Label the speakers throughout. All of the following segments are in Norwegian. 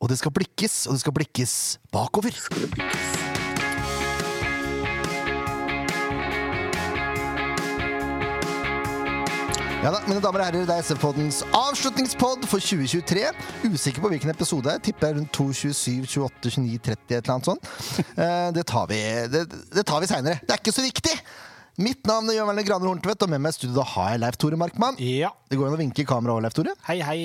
Speaker 1: Og det skal blikkes, og det skal blikkes bakover. Ja da, mine damer og herrer, det er SF-poddens avslutningspodd for 2023. Usikker på hvilken episode det er. Tipper jeg rundt 227, 28, 29, 30, et eller annet sånt. Eh, Det tar vi, det, det tar vi seinere. Det er ikke så viktig! Mitt navn er Jørn Werner Graner Horntvedt, og med meg i studio da har jeg Leif Tore Markmann.
Speaker 2: Ja.
Speaker 1: Det går an å vinke i kameraet òg, Leif Tore.
Speaker 2: Hei, hei.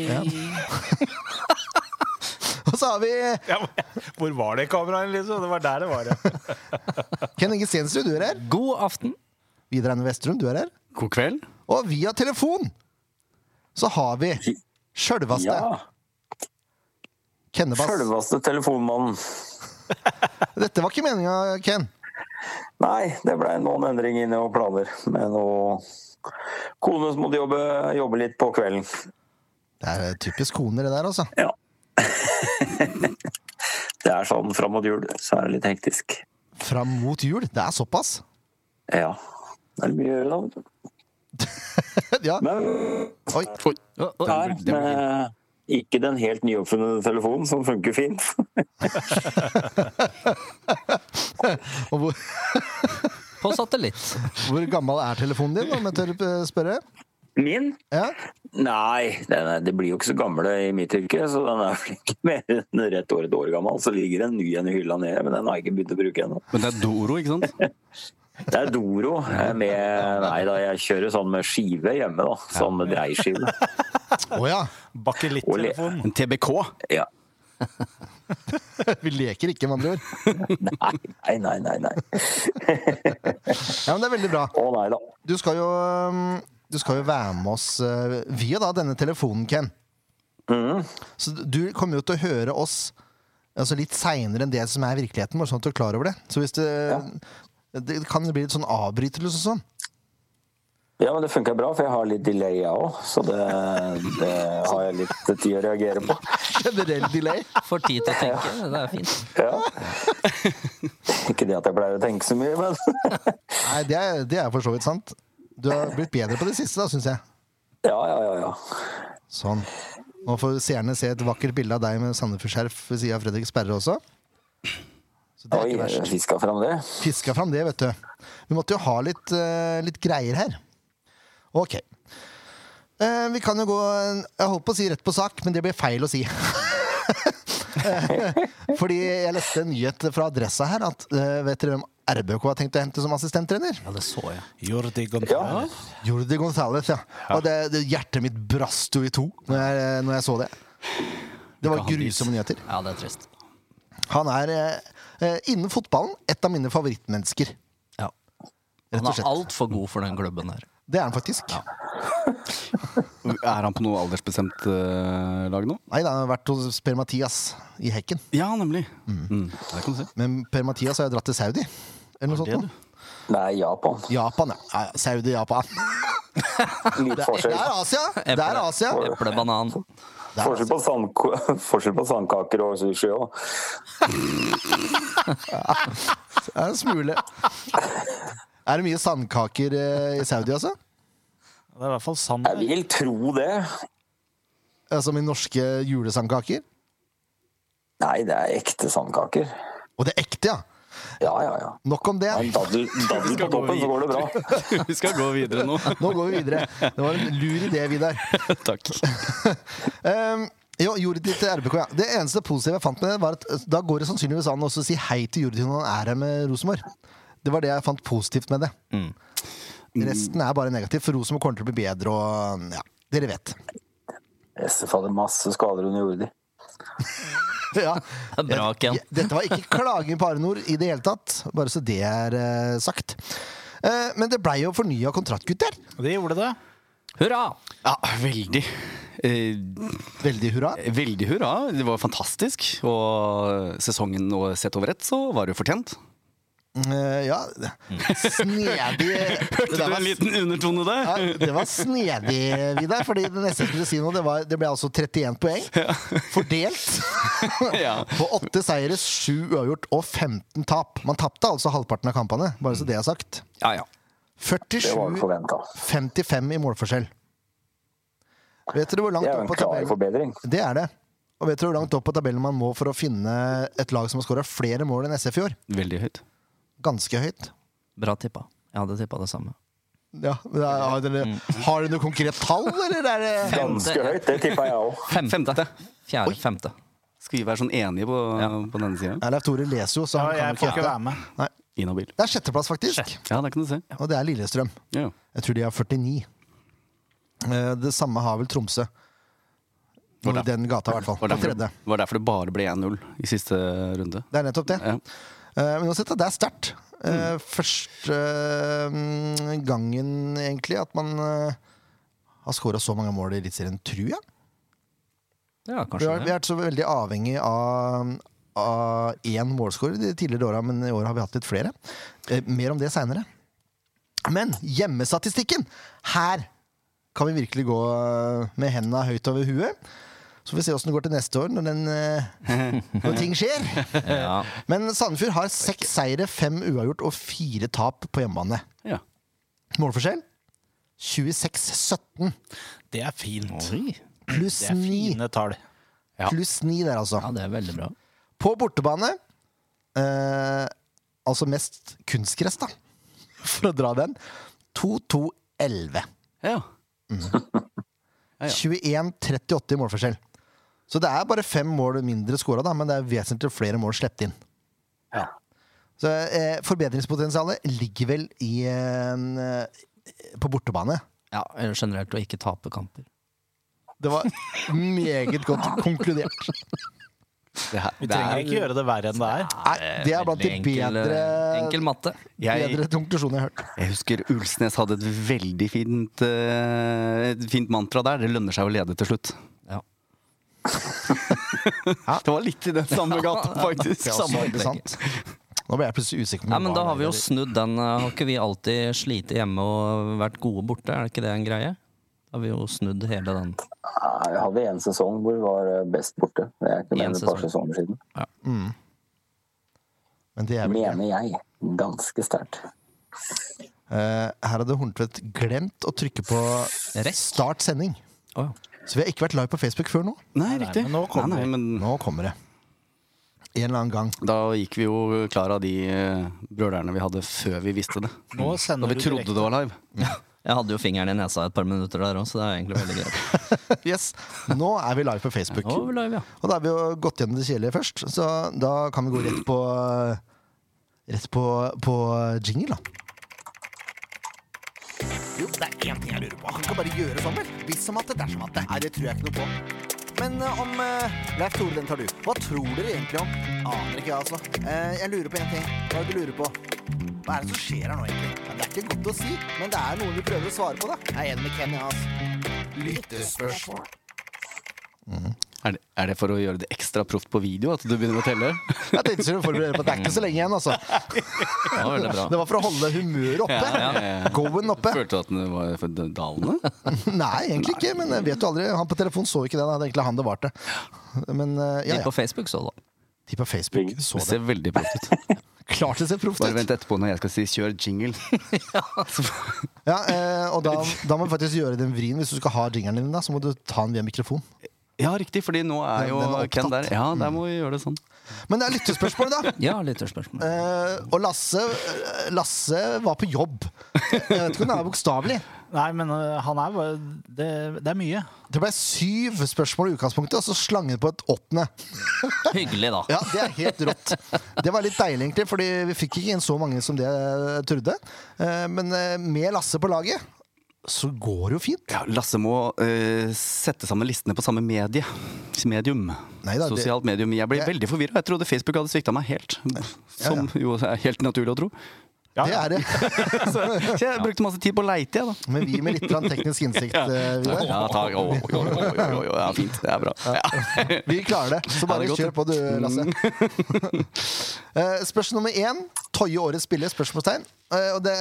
Speaker 1: Og så har vi
Speaker 2: Ja, men hvor var det kameraet, liksom? Det var der det var. Ja.
Speaker 1: Ken Inge Stensrud, du er her.
Speaker 3: God aften.
Speaker 1: Vidar Eine Vesterum, du er her.
Speaker 3: God kveld.
Speaker 1: Og via telefon så har vi sjølvaste
Speaker 4: Ja,
Speaker 1: Kennebass.
Speaker 4: sjølveste telefonmannen.
Speaker 1: Dette var ikke meninga, Ken.
Speaker 4: Nei, det ble noen endringer inne og planer. Men nå Kone som måtte jobbe, jobbe litt på kvelden.
Speaker 1: Det er typisk koner, det der, altså.
Speaker 4: Ja. det er sånn fram mot jul, så er det litt hektisk.
Speaker 1: Fram mot jul. Det er såpass.
Speaker 4: Ja. Det er mye å gjøre, da.
Speaker 1: ja.
Speaker 4: Men
Speaker 1: Oi.
Speaker 3: Oi. Å, å,
Speaker 4: her,
Speaker 3: det
Speaker 5: eh,
Speaker 3: var-
Speaker 4: med ikke den helt nyoppfunnede telefonen, som funker fint.
Speaker 1: Og hvor,
Speaker 3: På satellitt.
Speaker 1: hvor gammel er telefonen din, om jeg tør eh, spørre?
Speaker 4: Min?
Speaker 1: Ja.
Speaker 4: Nei, den er, det blir jo ikke så gamle i mitt yrke, så den er vel ikke mer enn rett over et år gammel. Så ligger en ny en i hylla nede, men den har jeg ikke begynt å bruke ennå.
Speaker 3: Men det er Doro, ikke sant?
Speaker 4: Det er Doro eh, med Nei da, jeg kjører sånn med skive hjemme, da. Sånn med dreieskive.
Speaker 1: Å ja.
Speaker 2: Bakelitt-telefon.
Speaker 3: En TBK.
Speaker 4: Ja.
Speaker 1: Vi leker ikke, med andre ord.
Speaker 4: Nei, nei, nei, nei. nei.
Speaker 1: Ja, men det er veldig bra.
Speaker 4: Å nei da.
Speaker 1: Du skal jo, um, du skal jo være med oss eh, via da, denne telefonen, Ken. Så du kommer jo til å høre oss altså litt seinere enn det som er virkeligheten vår, sånn at du er klar over det. Så hvis det, det kan bli litt sånn avbrytelse og sånn.
Speaker 4: Ja, men det funka bra, for jeg har litt delay, jeg òg. Så det, det har jeg litt tid å reagere på.
Speaker 1: Generell delay.
Speaker 3: Får tid til å tenke. Det er fint.
Speaker 4: Ja. Ikke det at jeg pleier å tenke så mye, men
Speaker 1: Nei, det er, det er for så vidt sant. Du har blitt bedre på det siste, da, syns jeg.
Speaker 4: Ja, ja, ja. ja.
Speaker 1: Sånn. Nå får seerne se et vakkert bilde av deg med Sandefjord-skjerf ved sida av Fredrik Sperre også. Så det er
Speaker 4: Oi,
Speaker 1: ikke verst.
Speaker 4: fiska fram det.
Speaker 1: Fiska fram det, vet du. Vi måtte jo ha litt, eh, litt greier her. Ok. Eh, vi kan jo gå Jeg holdt på å si rett på sak, men det blir feil å si. Eh, Fordi jeg leste en nyhet fra Adressa her at eh, vet dere hvem RBK har tenkt å hente som assistenttrener?
Speaker 3: Ja, det så jeg.
Speaker 2: Jordi
Speaker 4: Ja.
Speaker 2: Gonzales.
Speaker 1: Jordi Gonzales, ja. Og det, det, hjertet mitt brast jo i to når jeg, når jeg så det. Det var
Speaker 3: Ikke han dit.
Speaker 1: grusomme nyheter.
Speaker 3: Ja, det er trist.
Speaker 1: Han er eh, eh, innen fotballen et av mine favorittmennesker.
Speaker 3: Ja.
Speaker 1: Rett
Speaker 3: Han
Speaker 1: og
Speaker 3: er
Speaker 1: slett.
Speaker 3: altfor god for den klubben der.
Speaker 1: Det er han faktisk.
Speaker 3: Er han på noe aldersbestemt eh, lag nå?
Speaker 1: Nei, da, han har vært hos Per-Mathias i Hekken.
Speaker 3: Ja, nemlig. Mm. Det kan du si.
Speaker 1: Men Per-Mathias har jo dratt til Saudi. Eller noe sånt. nå.
Speaker 4: Nei, Japan.
Speaker 1: Japan, ja. ja. ja, Saudi-Japan.
Speaker 4: Litt
Speaker 1: Det
Speaker 4: forskjell.
Speaker 1: er Asia! Det er Asia.
Speaker 3: Eple, banan.
Speaker 1: Det er
Speaker 4: Forskjell
Speaker 1: Asia.
Speaker 4: på, sandko- forskjell på sandkaker og sushi òg.
Speaker 1: Det er en smule. Er det mye sandkaker eh, i Saudi, altså?
Speaker 2: Det er i hvert fall sand.
Speaker 4: Jeg vil tro det.
Speaker 1: Eh, Som i norske julesandkaker?
Speaker 4: Nei, det er ekte sandkaker.
Speaker 1: Og det er ekte, ja!
Speaker 4: Ja, ja, ja.
Speaker 1: Nok om det.
Speaker 4: En daddel, daddel på toppen, så går det bra.
Speaker 3: Vi skal gå videre nå.
Speaker 1: Nå går vi videre. Det var en lur idé, Vidar.
Speaker 3: Takk.
Speaker 1: Um, jo, Jordi til RBK, ja. Det eneste positive jeg fant med det, var at eh, da går det sannsynligvis an å også si hei til Jordi når han er her med Rosenborg. Det var det jeg fant positivt med det. Resten er bare negativt, for Rosenborg kommer til å bli bedre og ja, dere vet.
Speaker 4: SF hadde masse skader under jordi.
Speaker 1: Ja.
Speaker 3: Det er bra, Ken.
Speaker 1: Ja, Dette var ikke klaging på Arenor i det hele tatt, bare så det er eh, sagt. Eh, men det blei jo fornya kontrakt, gutter.
Speaker 2: Det gjorde det.
Speaker 3: Hurra! Ja, veldig. Eh,
Speaker 1: Veldig hurra.
Speaker 3: Veldig hurra. Det var fantastisk. Og sesongen og sett over ett, så var det jo fortjent.
Speaker 1: Eh, ja, snedig Det
Speaker 3: Hørte Mm.
Speaker 1: der
Speaker 3: du
Speaker 1: var
Speaker 3: en liten undertone der?
Speaker 1: Ja, det var snedig, Vidar. Fordi det neste jeg skulle si nå, det, var, det ble altså 31 poeng. Fordelt
Speaker 3: Ja.
Speaker 1: på åtte seire, sju uavgjort og 15 tap. Man tapte altså halvparten av kampene, bare så det er sagt.
Speaker 3: Ja, ja.
Speaker 4: Det var
Speaker 1: 47
Speaker 4: forventa.
Speaker 1: 55 i målforskjell. Vet dere hvor
Speaker 4: Det
Speaker 1: langt
Speaker 4: er jo
Speaker 1: opp
Speaker 4: en
Speaker 1: på
Speaker 4: klar
Speaker 1: tabellen
Speaker 4: forbedring.
Speaker 1: Det er det. Og vet du hvor langt opp på tabellen man må for å finne et lag som har skåra flere mål enn SF i år?
Speaker 3: Veldig høyt.
Speaker 1: Ganske høyt.
Speaker 5: Bra tippa. Jeg hadde tippa det samme.
Speaker 1: Ja, men da- har, dere, har dere noe konkret tall, eller er det
Speaker 4: Ganske høyt, det tippa jeg òg.
Speaker 5: Femte.
Speaker 3: Femte.
Speaker 5: Fjerde. Femte.
Speaker 3: Skal vi være sånn enige på, på denne sida?
Speaker 1: Nei, Leif Tore leser jo, så
Speaker 2: Ja,
Speaker 1: han
Speaker 2: jeg
Speaker 1: kan
Speaker 2: får
Speaker 1: jo
Speaker 2: ikke
Speaker 1: ikke
Speaker 2: være med.
Speaker 1: Nei.
Speaker 3: Inhabil.
Speaker 1: Det er sjetteplass, faktisk.
Speaker 3: Ja, der kan du se.
Speaker 1: Og det er Lillestrøm.
Speaker 3: Ja, ja.
Speaker 1: Jeg tror de har 49. Eh, Det samme har vel Tromsø.
Speaker 3: Hvor da?
Speaker 1: I den gata, i hvert fall.
Speaker 3: Det var
Speaker 1: På
Speaker 3: derfor-
Speaker 1: tredje.
Speaker 3: det var derfor det bare ble 1-0 i siste runde.
Speaker 1: Det er nettopp det.
Speaker 3: Ja. Mm.
Speaker 1: Eh, Men uansett, det er sterkt. Eh, Første eh, gangen, egentlig, at man eh, har skåra så mange mål i Eliteserien, tror jeg.
Speaker 5: Ja,
Speaker 1: Vi
Speaker 5: kanskje
Speaker 1: har, vi
Speaker 5: det.
Speaker 1: har vært så veldig avhengig av av én målskårer de tidligere åra, men i år har vi hatt litt flere. Eh, Mer om det seinere. Men hjemmestatistikken! Her kan vi virkelig gå eh, med henda høyt over huet. Så får vi se åssen det går til neste år, når, den, eh, når ting skjer.
Speaker 5: Ja.
Speaker 1: Men Sandefjord har seks seire, fem uavgjort og fire tap på hjemmebane.
Speaker 3: Ja.
Speaker 1: Målforskjell 26-17
Speaker 2: Det er fint.
Speaker 1: pluss
Speaker 2: Det er
Speaker 1: 9.
Speaker 2: fine tall.
Speaker 1: Pluss 9 der, altså.
Speaker 5: ja, det er veldig bra.
Speaker 1: På bortebane eh, Altså mest kunstgress, da. For å dra den. 2-2-11.
Speaker 3: ja.
Speaker 1: 21-38 i målforskjell. Så det er bare fem mål mindre skåra, men det er vesentlig flere mål sluppet inn.
Speaker 4: Ja.
Speaker 1: Så eh, forbedringspotensialet ligger vel i eh, på bortebane.
Speaker 5: Ja, eller generelt å ikke tape kamper.
Speaker 1: Det var meget godt konkludert.
Speaker 3: Det, her,
Speaker 2: Vi
Speaker 3: det
Speaker 2: trenger
Speaker 3: er
Speaker 2: ikke gjøre det verre enn det er.
Speaker 1: Nei, det er blant de
Speaker 5: Veldig enkel,
Speaker 1: bedre,
Speaker 5: eh, Enkel matte.
Speaker 1: bedre
Speaker 3: jeg,
Speaker 1: konklusjonene jeg har hørt.
Speaker 3: jeg husker Ulsnes hadde et veldig fint, eh, et fint mantra der. Det lønner seg å lede til slutt.
Speaker 5: Ja.
Speaker 3: Det var litt i den samme gata, faktisk.
Speaker 1: Det er også ikke sant. Nå ble jeg plutselig usikker. på
Speaker 5: Nei,
Speaker 1: om
Speaker 5: men
Speaker 1: det
Speaker 5: da
Speaker 1: var
Speaker 5: har vi jo
Speaker 1: det.
Speaker 5: snudd den. eh, Har ikke vi alltid slitt hjemme og vært gode borte? Er ikke det en greie? Da har vi jo snudd hele den.
Speaker 4: Jeg hadde en sesong hvor det var eh, best borte. Det er ikke mer
Speaker 5: En
Speaker 4: enn et par
Speaker 5: sesong.
Speaker 4: sesonger siden.
Speaker 1: Men det er vel ikke.
Speaker 4: Mener jeg. Ganske sterkt.
Speaker 1: Eh, her hadde Horntvedt glemt å trykke på start sending.
Speaker 5: Å ja.
Speaker 1: Så vi har ikke vært live på Facebook før nå.
Speaker 3: Nei, riktig.
Speaker 2: men nå kommer
Speaker 3: nei, nei, men
Speaker 1: Nå kommer det. En eller annen gang.
Speaker 3: da gikk vi jo klar av de eh, brølerne vi hadde før vi visste det.
Speaker 2: Nå
Speaker 3: Da
Speaker 2: sender
Speaker 3: vi
Speaker 2: du
Speaker 3: trodde
Speaker 2: direkte.
Speaker 3: det var live.
Speaker 5: Jeg hadde jo fingeren i nesa et par minutter der òg, så det er egentlig veldig greit.
Speaker 1: Yes, Nå er vi live på Facebook.
Speaker 5: Nå er vi live, ja.
Speaker 1: Og da har vi jo gått gjennom det kjedelige først, så da kan vi gå rett på Rett på, på jingle, da. Jo, det er én ting jeg lurer på. Han kan bare gjøre sånn, vel? Hvis som at det, dersom at det. Nei, det tror jeg ikke noe på. Men eh, om uh, Leif Tore, den tar du. Hva tror dere egentlig om? Aner ikke, jeg, altså. Eh, jeg lurer på én ting. Hva er det du lurer på? Hva er det som skjer her nå, egentlig? Ja, det er ikke godt å si, men det er noen vi prøver å svare på, da. Jeg er enig med Kenny, altså. Lyttespørsmål.
Speaker 3: Er det, er det for å gjøre det ekstra proft på video at du begynner å telle?
Speaker 1: Jeg tenkte skulle forberede på at det er ikke så lenge igjen, altså.
Speaker 5: Det var veldig bra.
Speaker 1: Det var for å holde humøret oppe.
Speaker 3: Ja, ja, ja.
Speaker 1: Go-en oppe.
Speaker 3: Følte du at den var for dalende?
Speaker 1: Nei, egentlig ikke, men jeg vet jo aldri. Han på telefon så ikke det. da. Det er egentlig han det var til. Men eh, ja,
Speaker 5: De
Speaker 1: ja.
Speaker 5: på Facebook så det.
Speaker 1: De på Facebook så
Speaker 3: Det
Speaker 1: det.
Speaker 3: ser veldig proft ut.
Speaker 1: Klart det ser proft
Speaker 3: Bare
Speaker 1: ut.
Speaker 3: vent etterpå når jeg skal si 'kjør jingle'.
Speaker 1: Ja, eh, og da, da må vi faktisk gjøre den vrien. Hvis du skal ha jingeren din, da, så må du ta den via mikrofon.
Speaker 3: Ja, riktig, fordi nå er
Speaker 1: Den-
Speaker 3: jo
Speaker 1: den er opptatt. Mm.
Speaker 3: Ken der. Ja, der må vi gjøre det sånn.
Speaker 1: Men det er lyttespørsmål, da.
Speaker 5: Ja, lytterspørsmål.
Speaker 1: Eh, og Lasse, eh, Lasse var på jobb. Jeg vet ikke om det er bokstavelig.
Speaker 2: Nei, men øh, han er bare Det, det er mye.
Speaker 1: Det ble syv spørsmål i utgangspunktet, og så slang han på et åttende.
Speaker 5: Hyggelig, da.
Speaker 1: Ja, det er helt rått. Det var litt deilig, egentlig, fordi vi fikk ikke inn så mange som det jeg trodde. Eh, Men eh, med Lasse på laget, så går det jo fint.
Speaker 3: Ja, Lasse må eh, sette sammen listene på samme medie. Medium.
Speaker 1: Nei da, det-
Speaker 3: Sosialt medium. Jeg ble
Speaker 1: Jeg-
Speaker 3: veldig forvirra. Jeg trodde Facebook hadde svikta meg helt. Som jo er helt naturlig å tro.
Speaker 2: Ja,
Speaker 1: Det
Speaker 2: ja.
Speaker 1: er det.
Speaker 3: Så, så jeg brukte masse tid på å leite, jeg, da.
Speaker 1: Men vi med litt grann teknisk innsikt, eh, Vidar.
Speaker 3: Ja, takk. Å, jo, jo, jo, jo, jo, ja, fint. Det er bra. Ja.
Speaker 1: Vi klarer det. Så
Speaker 3: Ja,
Speaker 1: bare
Speaker 3: det er
Speaker 1: kjør på,
Speaker 3: godt, Mm.
Speaker 1: du, Lasse. Eh, Spørsmål nummer én. Toye årets spiller? Spørsmålstegn. Eh, Og det,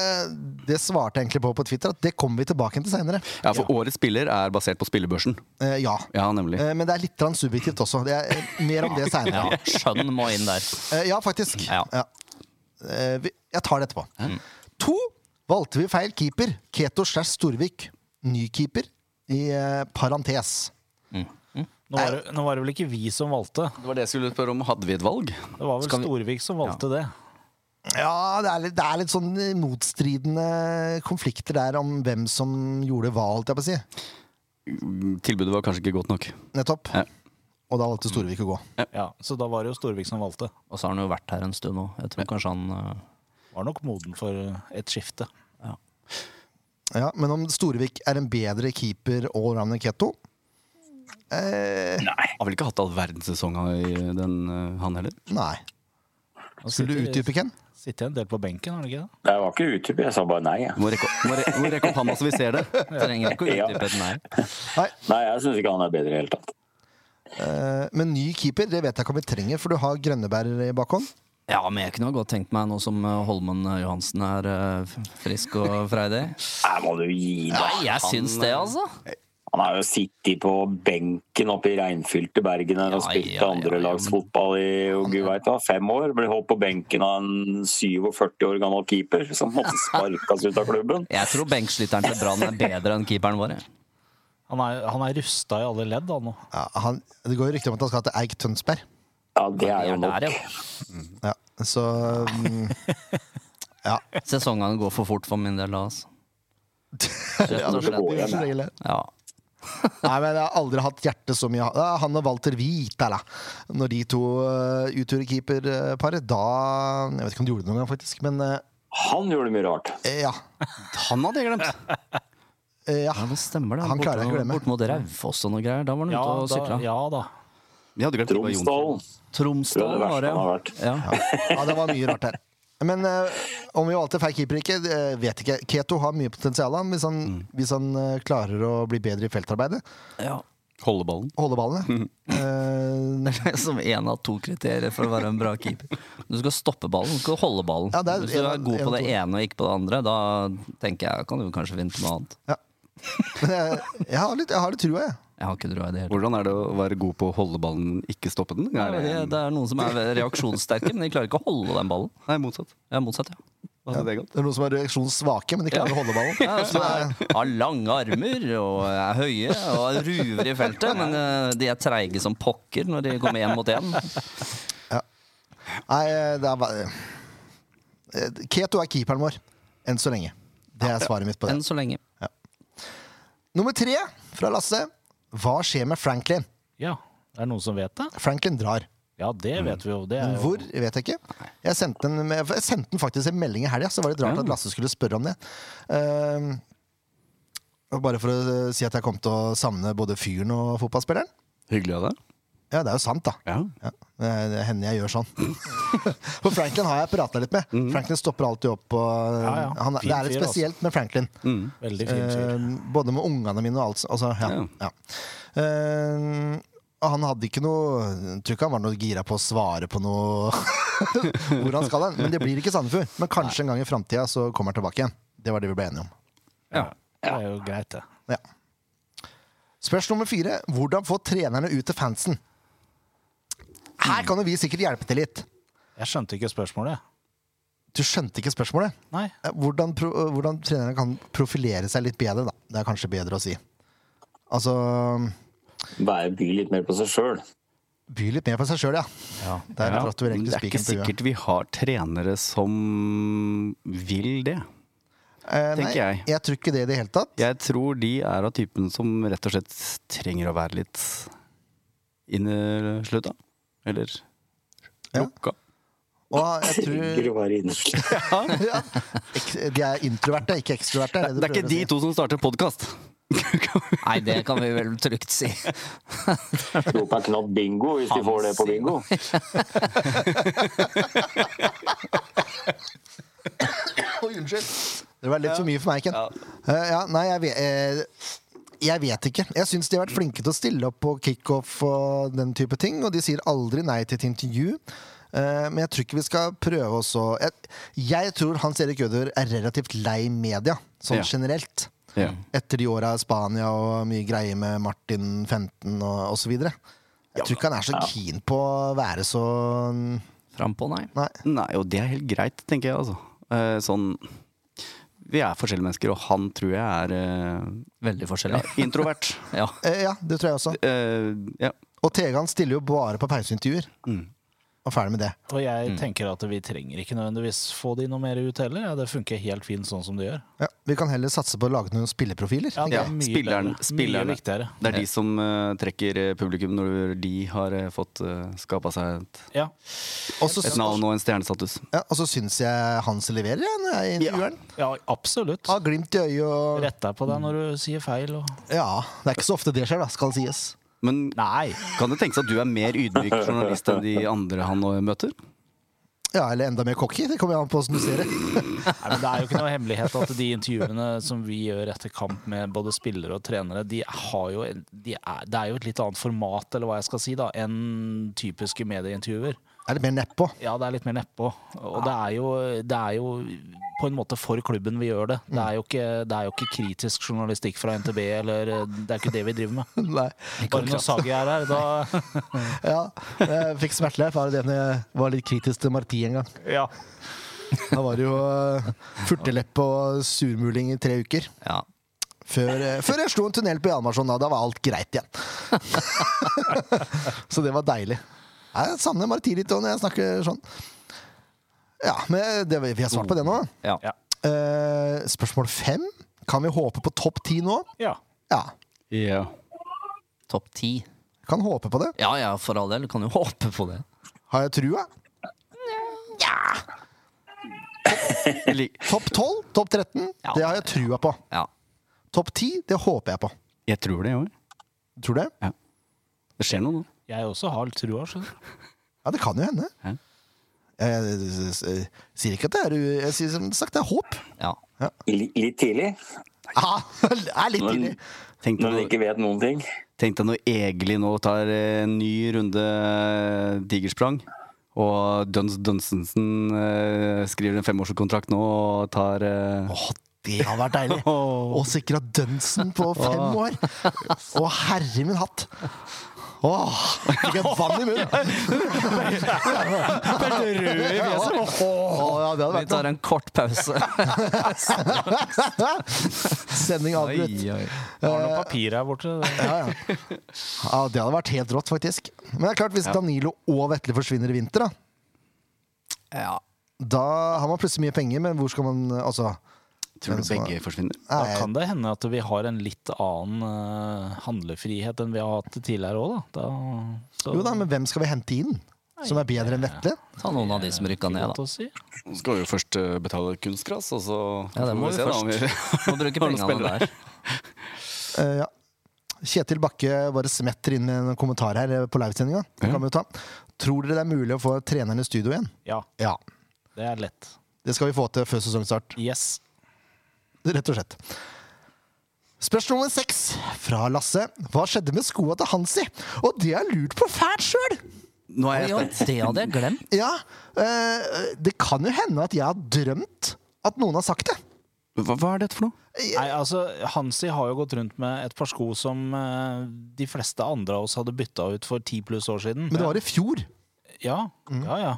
Speaker 1: det svarte jeg egentlig på på Twitter, at det kommer vi tilbake til seinere.
Speaker 3: ja, for årets spiller er basert på spillebørsen.
Speaker 1: Ja.
Speaker 3: Ja, nemlig.
Speaker 1: Eh, Men det er litt grann subjektivt også. Det er eh, mer om det
Speaker 5: Ja,
Speaker 1: seinere.
Speaker 5: skjønn må inn der.
Speaker 1: Eh, ja, faktisk. Ja.
Speaker 5: Ja.
Speaker 1: Eh, vi, jeg tar det etterpå. To valgte vi feil keeper. Keto slash Storvik. Ny keeper i eh, parentes.
Speaker 2: Nå var, det, nå var det vel ikke vi som valgte.
Speaker 3: Det var det jeg skulle spørre om. Hadde vi et valg?
Speaker 2: Det var vel
Speaker 3: Skal vi-
Speaker 2: Storvik som valgte det.
Speaker 1: Ja, det er, litt, det er litt sånn motstridende konflikter der om hvem som gjorde hva, holdt jeg på å si.
Speaker 3: Tilbudet var kanskje ikke godt nok.
Speaker 1: Nettopp.
Speaker 3: Ja.
Speaker 1: Og da valgte Storevik å gå.
Speaker 2: Ja, så da var det jo Storvik som valgte.
Speaker 5: Og så har han jo vært her en stund nå. Jeg tror kanskje han eh,
Speaker 2: Var nok moden for et skifte.
Speaker 1: Ja, Men om Storevik er en bedre keeper allround enn Ketto eh,
Speaker 3: Har vel ikke hatt all verdens sesong i den, eh, han heller?
Speaker 1: Nei.
Speaker 2: Han
Speaker 1: Skulle du
Speaker 2: sitter-
Speaker 1: utdype, Ken?
Speaker 2: Sitter en del på benken, har han ikke det?
Speaker 4: Jeg var ikke utdypet, jeg sa bare nei. Jeg.
Speaker 3: Du må rekke, opp- må re, må rekke opp handa så vi ser det.
Speaker 5: eh, trenger ikke å
Speaker 4: Ja.
Speaker 5: utdype et nei.
Speaker 1: Nei.
Speaker 4: Nei, jeg syns ikke han er bedre i det hele tatt.
Speaker 1: Eh, men ny keeper det vet jeg ikke om vi trenger, for du har Grønneberg i bakhånd.
Speaker 5: Ja, men jeg kunne ha godt tenkt meg, nå som eh, Holmen Johansen er eh, frisk og freidig
Speaker 4: Nei, må du gi deg.
Speaker 5: Nei, jeg syns
Speaker 1: eh,
Speaker 5: det, altså.
Speaker 4: Han har jo sittet på benken oppe i regnfylte Bergen her og
Speaker 5: Ja,
Speaker 4: spilt
Speaker 5: ja, ja,
Speaker 4: andrelagsfotball i og gud vet hva, fem år. Ble holdt på benken av en 47 år gammel keeper som måtte sparkes ut av klubben.
Speaker 5: Jeg tror benkslitteren til Brann er bedre enn keeperen vår. jeg.
Speaker 2: Han er, han er rusta i alle ledd, han nå.
Speaker 1: Ja, han, det går jo rykter om at han skal til Eik Tønsberg.
Speaker 4: Ja, det er
Speaker 5: Vi
Speaker 4: jo
Speaker 5: er
Speaker 4: nok.
Speaker 5: der, ja.
Speaker 1: Ja, så mm, Ja.
Speaker 5: Sesongene går for fort for min del, da, altså. Rett
Speaker 4: det
Speaker 5: og
Speaker 4: går
Speaker 5: slett.
Speaker 1: Det er så deilig.
Speaker 5: Ja.
Speaker 1: Nei, men Jeg har aldri hatt hjerte så mye Det er Han og Walter Hvit, eller Når de to uh, utgjorde keeperparet, da Jeg vet ikke om de gjorde det noen gang, faktisk, men eh,
Speaker 4: Han gjør det mye rart.
Speaker 1: ja.
Speaker 3: Han hadde jeg glemt.
Speaker 1: Eh, ja.
Speaker 5: ja, det stemmer det.
Speaker 1: Han klarer jeg ikke å glemme.
Speaker 5: Bort mot Raufoss og noe greier. Da var han
Speaker 2: Ja
Speaker 5: ute og
Speaker 2: da,
Speaker 5: sykla.
Speaker 2: ja da.
Speaker 3: Vi hadde glemt det var Jonsson.
Speaker 4: Tromsdalen.
Speaker 5: Tromsdal
Speaker 4: Det var
Speaker 5: var
Speaker 4: det
Speaker 5: det,
Speaker 4: verste
Speaker 5: ja. ja.
Speaker 1: ja, det var mye rart der. Men eh, om vi valgte feil keeper ikke, eh, vet ikke. Keto har mye potensial han, hvis han, hvis han eh, klarer å bli bedre i feltarbeidet.
Speaker 5: ja.
Speaker 3: Holde ballen.
Speaker 1: Holde ballene. Eh,
Speaker 5: Som én av to kriterier for å være en bra keeper. Du skal stoppe ballen, du skal holde ballen.
Speaker 1: Ja, det er
Speaker 5: Hvis du
Speaker 1: en
Speaker 5: er
Speaker 1: av-
Speaker 5: god
Speaker 1: en
Speaker 5: på
Speaker 1: av
Speaker 5: det
Speaker 1: to.
Speaker 5: ene og ikke på det andre, da tenker jeg kan du kanskje finne på noe annet.
Speaker 1: ja. Men jeg, jeg har litt, jeg har litt trua, jeg.
Speaker 5: Jeg har ikke trua i det hele tatt.
Speaker 3: Hvordan er det å være god på å holde ballen, ikke stoppe den?
Speaker 5: Ja,
Speaker 3: Er
Speaker 5: Det,
Speaker 3: det,
Speaker 5: det er noen som er reaksjonssterke, men de klarer ikke å holde den ballen.
Speaker 3: nei, motsatt.
Speaker 5: Ja, motsatt, ja.
Speaker 3: Hadde det gått?
Speaker 1: Det er noen som er reaksjonssvake, men de klarer å holde ballen.
Speaker 5: Ja, som er, har lange armer og er høye og er ruver i feltet, men eh, de er treige som pokker når de kommer én mot én.
Speaker 1: Nei, det er bare Eh, Keto er keeperen vår, enn så lenge. Det er svaret mitt på det.
Speaker 5: Enn så lenge.
Speaker 1: Nummer tre fra Lasse. Hva skjer med Franklin?
Speaker 2: Ja, det er noen som vet det?
Speaker 1: Franklin drar.
Speaker 2: Ja, det vet vi jo. Det er jo
Speaker 1: Men hvor, vet jeg ikke. Jeg sendte den, jeg sendte den faktisk en melding i helga, så det var litt rart at Lasse skulle spørre om det. Ehm, og bare for å si at jeg kom til å savne både fyren og fotballspilleren.
Speaker 3: Hyggelig av deg.
Speaker 1: Ja, det er jo sant, da.
Speaker 3: Ja.
Speaker 1: Ja, det er- det hender jeg gjør sånn. For Franklin har jeg prata litt med. Franklin stopper alltid opp. Og,
Speaker 2: Ja, ja.
Speaker 1: Han, er- det
Speaker 2: Fin
Speaker 1: er litt
Speaker 2: fyr, altså.
Speaker 1: spesielt med Franklin.
Speaker 6: Mm.
Speaker 2: Veldig fin fyr.
Speaker 1: Eh, både med ungene mine og alt. Altså, ja,
Speaker 3: Ja.
Speaker 1: ja. Eh, og han hadde ikke noe jeg Tror ikke han var noe gira på å svare på noe hvor han skal hen. Men det blir ikke Sandefjord. Men kanskje en gang i framtida så kommer han tilbake igjen. Det var det vi ble enige om.
Speaker 5: Ja.
Speaker 2: Det er jo greit, det.
Speaker 1: Ja. Spørsmål nummer fire. Hvordan få trenerne ut til fansen? Her kan jo vi sikkert hjelpe til litt.
Speaker 2: Jeg skjønte ikke spørsmålet.
Speaker 1: Du skjønte ikke spørsmålet?
Speaker 2: Nei.
Speaker 1: Eh, Hvordan, pro eh, hvordan trenerne kan profilere seg litt bedre, da. Det er kanskje bedre å si. Altså
Speaker 4: Bare by litt mer på seg sjøl.
Speaker 1: By litt mer på seg sjøl, ja. Der
Speaker 3: Ja,
Speaker 1: traff du
Speaker 3: men
Speaker 1: egentlig
Speaker 3: det er
Speaker 1: spikeren på
Speaker 3: ikke
Speaker 1: huet.
Speaker 3: sikkert vi har trenere som vil det.
Speaker 1: Eh, nei,
Speaker 3: tenker jeg.
Speaker 1: jeg tror ikke det i det hele tatt.
Speaker 3: Jeg tror de er av typen som rett og slett trenger å være litt inneslutta. Eller
Speaker 1: Ja.
Speaker 3: lukka.
Speaker 1: Og jeg tror
Speaker 4: Ligger å være inne.
Speaker 1: ja, ek- De er introverte, ikke ekstroverte.
Speaker 3: Det er ikke de to som starter podkast!
Speaker 5: Nei, det kan vi vel trygt si.
Speaker 4: Rop er knapt bingo hvis de får det på bingo.
Speaker 1: Oi, unnskyld. Det var litt for mye for meg, Ken. Eh, ja, nei, jeg vet, eh, jeg vet ikke. Jeg syns de har vært flinke til å stille opp på kickoff og den type ting, og de sier aldri nei til et intervju. Eh, men jeg tror ikke vi skal prøve oss å jeg, jeg tror Hans Erik Ødegaard er relativt lei media, sånn
Speaker 3: Ja.
Speaker 1: generelt.
Speaker 3: Ja.
Speaker 1: Etter de åra i Spania og mye greier med Martin 15 og osv. Jeg tror ikke han er så keen på å være så
Speaker 5: Frampå, nei.
Speaker 1: Nei.
Speaker 3: Nei, og det er helt greit, tenker jeg, altså. Eh, Sånn vi er forskjellige mennesker, og han tror jeg er eh,
Speaker 5: Veldig forskjellig.
Speaker 3: introvert.
Speaker 5: Ja.
Speaker 1: Eh, ja, det tror jeg også.
Speaker 3: Eh, ja.
Speaker 1: Og Tegan stiller jo bare på pauseintervjuer. Og ferdig med det.
Speaker 6: Og jeg tenker at vi trenger ikke nødvendigvis få de noe mer ut heller. Ja, det funker helt fint sånn som det gjør.
Speaker 1: Ja, vi kan heller satse på å lage noen spilleprofiler.
Speaker 6: Ja,
Speaker 1: tenker
Speaker 6: det
Speaker 3: Ja,
Speaker 6: er mye
Speaker 3: spilleren-
Speaker 6: bedre.
Speaker 3: spillerne.
Speaker 6: Mye viktigere.
Speaker 3: Det er de som eh, trekker eh, publikum når de har eh, fått uh, skapa seg et,
Speaker 6: Ja.
Speaker 1: jeg. Og så
Speaker 3: et navn og en stjernestatus.
Speaker 1: ja, og så syns jeg Hans leverer, jeg, når jeg intervjuer han.
Speaker 6: ja, absolutt.
Speaker 1: Har glimt i øyet og
Speaker 6: Rett deg på deg når du sier feil. Og...
Speaker 1: Ja, det er ikke så ofte det skjer, da, skal det sies.
Speaker 3: Men
Speaker 6: Nei.
Speaker 3: kan det tenkes at du er mer ydmyk journalist enn de andre han eh, møter?
Speaker 1: Ja, eller enda mer cocky. Det kommer jo an på hvordan du ser det.
Speaker 6: Nei, men Det er jo ikke noe hemmelighet at de intervjuene som vi gjør etter kamp med både spillere og trenere, de har jo, de er, det er jo et litt annet format eller hva jeg skal si da, enn typiske medieintervjuer.
Speaker 1: Er det mer nedpå?
Speaker 6: Ja, det er litt mer nedpå. Og det er, jo, det er jo på en måte for klubben vi gjør det. Det er jo ikke, det er jo ikke kritisk journalistikk fra NTB, eller det er ikke det vi driver med.
Speaker 1: Nei.
Speaker 6: Bare når Sagi er her, da
Speaker 1: Ja, jeg fikk smertelig erfare det når jeg var litt kritisk til Marti en gang.
Speaker 6: Ja.
Speaker 1: Da var det jo eh, furteleppe og surmuling i tre uker.
Speaker 5: ja.
Speaker 1: Før, eh, før jeg slo en tunnel på Hjalmarsson, da, da var alt greit igjen. så det var deilig. Jeg savner Marti litt også når jeg snakker sånn. Ja, men det, vi har svart på det nå.
Speaker 5: ja.
Speaker 6: Ja.
Speaker 1: Eh, spørsmål fem. Kan vi håpe på topp ti nå?
Speaker 6: ja.
Speaker 1: Ja,
Speaker 3: Ja.
Speaker 5: Topp ti.
Speaker 1: kan håpe på det.
Speaker 5: Ja ja, for all del. Kan jo håpe på det.
Speaker 1: Har jeg trua?
Speaker 3: Jeg lik-
Speaker 1: Topp 12, topp 13,
Speaker 5: Ja.
Speaker 1: det har jeg trua på.
Speaker 5: Ja.
Speaker 1: Topp 10, det håper jeg på.
Speaker 3: Jeg tror det, jeg òg.
Speaker 1: Tror du det?
Speaker 3: Det skjer noe nå.
Speaker 6: Jeg også har litt trua, skjønner du.
Speaker 1: Ja, det kan jo hende.
Speaker 3: Ja.
Speaker 1: Jeg, jeg, jeg, jeg sier ikke at det er u- Jeg sier som sagt det er håp.
Speaker 5: ja.
Speaker 4: Li- Litt tidlig,
Speaker 1: Ja, det er litt tidlig.
Speaker 4: men når
Speaker 3: Tenk deg
Speaker 4: en
Speaker 3: når-
Speaker 4: ikke vet noen ting.
Speaker 3: tenk deg når Egeli nå tar eh, en ny runde eh, digersprang. Og Duns Dunsensen eh, skriver en femårskontrakt nå og tar eh,
Speaker 1: Å, det hadde vært deilig. Og sikra Dunsen på fem år. Å, herre min hatt. Åh, fikk jeg vann i munnen! Åh, ja, det hadde
Speaker 5: Vi
Speaker 1: vært
Speaker 5: tar en kort pause.
Speaker 1: noe. Sending avbrutt.
Speaker 6: Har noen papir her borte.
Speaker 1: Ja, ja. ja, det hadde vært helt rått, faktisk. Men det er klart, hvis Danilo og Vetle forsvinner i vinter, da,
Speaker 5: Ja.
Speaker 1: da har man plutselig mye penger, men hvor skal man Altså,
Speaker 3: Tror du begge forsvinner?
Speaker 6: Da
Speaker 1: nei,
Speaker 6: kan det hende at vi har en litt annen eh, handlefrihet enn vi har hatt tidligere òg, da. da så,
Speaker 1: jo da, men hvem skal vi hente inn? Som er bedre enn Vetle?
Speaker 5: Ta noen av de som rykka ned, da.
Speaker 6: Godt å si.
Speaker 3: Skal vi jo først eh, betale kunstgras, og så
Speaker 5: Ja, det
Speaker 3: får
Speaker 5: må vi
Speaker 3: se da om vi-
Speaker 5: først. Må bruke
Speaker 3: Har noen
Speaker 5: pengene
Speaker 3: spillere.
Speaker 5: der.
Speaker 1: Eh, ja. Kjetil Bakke bare smetter inn en kommentar her eh, på livesendinga. Det kan vi jo ta. Tror dere det er mulig å få treneren i studio igjen?
Speaker 6: Ja,
Speaker 1: Ja.
Speaker 6: det er lett.
Speaker 1: Det skal vi få til før sesongstart.
Speaker 6: Yes.
Speaker 1: Rett og slett. Spørsmål nummer seks fra Lasse. Hva skjedde med skoa til Hansi? Og det har jeg lurt på fælt sjøl!
Speaker 3: Nå er
Speaker 5: Oi,
Speaker 3: jeg
Speaker 5: oi,
Speaker 3: spent.
Speaker 5: det hadde jeg glemt.
Speaker 1: Ja, eh, det kan jo hende at jeg har drømt at noen har sagt det.
Speaker 3: Hva, hva er dette for noe?
Speaker 6: Nei, altså, Hansi har jo gått rundt med et par sko som eh, de fleste andre av oss hadde bytta ut for ti pluss år siden.
Speaker 1: Men Mm. det var i fjor.
Speaker 6: Ja, ja, ja.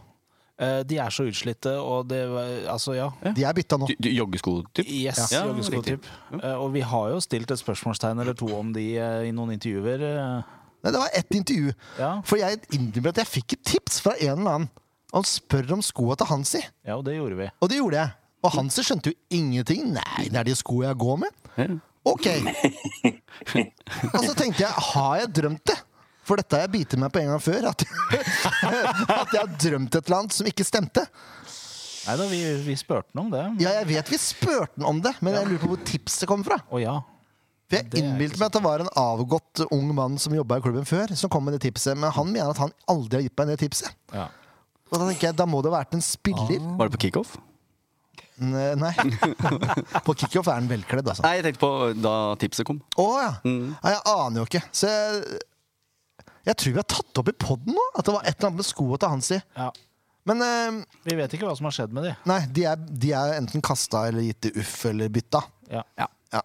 Speaker 6: Eh, de er så utslitte, og det var- Altså, ja.
Speaker 1: De er bytta nå.
Speaker 3: Du, du, joggesko, typ?
Speaker 6: Yes,
Speaker 3: Ja,
Speaker 6: joggeskotyp. Eh, og vi har jo stilt et spørsmålstegn eller to om de eh, i noen intervjuer. eh.
Speaker 1: Nei, det var ett intervju.
Speaker 6: Ja.
Speaker 1: For jeg innrømmer at jeg fikk et tips fra en eller annen. Han spør om skoa til Hansi,
Speaker 6: ja, og det gjorde vi.
Speaker 1: og det gjorde jeg. Og Hansi skjønte jo ingenting. Nei, det er de skoa jeg går med. Ok. Og så tenkte jeg, har jeg drømt det? For dette har jeg bitt meg på en gang før. At, at jeg har drømt et eller annet som ikke stemte.
Speaker 6: Nei da, vi, vi spurte ham om det.
Speaker 1: Ja, jeg vet vi spurte den om det, men jeg lurer på hvor tipset kom fra.
Speaker 6: Å ja.
Speaker 1: For jeg
Speaker 6: er
Speaker 1: innbilte meg at det var en avgått ung mann som jobba i klubben før, som kom med det tipset, men han mener at han aldri har gitt meg det tipset.
Speaker 6: ja.
Speaker 1: Og da tenker jeg, da må det ha vært en spiller.
Speaker 3: Var det på kickoff?
Speaker 1: N- Nei. På kickoff er han velkledd, altså.
Speaker 3: Nei, jeg tenkte på da tipset kom.
Speaker 1: Å ja. Nei, jeg aner jo ikke. Så jeg, jeg tror vi har tatt opp i poden nå at det var et eller annet med skoa til Hansi.
Speaker 6: ja.
Speaker 1: Men eh,
Speaker 6: Vi vet ikke hva som har skjedd med de.
Speaker 1: nei, de er, de er enten kasta eller gitt til uff eller bytta.
Speaker 6: Ja.
Speaker 1: Ja.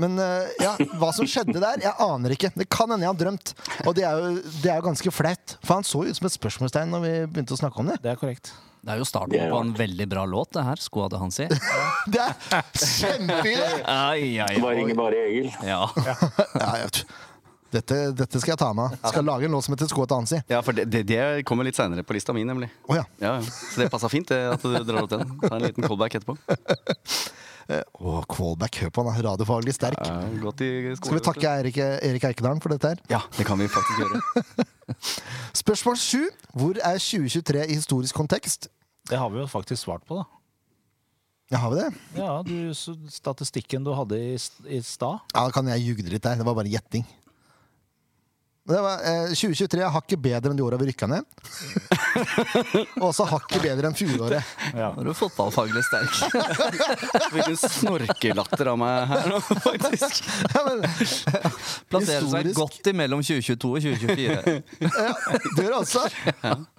Speaker 1: Men eh, ja, hva som skjedde der, jeg aner ikke. Det kan hende jeg har drømt. Og det er jo, det er jo ganske flaut. For han så jo ut som et spørsmålstegn når vi begynte å snakke om det.
Speaker 6: Det er korrekt.
Speaker 5: Det er jo
Speaker 4: Det
Speaker 5: starten
Speaker 4: er
Speaker 5: på en veldig bra låt, det her. Skoade han si.
Speaker 1: Det er kjempeidé!
Speaker 5: Ai, ai,
Speaker 4: Bare ringer bare Egil.
Speaker 5: Ja.
Speaker 1: Ja, jeg vet. dette, dette skal jeg ta med. Skal lage en låt som heter 'Skå et ansi'.
Speaker 3: Ja, for det, det, det kommer litt seinere på lista mi, nemlig.
Speaker 1: Å ja.
Speaker 3: Ja, ja. Så det passa fint det, at du drar opp den. Ta en liten callback etterpå.
Speaker 1: Å, Kvalbæk, hør på han, er radiofaglig sterk.
Speaker 3: Ja, godt i skole,
Speaker 1: Skal vi
Speaker 3: vet du.
Speaker 1: takke Erik, Erik Eikedalen for dette her?
Speaker 3: Ja, det kan vi faktisk gjøre.
Speaker 1: Spørsmål sju. Hvor er 2023 i historisk kontekst?
Speaker 6: Det har vi jo faktisk svart på, da.
Speaker 1: Ja, har vi det?
Speaker 6: Ja, du, så Statistikken du hadde i, s- i stad
Speaker 1: Ja, da kan jeg ljuge litt der. Det var bare gjetting. Det var, eh, 2023 er hakket bedre enn de åra vi rykka ned. Og også hakket bedre enn fjoråret.
Speaker 5: Nå er du fotballfaglig sterk.
Speaker 3: Fikk en snorkelatter av meg her nå, faktisk.
Speaker 1: Ja, men,
Speaker 5: Plasserer seg
Speaker 1: Historisk.
Speaker 5: godt imellom 2022 og 2024.
Speaker 1: ja, det gjør det altså.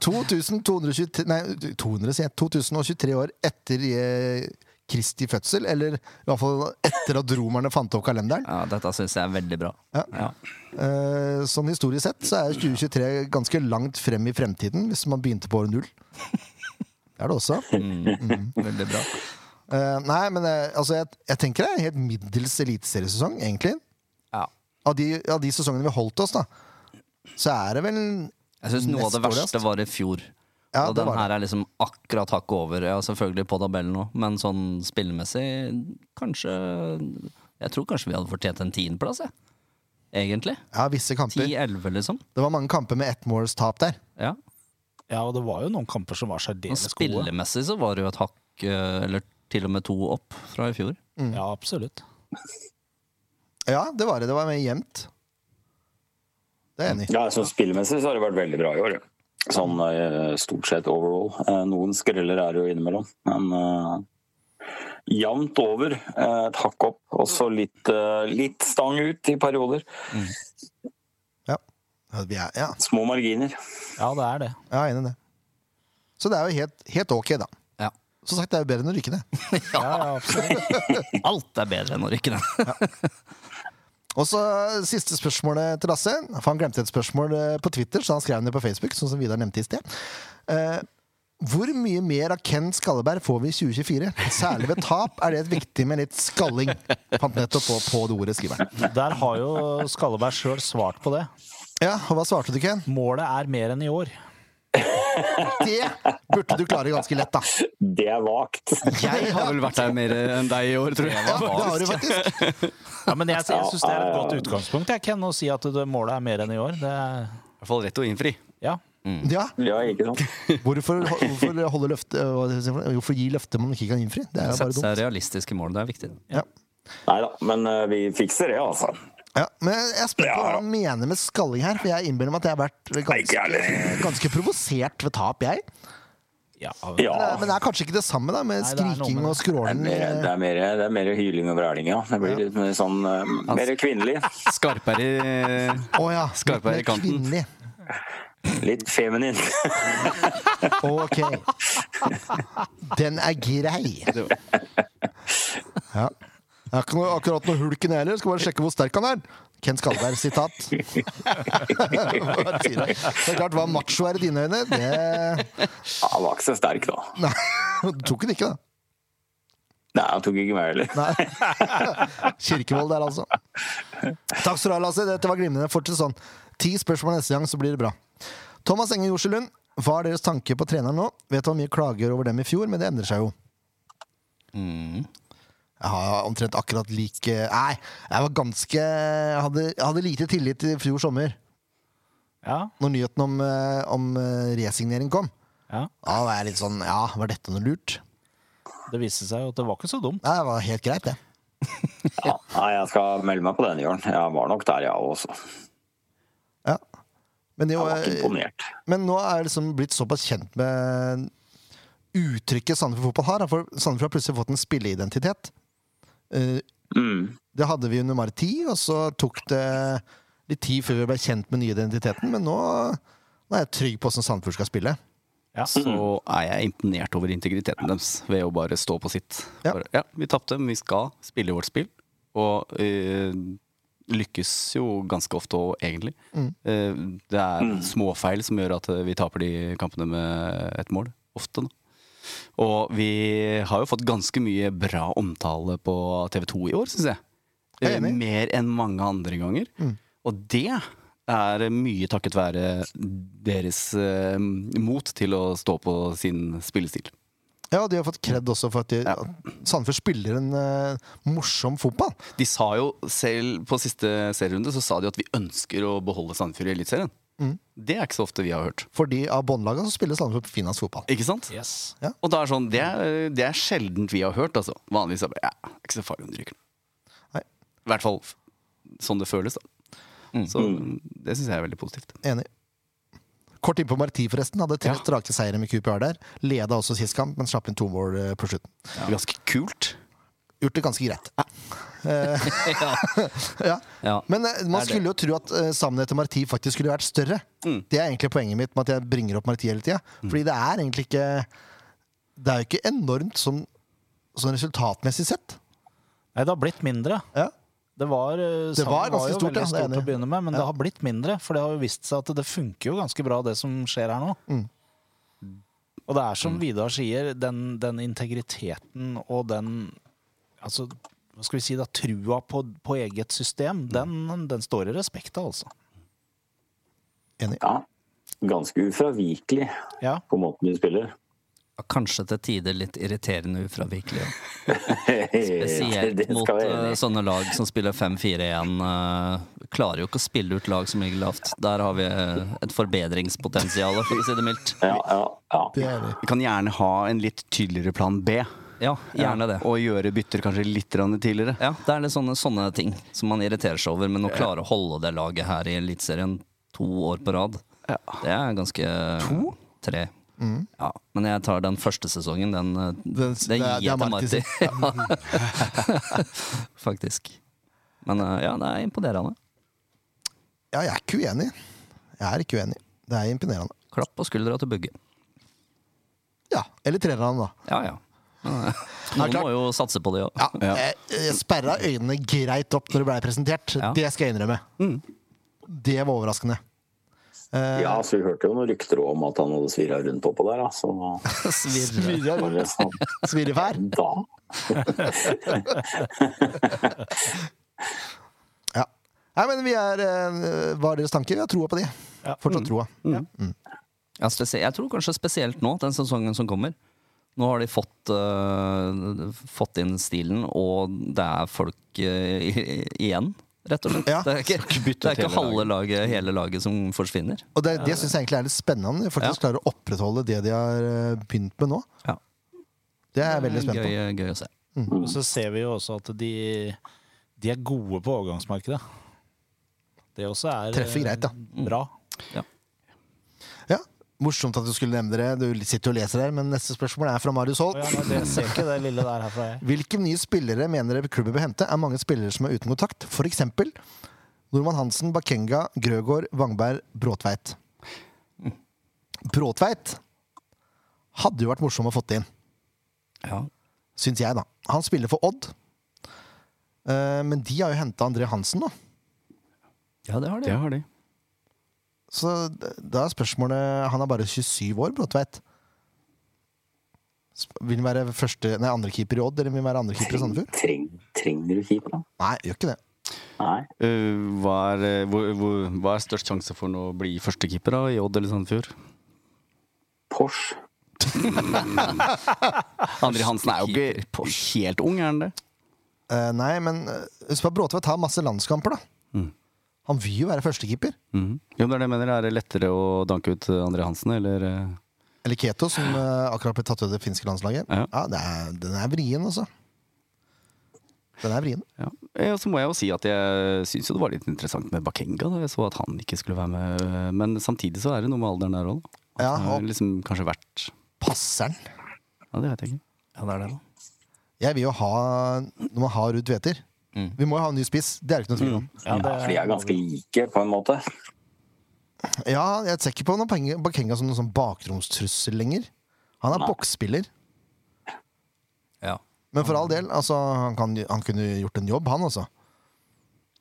Speaker 1: 2223, nei, 200, sier jeg. 2023 år etter eh, Kristi fødsel, eller i hvert fall etter at romerne fant opp kalenderen.
Speaker 5: Ja, dette syns jeg er veldig bra.
Speaker 1: Ja.
Speaker 5: Ja.
Speaker 1: Eh, sånn historisk sett så er 2023 ganske langt frem i fremtiden, hvis man begynte på år null. Det er det også.
Speaker 5: Veldig bra.
Speaker 1: Eh, nei, men eh, altså, jeg, jeg tenker det er en helt middels eliteseriesesong, egentlig.
Speaker 5: Ja.
Speaker 1: Av de, av de sesongene vi holdt oss, da, så er det vel
Speaker 5: Jeg syns noe av det
Speaker 1: Nest dårligst.
Speaker 5: verste var i fjor.
Speaker 1: Ja,
Speaker 5: og
Speaker 1: det
Speaker 5: den
Speaker 1: var
Speaker 5: her er liksom akkurat hakket over. Ja, selvfølgelig på tabellen nå, men sånn spillemessig kanskje Jeg tror kanskje vi hadde fortjent en tiendeplass, jeg. Egentlig.
Speaker 1: ja, visse kamper.
Speaker 5: 10-11, liksom.
Speaker 1: Det var mange kamper med ettmålstap der.
Speaker 5: Ja.
Speaker 6: Ja, og det var jo noen kamper som var
Speaker 5: Og
Speaker 6: særdeles gode.
Speaker 5: spillemessig så var det jo et hakk, eh, eller til og med to opp fra i fjor.
Speaker 6: Ja, absolutt.
Speaker 1: Ja, det var det. Det var mer jevnt. Det er jeg enig i.
Speaker 4: Ja, altså Spillmessig så har det vært veldig bra i år. ja. Sånn eh, stort sett overall. Eh, Noen skreller er det jo innimellom, men eh, jevnt over. eh, Et hakk opp, og så litt, eh, litt stang ut i perioder.
Speaker 1: Ja. Ja, vi er- Ja,
Speaker 4: Små marginer.
Speaker 6: Ja, det er det.
Speaker 1: jeg er enig i det. Så det er jo helt, helt ok, da.
Speaker 5: Ja.
Speaker 1: Som sagt, det er jo bedre enn å rykke ned.
Speaker 6: Ja, ja, absolutt.
Speaker 5: Alt er bedre enn å rykke ned.
Speaker 1: Og så eh, siste spørsmålet til Lasse. For han glemte et spørsmål eh, på Twitter, så han skrev det på Facebook. Sånn som Vidar nevnte i sted. Eh, hvor mye mer av Ken Skalleberg får vi i 2024? Særlig ved tap er det viktig med litt skalling. Fant nettopp på, på det ordet skriveren.
Speaker 6: Der har jo Skalleberg sjøl svart på det.
Speaker 1: Ja, og hva svarte du, Ken?
Speaker 6: Målet er mer enn i år.
Speaker 1: Det burde du klare ganske lett, da.
Speaker 4: Det er vagt.
Speaker 3: Jeg har vel vært der mer enn deg i år, tror
Speaker 1: Ja, det
Speaker 3: jeg.
Speaker 1: har du faktisk.
Speaker 6: Ja, men jeg, jeg syns det er et godt utgangspunkt, jeg, Ken, å si at det, målet er mer enn i år. Det er,
Speaker 3: I hvert fall rett å innfri.
Speaker 6: ja.
Speaker 1: Ja,
Speaker 4: Ja, ikke sant?
Speaker 1: hvorfor, hvorfor, holde løfte, eh, hva skal jeg si for noe? hvorfor gi løfter man ikke kan innfri? Det er jo
Speaker 5: Sette
Speaker 1: bare dumt.
Speaker 5: seg realistiske mål, det er viktig.
Speaker 1: Ja.
Speaker 4: Nei da, men eh, vi fikser det, altså.
Speaker 1: Ja, men jeg spør på
Speaker 4: Ja,
Speaker 1: hva
Speaker 4: ja.
Speaker 1: han mener med skalling her, for jeg innbiller meg at jeg har vært
Speaker 4: Nei, ikke
Speaker 1: ganske,
Speaker 4: ærlig.
Speaker 1: ganske provosert ved tap, jeg.
Speaker 6: ja.
Speaker 4: Ja.
Speaker 1: Men det er- men det er kanskje ikke det samme da, med
Speaker 6: Nei, det er noe
Speaker 1: skriking
Speaker 6: med
Speaker 1: og eh, skråling.
Speaker 4: Det er mer- det er mer, det er mer hyling og vræling, ja. Det blir litt mer sånn eh, mer kvinnelig.
Speaker 3: Skarpere
Speaker 1: Å ja, litt
Speaker 3: Skarpere
Speaker 1: mer
Speaker 3: i kanten.
Speaker 1: kvinnelig.
Speaker 4: Litt feminin.
Speaker 1: Ok. Den er grei. Ja. Jeg har ikke noe, akkurat noe hulk i den heller. Skal bare sjekke hvor sterk han er. Ken Skalberg, sitat. Hva sier jeg? Det er klart hva macho er i dine øyne. Det
Speaker 4: Ja, han var ikke så sterk, da.
Speaker 1: Nei, tok han ikke, da.
Speaker 4: Nei, han tok ikke meg heller.
Speaker 1: Nei. Kirkevold der, altså. Takk skal du ha, Lasse. Dette var glimrende. Fortsett sånn. Ti spørsmål neste gang, så blir det bra. Thomas Enge Jorselund, hva er deres tanke på treneren nå? Vet du hvor mye klager over dem i fjor, men det endrer seg jo.
Speaker 4: Mm.
Speaker 1: Jeg har omtrent akkurat like Nei, jeg var ganske Jeg hadde, jeg hadde lite tillit i fjor sommer,
Speaker 6: ja.
Speaker 1: når nyheten om, eh, om eh, resignering kom.
Speaker 6: ja.
Speaker 1: Da var jeg litt sånn Ja, var dette noe lurt?
Speaker 6: Det viste seg jo at det var ikke så dumt.
Speaker 1: Nei, det var helt greit, det.
Speaker 4: Ja, nei, jeg skal melde meg på den, Jørn. Jeg var nok der, jeg også.
Speaker 1: Ja. Men det
Speaker 4: Jeg var ikke
Speaker 1: var
Speaker 4: imponert.
Speaker 1: Men nå er jeg liksom blitt såpass kjent med uttrykket Sandefjord fotball har. da, For Sandefjord har plutselig fått en spilleidentitet. Eh,
Speaker 4: Mm.
Speaker 1: Det hadde vi under Mari 10, og så tok det litt tid før vi ble kjent med den nye identiteten. Men nå, nå er jeg trygg på hvordan Sandefjord skal spille.
Speaker 3: så er jeg imponert over integriteten deres ved å bare stå på sitt.
Speaker 1: Ja.
Speaker 3: Bare, ja, vi tapte, men vi skal spille vårt spill. Og eh, lykkes jo ganske ofte òg, egentlig. Eh, det er småfeil som gjør at eh, vi taper de kampene med et mål. Ofte, da. Og vi har jo fått ganske mye bra omtale på TV2 i år, syns jeg.
Speaker 1: Jeg er
Speaker 3: Eh,
Speaker 1: enig. Mm.
Speaker 3: Mer enn mange andre ganger. Og det er mye takket være deres eh, mot til å stå på sin spillestil.
Speaker 1: Ja, de har fått kred også for at, de, at Sandefjord spiller en eh, morsom fotball.
Speaker 3: De sa jo selv på siste serierunde så sa de at vi ønsker å beholde Sandefjord i Eliteserien.
Speaker 1: Mm.
Speaker 3: Det er ikke så ofte vi har hørt.
Speaker 1: For de av båndlagene som spiller Sandefjord finlands fotball.
Speaker 3: Ikke sant?
Speaker 6: Yes.
Speaker 3: Og da er sånn, det er, det er sjeldent vi har hørt, altså. Vanligvis er det bare, ja, det er ikke så farlig om de rykker.
Speaker 1: Nei.
Speaker 3: I hvert fall f- sånn det føles, da. Så det syns jeg er veldig positivt.
Speaker 1: Enig. Kort innpå Marti, forresten. Hadde tre
Speaker 3: Ja.
Speaker 1: strake seire med QPR der. Leda også sist kamp, men slapp inn to mål eh, på slutten.
Speaker 3: Ganske kult.
Speaker 1: Gjort det ganske greit.
Speaker 5: ja.
Speaker 1: Ja.
Speaker 5: Ja.
Speaker 1: Men eh, man
Speaker 5: det.
Speaker 1: skulle jo tro at eh, savnet etter Marti faktisk skulle vært større. Det er egentlig poenget mitt med at jeg bringer opp Marti hele tida. Fordi det er egentlig ikke Det er jo ikke enormt sånn, sånn resultatmessig sett.
Speaker 6: Nei, det har blitt mindre.
Speaker 1: Ja.
Speaker 6: Det var, eh,
Speaker 1: Det var
Speaker 6: savnet
Speaker 1: ganske
Speaker 6: jo
Speaker 1: stort, ja,
Speaker 6: veldig
Speaker 1: det er
Speaker 6: stort
Speaker 1: enig.
Speaker 6: å begynne med, men det har blitt mindre. For det har jo vist seg at det funker jo ganske bra, det som skjer her nå.
Speaker 1: Mm.
Speaker 6: Og det er som Vidar sier, den, den integriteten og den altså, Hva skal vi si, da, trua på, på eget
Speaker 1: Mm.
Speaker 6: system, den, den står i respekt av, altså.
Speaker 1: Enig.
Speaker 4: Ja. Ganske ufravikelig
Speaker 6: Ja.
Speaker 4: på måten de spiller.
Speaker 5: Ja, Kanskje til tider litt irriterende ufravikelig. ja.
Speaker 4: Det
Speaker 5: Spesielt mot
Speaker 4: skal jeg være
Speaker 5: eh,
Speaker 4: enig i.
Speaker 5: sånne lag som spiller 5-4-1. eh, klarer jo ikke å spille ut lag som ligger lavt. Der har vi eh, et forbedringspotensial, for å si det mildt.
Speaker 4: Ja, ja, ja.
Speaker 1: Det er det.
Speaker 3: Vi kan gjerne ha en litt tydeligere plan B.
Speaker 5: Ja, gjerne det.
Speaker 3: Og gjøre bytter kanskje litt grann tidligere.
Speaker 5: Ja, det er litt sånne, sånne ting som man irriterer seg over, men å klare å holde det laget her i Eliteserien to år på rad, det er ganske To? Tre. Ja, men jeg tar den første sesongen. Den, eh,
Speaker 1: Mm. Den-
Speaker 5: den
Speaker 1: det
Speaker 5: gir
Speaker 1: er- det er
Speaker 5: jeg til
Speaker 1: Marti
Speaker 5: Marti. Ja. Faktisk. Men eh, ja, det er imponerende.
Speaker 1: Ja, jeg er ikke uenig. Jeg er ikke uenig. Det er imponerende.
Speaker 5: Klapp på skuldra til Bugge.
Speaker 1: Ja. Eller trenerne, da.
Speaker 5: Ja, ja. Men, eh, Noen må jo satse på det òg.
Speaker 1: Ja, Jeg, jeg sperra øynene greit opp når det blei presentert.
Speaker 5: Ja.
Speaker 1: Det skal jeg innrømme. Det var overraskende. Eh,
Speaker 4: ja, så vi hørte jo noen rykter om at han hadde svirra rundt oppå der, da. Så
Speaker 1: Svirre,
Speaker 4: var det sånn,
Speaker 1: svirrefær.
Speaker 4: da
Speaker 1: Ja. Nei, men vi er eh, Hva er deres tanker? Jeg har troa på de. Fortsatt troa.
Speaker 5: Ja, spesi- jeg tror kanskje spesielt nå, den sesongen som kommer. Nå har de fått, øh, fått inn stilen, og det er folk øh, i- igjen, rett og slett.
Speaker 1: Ja.
Speaker 5: det er ikke, det er ikke halve laget, hele laget som forsvinner.
Speaker 1: Og det, det syns jeg egentlig er litt spennende. Faktisk klarer å opprettholde det de har eh, begynt med nå.
Speaker 5: Ja.
Speaker 1: Det er jeg veldig spent på.
Speaker 5: Mm, gøy, gøy å se.
Speaker 6: Og så ser vi jo også at de, de er gode på overgangsmarkedet. Det også er eh,
Speaker 1: Treffer greit, da.
Speaker 6: Bra.
Speaker 1: Ja. Morsomt at du skulle nevne det. Du sitter jo og leser her, men neste spørsmål er fra Marius
Speaker 6: Å
Speaker 1: Holt.
Speaker 6: Ja, nei, det ser ikke det lille der herfra, jeg.
Speaker 1: Hvilke nye spillere mener dere klubben bør hente? Er mange spillere som er uten kontakt? For eksempel Norman Hansen, Bakenga, Grøgaard, Vangberg, Bråtveit. Bråtveit hadde jo vært morsom å fått inn,
Speaker 5: Ja.
Speaker 1: syns jeg, da. Han spiller for Odd. Eh, Men de har jo henta André Hansen, da.
Speaker 5: ja, det har de.
Speaker 3: Det har de.
Speaker 1: Så d- da er spørsmålet Han er bare 27 år, Bråtveit. Sp- Vil han være første, nei, andrekeeper i Odd, eller vil han være andrekeeper i Sandefjord?
Speaker 4: treng, Trenger du keeper, da?
Speaker 1: Nei, gjør ikke det.
Speaker 4: Nei.
Speaker 3: Eh, hva, er, eh, hvor, hvor, hva er størst sjanse for nå å bli førstekeeper da, i Odd eller Sandefjord?
Speaker 4: Porsche.
Speaker 3: André Hansen er jo ikke helt ung, er han det?
Speaker 1: Eh, nei, men eh, husk på at Bråtvedt har masse landskamper, da. Han vil jo være førstekeeper.
Speaker 3: Mhm. Jo, det er det jeg mener. Er det lettere å danke ut André Hansen, eller eh,
Speaker 1: Eller Keto, som eh, akkurat ble tatt ut av det finske landslaget. Ja,
Speaker 3: Ja.
Speaker 1: det er, Den er vrien, altså. Den er vrien.
Speaker 3: Ja. Eh, Og så må jeg jo si at jeg syns jo det var litt interessant med Bakenga, da jeg så at han ikke skulle være med. eh, Men samtidig så er det noe med alderen der òg, da. At
Speaker 1: Ja,
Speaker 3: han
Speaker 1: og-
Speaker 3: har liksom kanskje vært
Speaker 1: Passer den.
Speaker 3: Ja, det vet jeg ikke.
Speaker 5: Ja, det er det, da.
Speaker 1: Jeg vil jo ha Når man har Ruud Tveter Vi må jo ha en ny spiss, det er det ikke noe tvil om.
Speaker 6: Ja, det,
Speaker 4: Mm. Ja, for de er ganske like, på en måte.
Speaker 1: Ja, Jeg ser ikke på noen poeng- Bakenga som noen sånn bakromstrussel lenger. Han er boksspiller.
Speaker 5: Ja.
Speaker 1: Men for all del, altså, han, kan, han kunne gjort en jobb, han altså.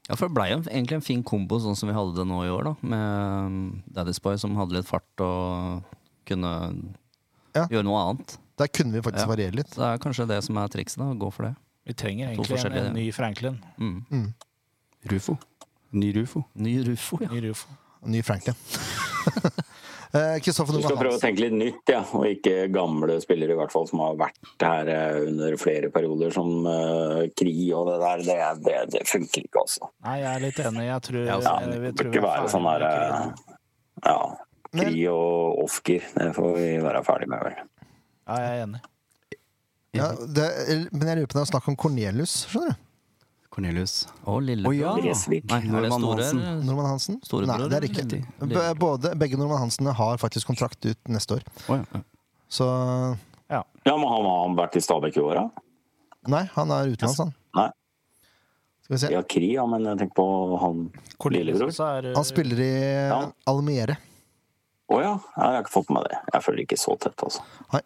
Speaker 5: Ja, for det ble jo egentlig en fin kombo, sånn som vi hadde det nå i år, da. Med um, Daddy's Boy som hadde litt fart og kunne
Speaker 1: Ja.
Speaker 5: gjøre noe annet.
Speaker 1: Der kunne vi faktisk
Speaker 5: Ja.
Speaker 1: variere litt.
Speaker 5: Så det er kanskje det som er trikset, da. å Gå for det.
Speaker 6: Vi trenger
Speaker 5: To
Speaker 6: egentlig en,
Speaker 5: forskjellige.
Speaker 6: en ny Franklin.
Speaker 3: Rufo. Ny Rufo.
Speaker 5: Ny Rufo, ja.
Speaker 6: Ny Rufo.
Speaker 1: Ny Franklin. Eh, Kristoffer
Speaker 4: Du skal
Speaker 1: Nolan
Speaker 4: prøve å
Speaker 1: Hansen.
Speaker 4: tenke litt nytt, ja. og ikke gamle spillere i hvert fall som har vært her eh, under flere perioder, som eh, Kri og det der. Det, er- det, det funker ikke, altså.
Speaker 6: Nei, jeg er litt enig. Jeg tror,
Speaker 3: Ja,
Speaker 4: Ja, altså,
Speaker 6: eh, vi
Speaker 4: det
Speaker 6: tror
Speaker 4: bør
Speaker 6: vi
Speaker 4: ikke
Speaker 6: er
Speaker 4: være
Speaker 6: ferdig
Speaker 4: sånn
Speaker 6: med
Speaker 4: der eh,
Speaker 6: Kri.
Speaker 4: Ja. Kri og off-gear, det får vi være ferdig med, vel.
Speaker 6: Ja, jeg er enig.
Speaker 1: Ja, det, men jeg lurer på det er snakk om Cornelius, skjønner du?
Speaker 3: Cornelius.
Speaker 5: Og Lillebror.
Speaker 3: Å, ja.
Speaker 4: Resvik.
Speaker 5: Nei, er det
Speaker 3: Norman
Speaker 5: store?
Speaker 3: Hansen.
Speaker 5: eller?
Speaker 1: Norman Hansen?
Speaker 5: Storebror,
Speaker 1: Nei, det er ikke.
Speaker 5: eller?
Speaker 1: B- Både, begge Norman Hansene har faktisk kontrakt ut neste år.
Speaker 3: Å ja.
Speaker 1: Så
Speaker 4: Ja, men han har han vært i Stabæk i år, da?
Speaker 1: Nei, han er utenlands, han.
Speaker 4: Nei.
Speaker 1: Skal vi se.
Speaker 4: Ja, Kri, ja, men jeg tenker på han lillebror.
Speaker 6: Så er, eh,
Speaker 1: Han spiller i
Speaker 4: Ja.
Speaker 1: Almere.
Speaker 4: Å ja, jeg har ikke fått med meg det. Jeg følger ikke så tett, altså.
Speaker 1: Nei.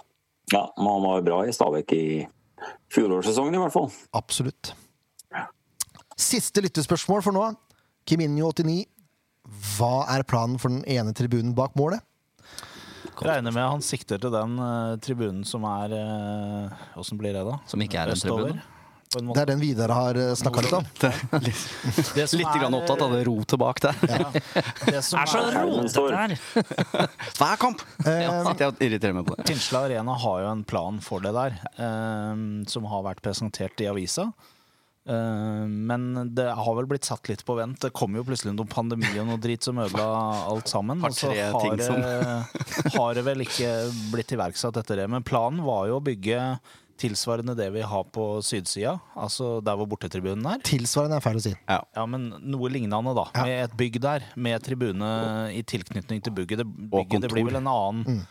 Speaker 4: Ja, men han var jo bra i Stabæk i fjorårssesongen, i hvert fall.
Speaker 1: Absolutt. Siste lyttespørsmål for nå. Kiminio89. Hva er planen for den ene tribunen bak målet?
Speaker 6: Regner med han sikter til den eh, tribunen som er eh, Åssen blir det, da?
Speaker 5: Som ikke er en
Speaker 6: Østover,
Speaker 5: tribune.
Speaker 6: På en
Speaker 1: Det
Speaker 6: måte.
Speaker 1: er den Vidar har snakka litt om.
Speaker 3: Det er litt,
Speaker 6: Det som
Speaker 3: litt grann
Speaker 6: er, eh,
Speaker 3: opptatt av det rotet bak der.
Speaker 6: Det som er
Speaker 4: Haugen står.
Speaker 3: Hver kamp!
Speaker 1: Eh,
Speaker 3: Ja, sitter jeg og irriterer meg på det.
Speaker 6: Tinsla Arena har jo en plan for det der, eh, som har vært presentert i avisa. Eh, men det har vel blitt satt litt på vent. Det kom jo plutselig noen pandemi og noe dritt som ødela alt sammen.
Speaker 3: Har
Speaker 6: og så
Speaker 3: tre ting
Speaker 6: det- har det vel ikke blitt iverksatt etter det. Men planen var jo å bygge tilsvarende det vi har på sydsida, altså der hvor bortetribunen er.
Speaker 1: Tilsvarende er feil å si.
Speaker 6: Ja, men noe lignende, da. Med et bygg der, med tribune i tilknytning til bygget. Det, bygget, det
Speaker 3: kontor. Mm.
Speaker 6: blir vel en annen,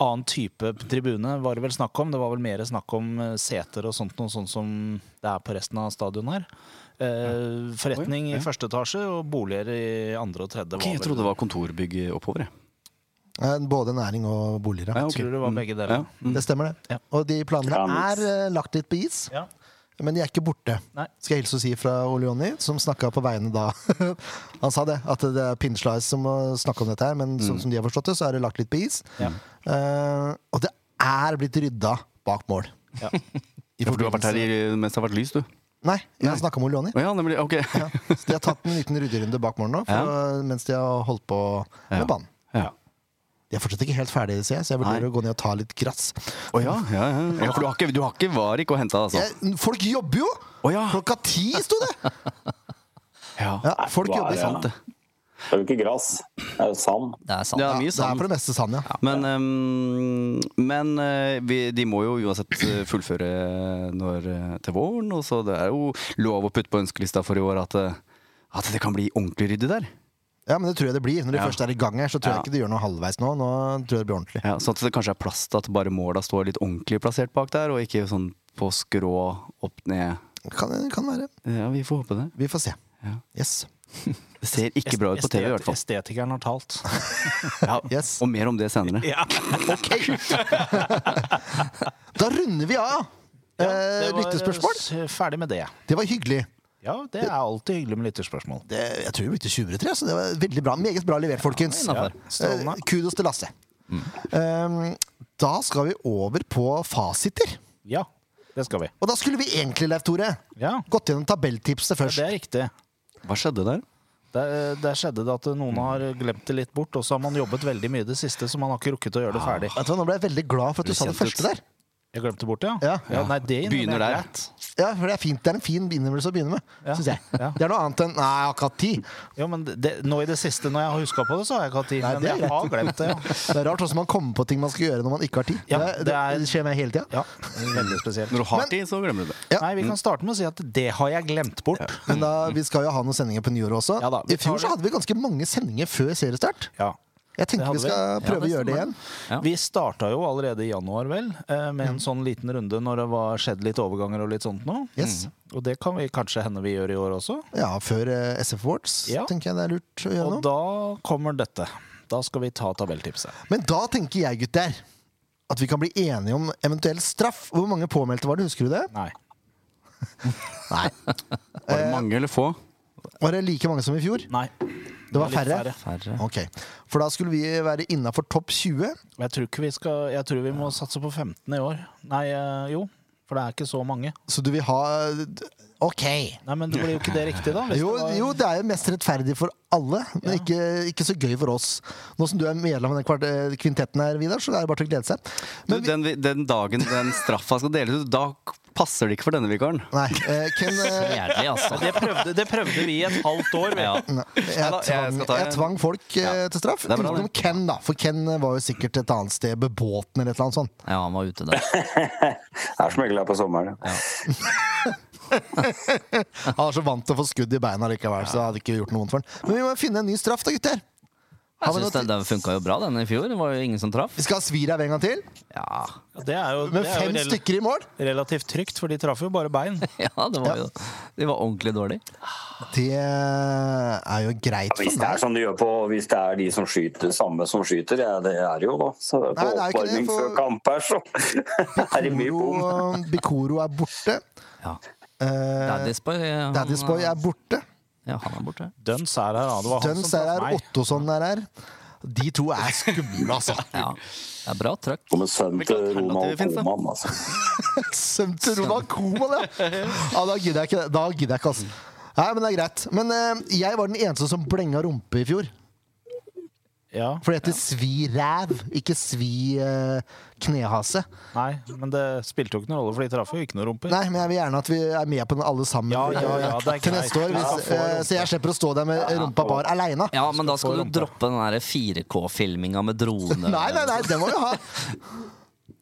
Speaker 6: annen type tribune, var det vel snakk om. Det var vel mer snakk om eh, seter og sånt noe sånn som det er på resten av stadion her. Eh, forretning i første etasje og boliger i andre og tredje.
Speaker 3: Ok, jeg
Speaker 6: vel-
Speaker 3: trodde det var kontorbygg oppover. jeg.
Speaker 1: Eh, Både næring og boliger. ja.
Speaker 3: Ja, ok.
Speaker 6: Tror det var begge deler.
Speaker 3: Ja. Mm.
Speaker 1: Det stemmer, det.
Speaker 6: Ja.
Speaker 1: Og de planene
Speaker 4: Ja, niks.
Speaker 1: er eh, lagt litt på is,
Speaker 6: Ja.
Speaker 1: men de er ikke borte.
Speaker 6: Nei.
Speaker 1: Skal jeg hilse og si fra Ole Jonny, som snakka på vegne da Han sa det, at det er Pinslice som må snakke om dette her, men
Speaker 3: Mm.
Speaker 1: sånn som de har forstått det, så er det lagt litt på is. Eh, og det er blitt rydda bak mål.
Speaker 6: Ja.
Speaker 1: I
Speaker 3: For du har vært her
Speaker 1: forbindelse-
Speaker 3: i- mens det har vært lys, du?
Speaker 1: Nei, jeg snakka med Ole Jonny.
Speaker 3: Å ja, nemlig. Ok.
Speaker 1: Ja. Så de har tatt en liten rydderunde bak mål nå, for, mens de har holdt på med
Speaker 3: Ja.
Speaker 1: banen.
Speaker 3: Ja.
Speaker 1: De er fortsatt ikke helt ferdige, ser jeg, så jeg vurderer
Speaker 3: Nei.
Speaker 1: å gå ned og ta litt gress.
Speaker 3: Å ja, ja, ja. ja, for du har ikke, du har ikke Varik å hente, altså?
Speaker 1: Jeg, folk jobber jo!
Speaker 3: Å ja.
Speaker 1: Klokka ti sto det!
Speaker 3: Ja.
Speaker 1: Ja, folk
Speaker 4: hva
Speaker 1: jobber.
Speaker 4: er det?
Speaker 3: Sant, det.
Speaker 4: Det er jo ikke gress, det er jo sand.
Speaker 5: Det er sant.
Speaker 3: Ja,
Speaker 1: Ja, det
Speaker 3: mye
Speaker 1: er
Speaker 3: sand.
Speaker 1: for det meste sand, ja.
Speaker 3: Men, ehm, men eh, vi, de må jo uansett eh, fullføre når, eh, til våren, og så det er jo lov å putte på ønskelista for i år at, eh, at det kan bli ordentlig ryddig der.
Speaker 1: Ja, Men det tror jeg det blir. Når de
Speaker 3: Ja.
Speaker 1: først er i gang her, så tror
Speaker 3: Ja.
Speaker 1: jeg ikke de gjør noe halvveis nå. Nå tror jeg det blir ordentlig.
Speaker 3: Ja, sånn at det kanskje er plass til at bare måla står litt ordentlig plassert bak der, og ikke sånn på skrå opp ned.
Speaker 1: Kan, kan være.
Speaker 3: Ja, vi får håpe det.
Speaker 1: Vi får se.
Speaker 3: Ja.
Speaker 1: Yes.
Speaker 3: Det ser ikke bra ut på TV i hvert fall.
Speaker 6: Estetikeren har talt.
Speaker 3: Ja,
Speaker 1: Yes.
Speaker 3: og mer om det senere.
Speaker 6: ja.
Speaker 1: Da runder vi av! Eh,
Speaker 6: det var eh,
Speaker 1: lyttespørsmål?
Speaker 6: s- Ferdig med det.
Speaker 1: Det var hyggelig.
Speaker 6: Ja, det er alltid hyggelig med lytterspørsmål.
Speaker 1: Det, jeg tror vi brukte 20-23, så det var veldig bra. Meget bra levert, folkens.
Speaker 5: innenfor.
Speaker 1: Eh, kudos til Lasse.
Speaker 3: Mm.
Speaker 1: Eh, da skal vi over på fasiter.
Speaker 6: Ja, det skal vi.
Speaker 1: Og da skulle vi egentlig, Leif Tore,
Speaker 6: Ja,
Speaker 1: gått gjennom tabelltipset først.
Speaker 6: det er riktig.
Speaker 3: Hva skjedde der?
Speaker 6: Der, eh, der skjedde det at noen har glemt det litt bort, og så har man jobbet veldig mye i det siste, så man har ikke rukket å gjøre det ferdig.
Speaker 1: Vet du hva, Nå ble jeg veldig glad for at du sa det
Speaker 3: kjent ut.
Speaker 1: første der.
Speaker 6: Jeg glemte bort det, ja?
Speaker 1: Ja.
Speaker 6: nei, det
Speaker 3: Begynner
Speaker 6: innebærer
Speaker 3: der.
Speaker 6: greit.
Speaker 1: Ja, for Det er fint, det er en fin innøvelse å begynne med,
Speaker 6: Ja.
Speaker 1: synes jeg.
Speaker 6: Ja.
Speaker 1: Det er noe annet enn Nei, jeg har ikke hatt tid.
Speaker 6: Ja, men det, nå i det siste, når jeg har huska på det, så har jeg ikke hatt tid.
Speaker 1: Nei,
Speaker 6: Men
Speaker 1: det er
Speaker 6: jeg har glemt det, ja.
Speaker 1: Det er rart hvordan man kommer på ting man skal gjøre når man ikke har tid.
Speaker 6: Ja,
Speaker 1: det, det,
Speaker 6: det er-
Speaker 1: det skjer meg hele tida.
Speaker 6: ja. Veldig spesielt.
Speaker 3: Når du har tid, så glemmer du det.
Speaker 1: Ja.
Speaker 6: Nei, vi kan starte med å si at det har jeg glemt bort.
Speaker 1: Men da, vi skal jo ha noen sendinger på nyåret også.
Speaker 6: Ja da, vi
Speaker 1: I fjor
Speaker 6: tar
Speaker 1: så
Speaker 6: det.
Speaker 1: hadde vi ganske mange sendinger før seriestart.
Speaker 6: Ja.
Speaker 1: Jeg
Speaker 6: Det
Speaker 1: tenker
Speaker 6: hadde
Speaker 1: vi skal
Speaker 5: vi. Ja,
Speaker 1: prøve
Speaker 5: det
Speaker 1: å gjøre det igjen.
Speaker 5: stemmer. Ja.
Speaker 6: Vi starta jo allerede i januar, vel, eh, med en sånn liten runde når det var skjedd litt overganger og litt sånt nå.
Speaker 1: Yes.
Speaker 6: Og det kan vi kanskje hende vi gjør i år også.
Speaker 1: Ja, Før eh, SF Awards,
Speaker 6: Ja.
Speaker 1: tenker jeg det er lurt å
Speaker 6: Og
Speaker 1: gjøre noe.
Speaker 6: da kommer dette. Da skal vi ta tabelltipset.
Speaker 1: Men da tenker jeg, gutter, at vi kan bli enige om eventuell straff. Hvor mange påmeldte var det, husker du det?
Speaker 6: Nei.
Speaker 1: Nei.
Speaker 3: Var
Speaker 1: Eh,
Speaker 3: det mange eller få?
Speaker 1: Var det like mange som i fjor?
Speaker 6: Nei.
Speaker 1: Det var
Speaker 6: litt
Speaker 1: færre?
Speaker 5: Færre.
Speaker 1: Ok. For da skulle vi være innafor topp 20.
Speaker 6: Jeg tror, ikke vi skal, jeg tror vi må satse på 15 i år. Nei, eh, jo. For det er ikke så mange.
Speaker 1: Så du vil ha OK.
Speaker 6: Nei, Men det blir jo ikke det riktig, da. hvis
Speaker 1: Jo,
Speaker 6: det var-
Speaker 1: jo, det er jo mest rettferdig for alle, men ikke, ikke så gøy for oss. Nå som du er medlem av den kvart- eh, kvintetten her, Vidar, så det er jo bare til å glede seg.
Speaker 3: Du, den, vi- den dagen den straffa skal deles ut, da passer det ikke for denne vikaren.
Speaker 1: Nei, eh, Ken eh,
Speaker 5: Jævlig, altså.
Speaker 6: Det prøvde, det prøvde vi i et halvt år. vi.
Speaker 3: Ja.
Speaker 1: Nei, jeg,
Speaker 3: Neida, jeg
Speaker 1: tvang,
Speaker 3: skal ta
Speaker 1: jeg
Speaker 3: en-
Speaker 1: tvang folk eh, til straff.
Speaker 3: Det er bra,
Speaker 1: Utenom
Speaker 3: det.
Speaker 1: Ken, da. For Ken eh, var jo sikkert et annet sted, ved båten eller et eller annet sånt.
Speaker 5: Ja, han var ute der.
Speaker 4: Det er som regel her på sommeren. ja.
Speaker 1: Han var så vant til å få skudd i beina likevel, så det hadde ikke gjort noe vondt for han. Men vi må finne en ny straff, da, gutter. Har vi
Speaker 5: Jeg synes
Speaker 1: noe
Speaker 5: den, den funka jo bra, den i fjor. Det var jo ingen som traff.
Speaker 1: Vi skal ha svir av en gang til,
Speaker 5: Ja,
Speaker 6: Det er jo,
Speaker 1: med
Speaker 6: det er jo
Speaker 1: fem
Speaker 6: rel
Speaker 1: stykker i mål.
Speaker 6: relativt trygt, for de traff jo bare bein.
Speaker 5: ja det var jo De var ordentlig dårlige.
Speaker 1: Det er jo greit
Speaker 4: Hvis
Speaker 1: for
Speaker 4: det er
Speaker 1: meg.
Speaker 4: sånn de gjør på Hvis det er de som skyter, samme som skyter, ja, det er det jo da. Så det er på
Speaker 1: Nei, det er jo ikke det,
Speaker 4: oppvarming
Speaker 1: for-
Speaker 4: før kamp her, så er det mye bom.
Speaker 1: Bikoro, Bikoro er borte.
Speaker 5: Ja.
Speaker 1: Eh,
Speaker 5: Daddy's Boy, eh, han-
Speaker 1: Daddy's Boy er borte.
Speaker 5: Ja, han er borte.
Speaker 6: Duns er her, ja. Det var han
Speaker 1: Duns
Speaker 6: som
Speaker 1: er
Speaker 6: traff
Speaker 1: her.
Speaker 6: meg.
Speaker 1: Ottosson er her. De to er skumle, altså.
Speaker 5: Ja, det er bra trøkk.
Speaker 4: Som en sønn
Speaker 3: Hvilke
Speaker 4: til Ronald
Speaker 3: alternativer finnes det?
Speaker 4: Koman, altså.
Speaker 1: Søm til Ronald Koeman, ja! ja da gidder jeg ikke, da gidder jeg ikke altså. Nei, men det er greit. Men eh, jeg var den eneste som blenga rumpe i fjor.
Speaker 6: Ja,
Speaker 1: For det heter svi-ræv, ikke eh, svi-knehase.
Speaker 6: Nei, men det spilte jo ikke noen rolle, for de traff jo ikke noen rumper.
Speaker 1: Nei, men jeg vil gjerne at vi er med på den alle sammen
Speaker 6: Ja, ja, ja, det
Speaker 1: til
Speaker 6: er greit.
Speaker 1: neste år.
Speaker 6: Ja,
Speaker 1: Hvis,
Speaker 6: får
Speaker 1: eh, så jeg slipper å stå der med rumpa bar aleine.
Speaker 5: Ja, men da skal
Speaker 6: få
Speaker 5: du
Speaker 6: rumpa.
Speaker 5: droppe den der 4K-filminga med drone
Speaker 1: Nei, nei, nei, det må vi ha.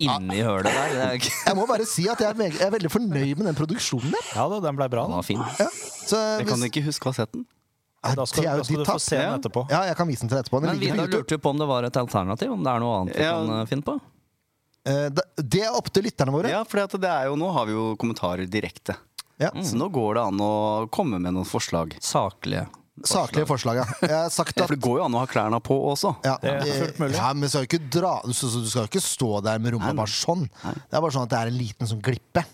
Speaker 5: inni hølet der. Det er ikke...
Speaker 1: Jeg må bare si at jeg er, meg, jeg er veldig fornøyd med den produksjonen der.
Speaker 6: Ja da, den ble bra.
Speaker 5: Han
Speaker 6: Da,
Speaker 5: var fin.
Speaker 1: Ja. Så
Speaker 3: Jeg
Speaker 1: hvis,
Speaker 3: kan ikke huske fasetten.
Speaker 1: ja,
Speaker 6: da skal,
Speaker 1: det er jo
Speaker 6: da skal
Speaker 1: ditt
Speaker 6: du få
Speaker 1: tatt.
Speaker 6: se den etterpå.
Speaker 1: Ja, jeg kan vise den til deg etterpå. Den
Speaker 5: Men
Speaker 1: ligger på
Speaker 5: Vidar
Speaker 1: YouTube.
Speaker 5: lurte jo på om det var et alternativ, om det er noe annet vi
Speaker 3: Ja.
Speaker 5: kan eh, finne på.
Speaker 1: Eh, da- Det er opp til lytterne våre.
Speaker 3: Ja, for det er jo, nå har vi jo kommentarer direkte.
Speaker 1: Ja.
Speaker 6: Mm,
Speaker 3: Så nå går det an å komme med noen forslag.
Speaker 5: Saklige.
Speaker 1: Saklige forslag, ja. Jeg har sagt
Speaker 3: Ja,
Speaker 1: at
Speaker 3: for det går jo an å ha klærne på også.
Speaker 1: ja, eh,
Speaker 6: Det er fullt mulig.
Speaker 1: Ja, men du skal jo ikke dra Du skal du skal jo ikke stå der med rumpa bare sånn. Det er bare sånn at det er en liten sånn glippe.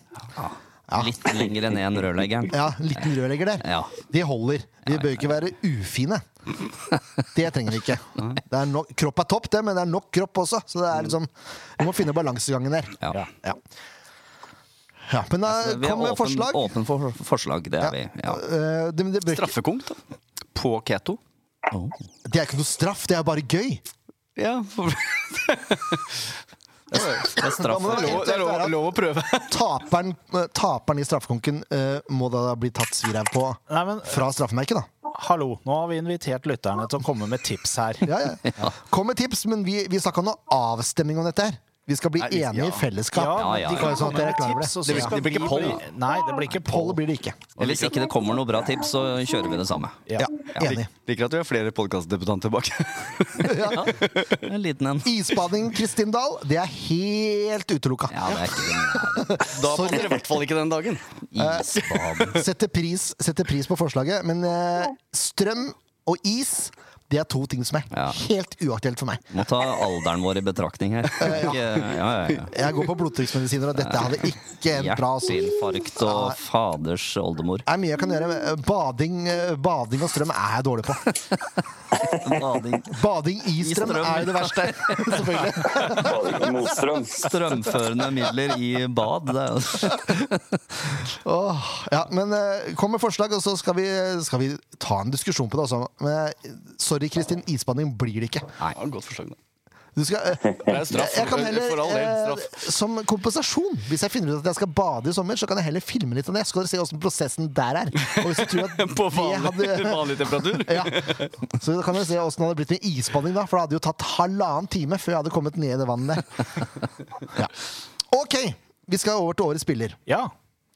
Speaker 5: Litt lenger enn én rørleggeren.
Speaker 1: Ja, en liten rørlegger der.
Speaker 5: Ja.
Speaker 1: De holder. De bør ikke være ufine. Det trenger vi ikke. Det er nok, kropp er topp, det, men det er nok kropp også. Så det er liksom Vi må finne balansegangen der.
Speaker 5: Ja. Altså,
Speaker 1: Ja. ja men da
Speaker 5: Vi er
Speaker 1: kom med
Speaker 5: åpen,
Speaker 1: forslag.
Speaker 5: åpen for forslag, det
Speaker 1: Ja.
Speaker 5: er vi. Ja.
Speaker 1: Eh, det, men det, bør ikke,
Speaker 3: Straffekonk, da. På keto.
Speaker 5: Oh.
Speaker 1: det er ikke noe straff, det er bare gøy.
Speaker 3: Ja, for...
Speaker 5: Det er
Speaker 1: Da
Speaker 5: straff.
Speaker 1: må det være
Speaker 3: Det er lov,
Speaker 1: eventuelt være
Speaker 3: lov å prøve.
Speaker 1: at Taperen, eh, taperen i straffekonken eh, må da bli tatt svirev på
Speaker 6: Nei, men
Speaker 1: fra straffemerket, da.
Speaker 6: hallo, nå har vi invitert lytterne til å komme med tips her.
Speaker 1: Ja, ja. Kom med tips, men vi, vi snakka noe avstemning om dette her. Vi skal bli
Speaker 3: Nei, vi-
Speaker 1: enige
Speaker 3: ja.
Speaker 1: i fellesskap.
Speaker 5: Ja, ja,
Speaker 6: men
Speaker 5: ja.
Speaker 6: de kan
Speaker 1: Bare sånn at
Speaker 6: komme
Speaker 1: dere er
Speaker 6: med
Speaker 1: klar over
Speaker 6: tips,
Speaker 1: det.
Speaker 6: og så
Speaker 3: Det blir-
Speaker 6: skal
Speaker 3: det blir ikke
Speaker 6: vi
Speaker 3: poll,
Speaker 6: bli- Nei, det blir ikke poll.
Speaker 1: Pollet blir det ikke.
Speaker 5: Og hvis ikke det kommer noe bra tips, så kjører vi det samme.
Speaker 1: Ja,
Speaker 5: Ja.
Speaker 1: Enig.
Speaker 3: Liker at vi har flere podkastdebutanter bak.
Speaker 5: Ja. En liten en.
Speaker 1: Isbading, Kristin Dahl, det er helt utelukka.
Speaker 5: Ja, det er ikke den
Speaker 3: Da passer det i hvert fall ikke den dagen.
Speaker 5: der isbaden.
Speaker 1: Setter pris, setter pris på forslaget, men eh, strøm og is det er to ting som er
Speaker 5: Ja.
Speaker 1: helt uaktuelt for meg.
Speaker 5: Må ta alderen vår i betraktning her. Ikke, ja, ja, ja.
Speaker 1: Jeg går på blodtrykksmedisiner, og dette hadde ikke endt bra. altså.
Speaker 5: Hjerteinfarkt og faders oldemor.
Speaker 1: Det er mye jeg kan gjøre. men Bading, eh, bading og strøm er jeg dårlig på.
Speaker 5: Bading.
Speaker 1: Bading i
Speaker 5: I
Speaker 1: strøm
Speaker 5: strøm.
Speaker 1: er jo det verste. Selvfølgelig.
Speaker 4: Bare ikke motstrøm.
Speaker 5: Strømførende midler i bad. Det er jo
Speaker 1: Åh, ja, men eh, kom med forslag, og så skal vi, skal vi ta en diskusjon på det også. Men, eh, sorry, Kristin. Isbading blir det ikke.
Speaker 3: Nei. Ja, godt forslag, da.
Speaker 1: Du skal, eh,
Speaker 3: er straff,
Speaker 1: jeg kan
Speaker 3: for
Speaker 1: heller,
Speaker 3: all del, straff.
Speaker 1: eh, som kompensasjon, hvis jeg finner ut at jeg skal bade i sommer, så kan jeg heller filme litt av det. Så skal dere se åssen prosessen der er. Og hvis du tror at
Speaker 3: På
Speaker 1: det
Speaker 3: vanlig,
Speaker 1: hadde
Speaker 3: vanlig temperatur.
Speaker 1: ja. Så da kan dere se åssen det hadde blitt med isbading, da. For det hadde jo tatt halvannen time før jeg hadde kommet ned i det vannet der. Ja. OK, vi skal over til årets spiller.
Speaker 6: Ja.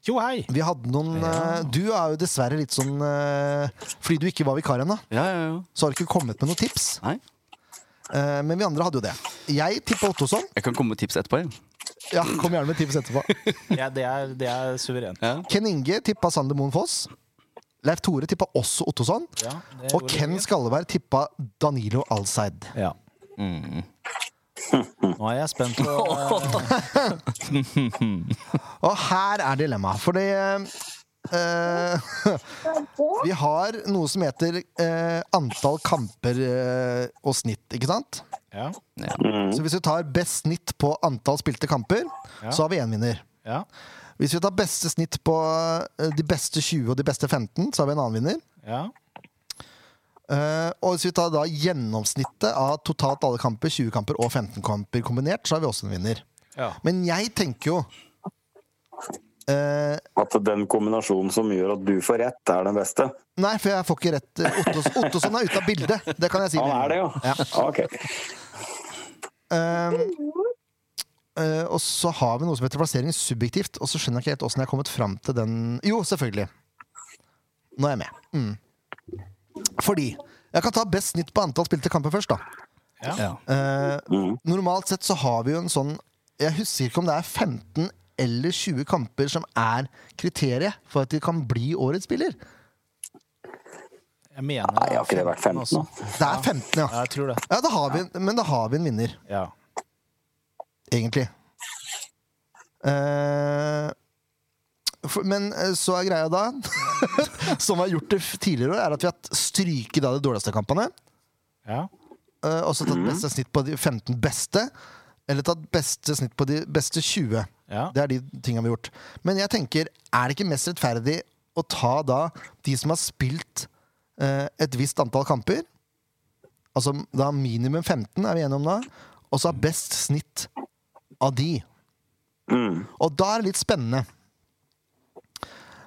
Speaker 6: Jo, hei.
Speaker 1: Vi hadde noen eh, Du er jo dessverre litt sånn eh, Fordi du ikke var vikar ennå,
Speaker 3: Ja, ja, ja.
Speaker 1: så har du ikke kommet med noen tips.
Speaker 3: Nei.
Speaker 1: Eh, men vi andre hadde jo det. Jeg tippa Ottosson.
Speaker 3: Jeg kan komme med tips etterpå. Jeg.
Speaker 1: Ja, kom gjerne med tips etterpå.
Speaker 6: Ja, det, er, det er suverent.
Speaker 3: Ja.
Speaker 1: Ken Inge tippa Sander Moen Foss. Leif Tore tippa også Ottosson.
Speaker 6: Ja, det
Speaker 1: Og
Speaker 6: gjorde
Speaker 1: Ken
Speaker 6: vi.
Speaker 4: Mm.
Speaker 1: Skalleberg tippa Danilo Alseid.
Speaker 6: Ja. Nå er jeg spent på
Speaker 1: Og her er dilemmaet, fordi eh, Vi har noe som heter eh, antall kamper eh, og snitt, ikke sant?
Speaker 6: Ja,
Speaker 1: Så hvis vi tar best snitt på antall spilte kamper, så har vi én vinner.
Speaker 6: ja,
Speaker 1: Hvis vi tar beste snitt på eh, de beste 20 og de beste 15, så har vi en annen vinner.
Speaker 6: ja.
Speaker 1: Eh, og hvis vi tar da gjennomsnittet av totalt alle kamper, 20 kamper og 15 kamper kombinert, så har vi også en vinner.
Speaker 6: ja.
Speaker 1: Men jeg tenker jo eh,
Speaker 4: At den kombinasjonen som gjør at du får rett, er den beste.
Speaker 1: Nei, for jeg får ikke rett. Ottos, Ottosson er ute av bildet, det kan jeg si.
Speaker 4: Han er det, jo.
Speaker 1: Ja.
Speaker 4: Ok.
Speaker 1: Eh, Ehm, eh, og så har vi noe som heter plassering subjektivt, og så skjønner jeg ikke helt åssen jeg har kommet fram til den Jo, selvfølgelig. Nå er jeg med. Mm. Fordi Jeg kan ta best snitt på antall spilte kamper først, da.
Speaker 5: Ja.
Speaker 1: Eh,
Speaker 4: Mhm.
Speaker 1: normalt sett så har vi jo en sånn Jeg husker ikke om det er 15 eller 20 kamper som er kriteriet for at de kan bli årets spiller.
Speaker 6: Jeg mener altså-
Speaker 4: Nei, har ikke det vært 15 nå?
Speaker 1: Det er 15,
Speaker 6: Ja,
Speaker 1: ja.
Speaker 6: jeg tror det.
Speaker 1: ja da har vi, en- men da har vi en vinner,
Speaker 6: Ja.
Speaker 1: egentlig. Eh, for, men eh, så er greia da, som vi har gjort det f- tidligere år, er at vi har hatt stryket da de dårligste kampene.
Speaker 6: Ja.
Speaker 1: eh, og så tatt beste snitt på de 15 beste. Eller tatt beste snitt på de beste 20.
Speaker 6: ja.
Speaker 1: Det er de tingene vi har gjort. Men jeg tenker, er det ikke mest rettferdig å ta da de som har spilt eh, et visst antall kamper? Altså da minimum 15, er vi enige om da? Og så ha best snitt av de.
Speaker 4: Mm.
Speaker 1: Og da er det litt spennende.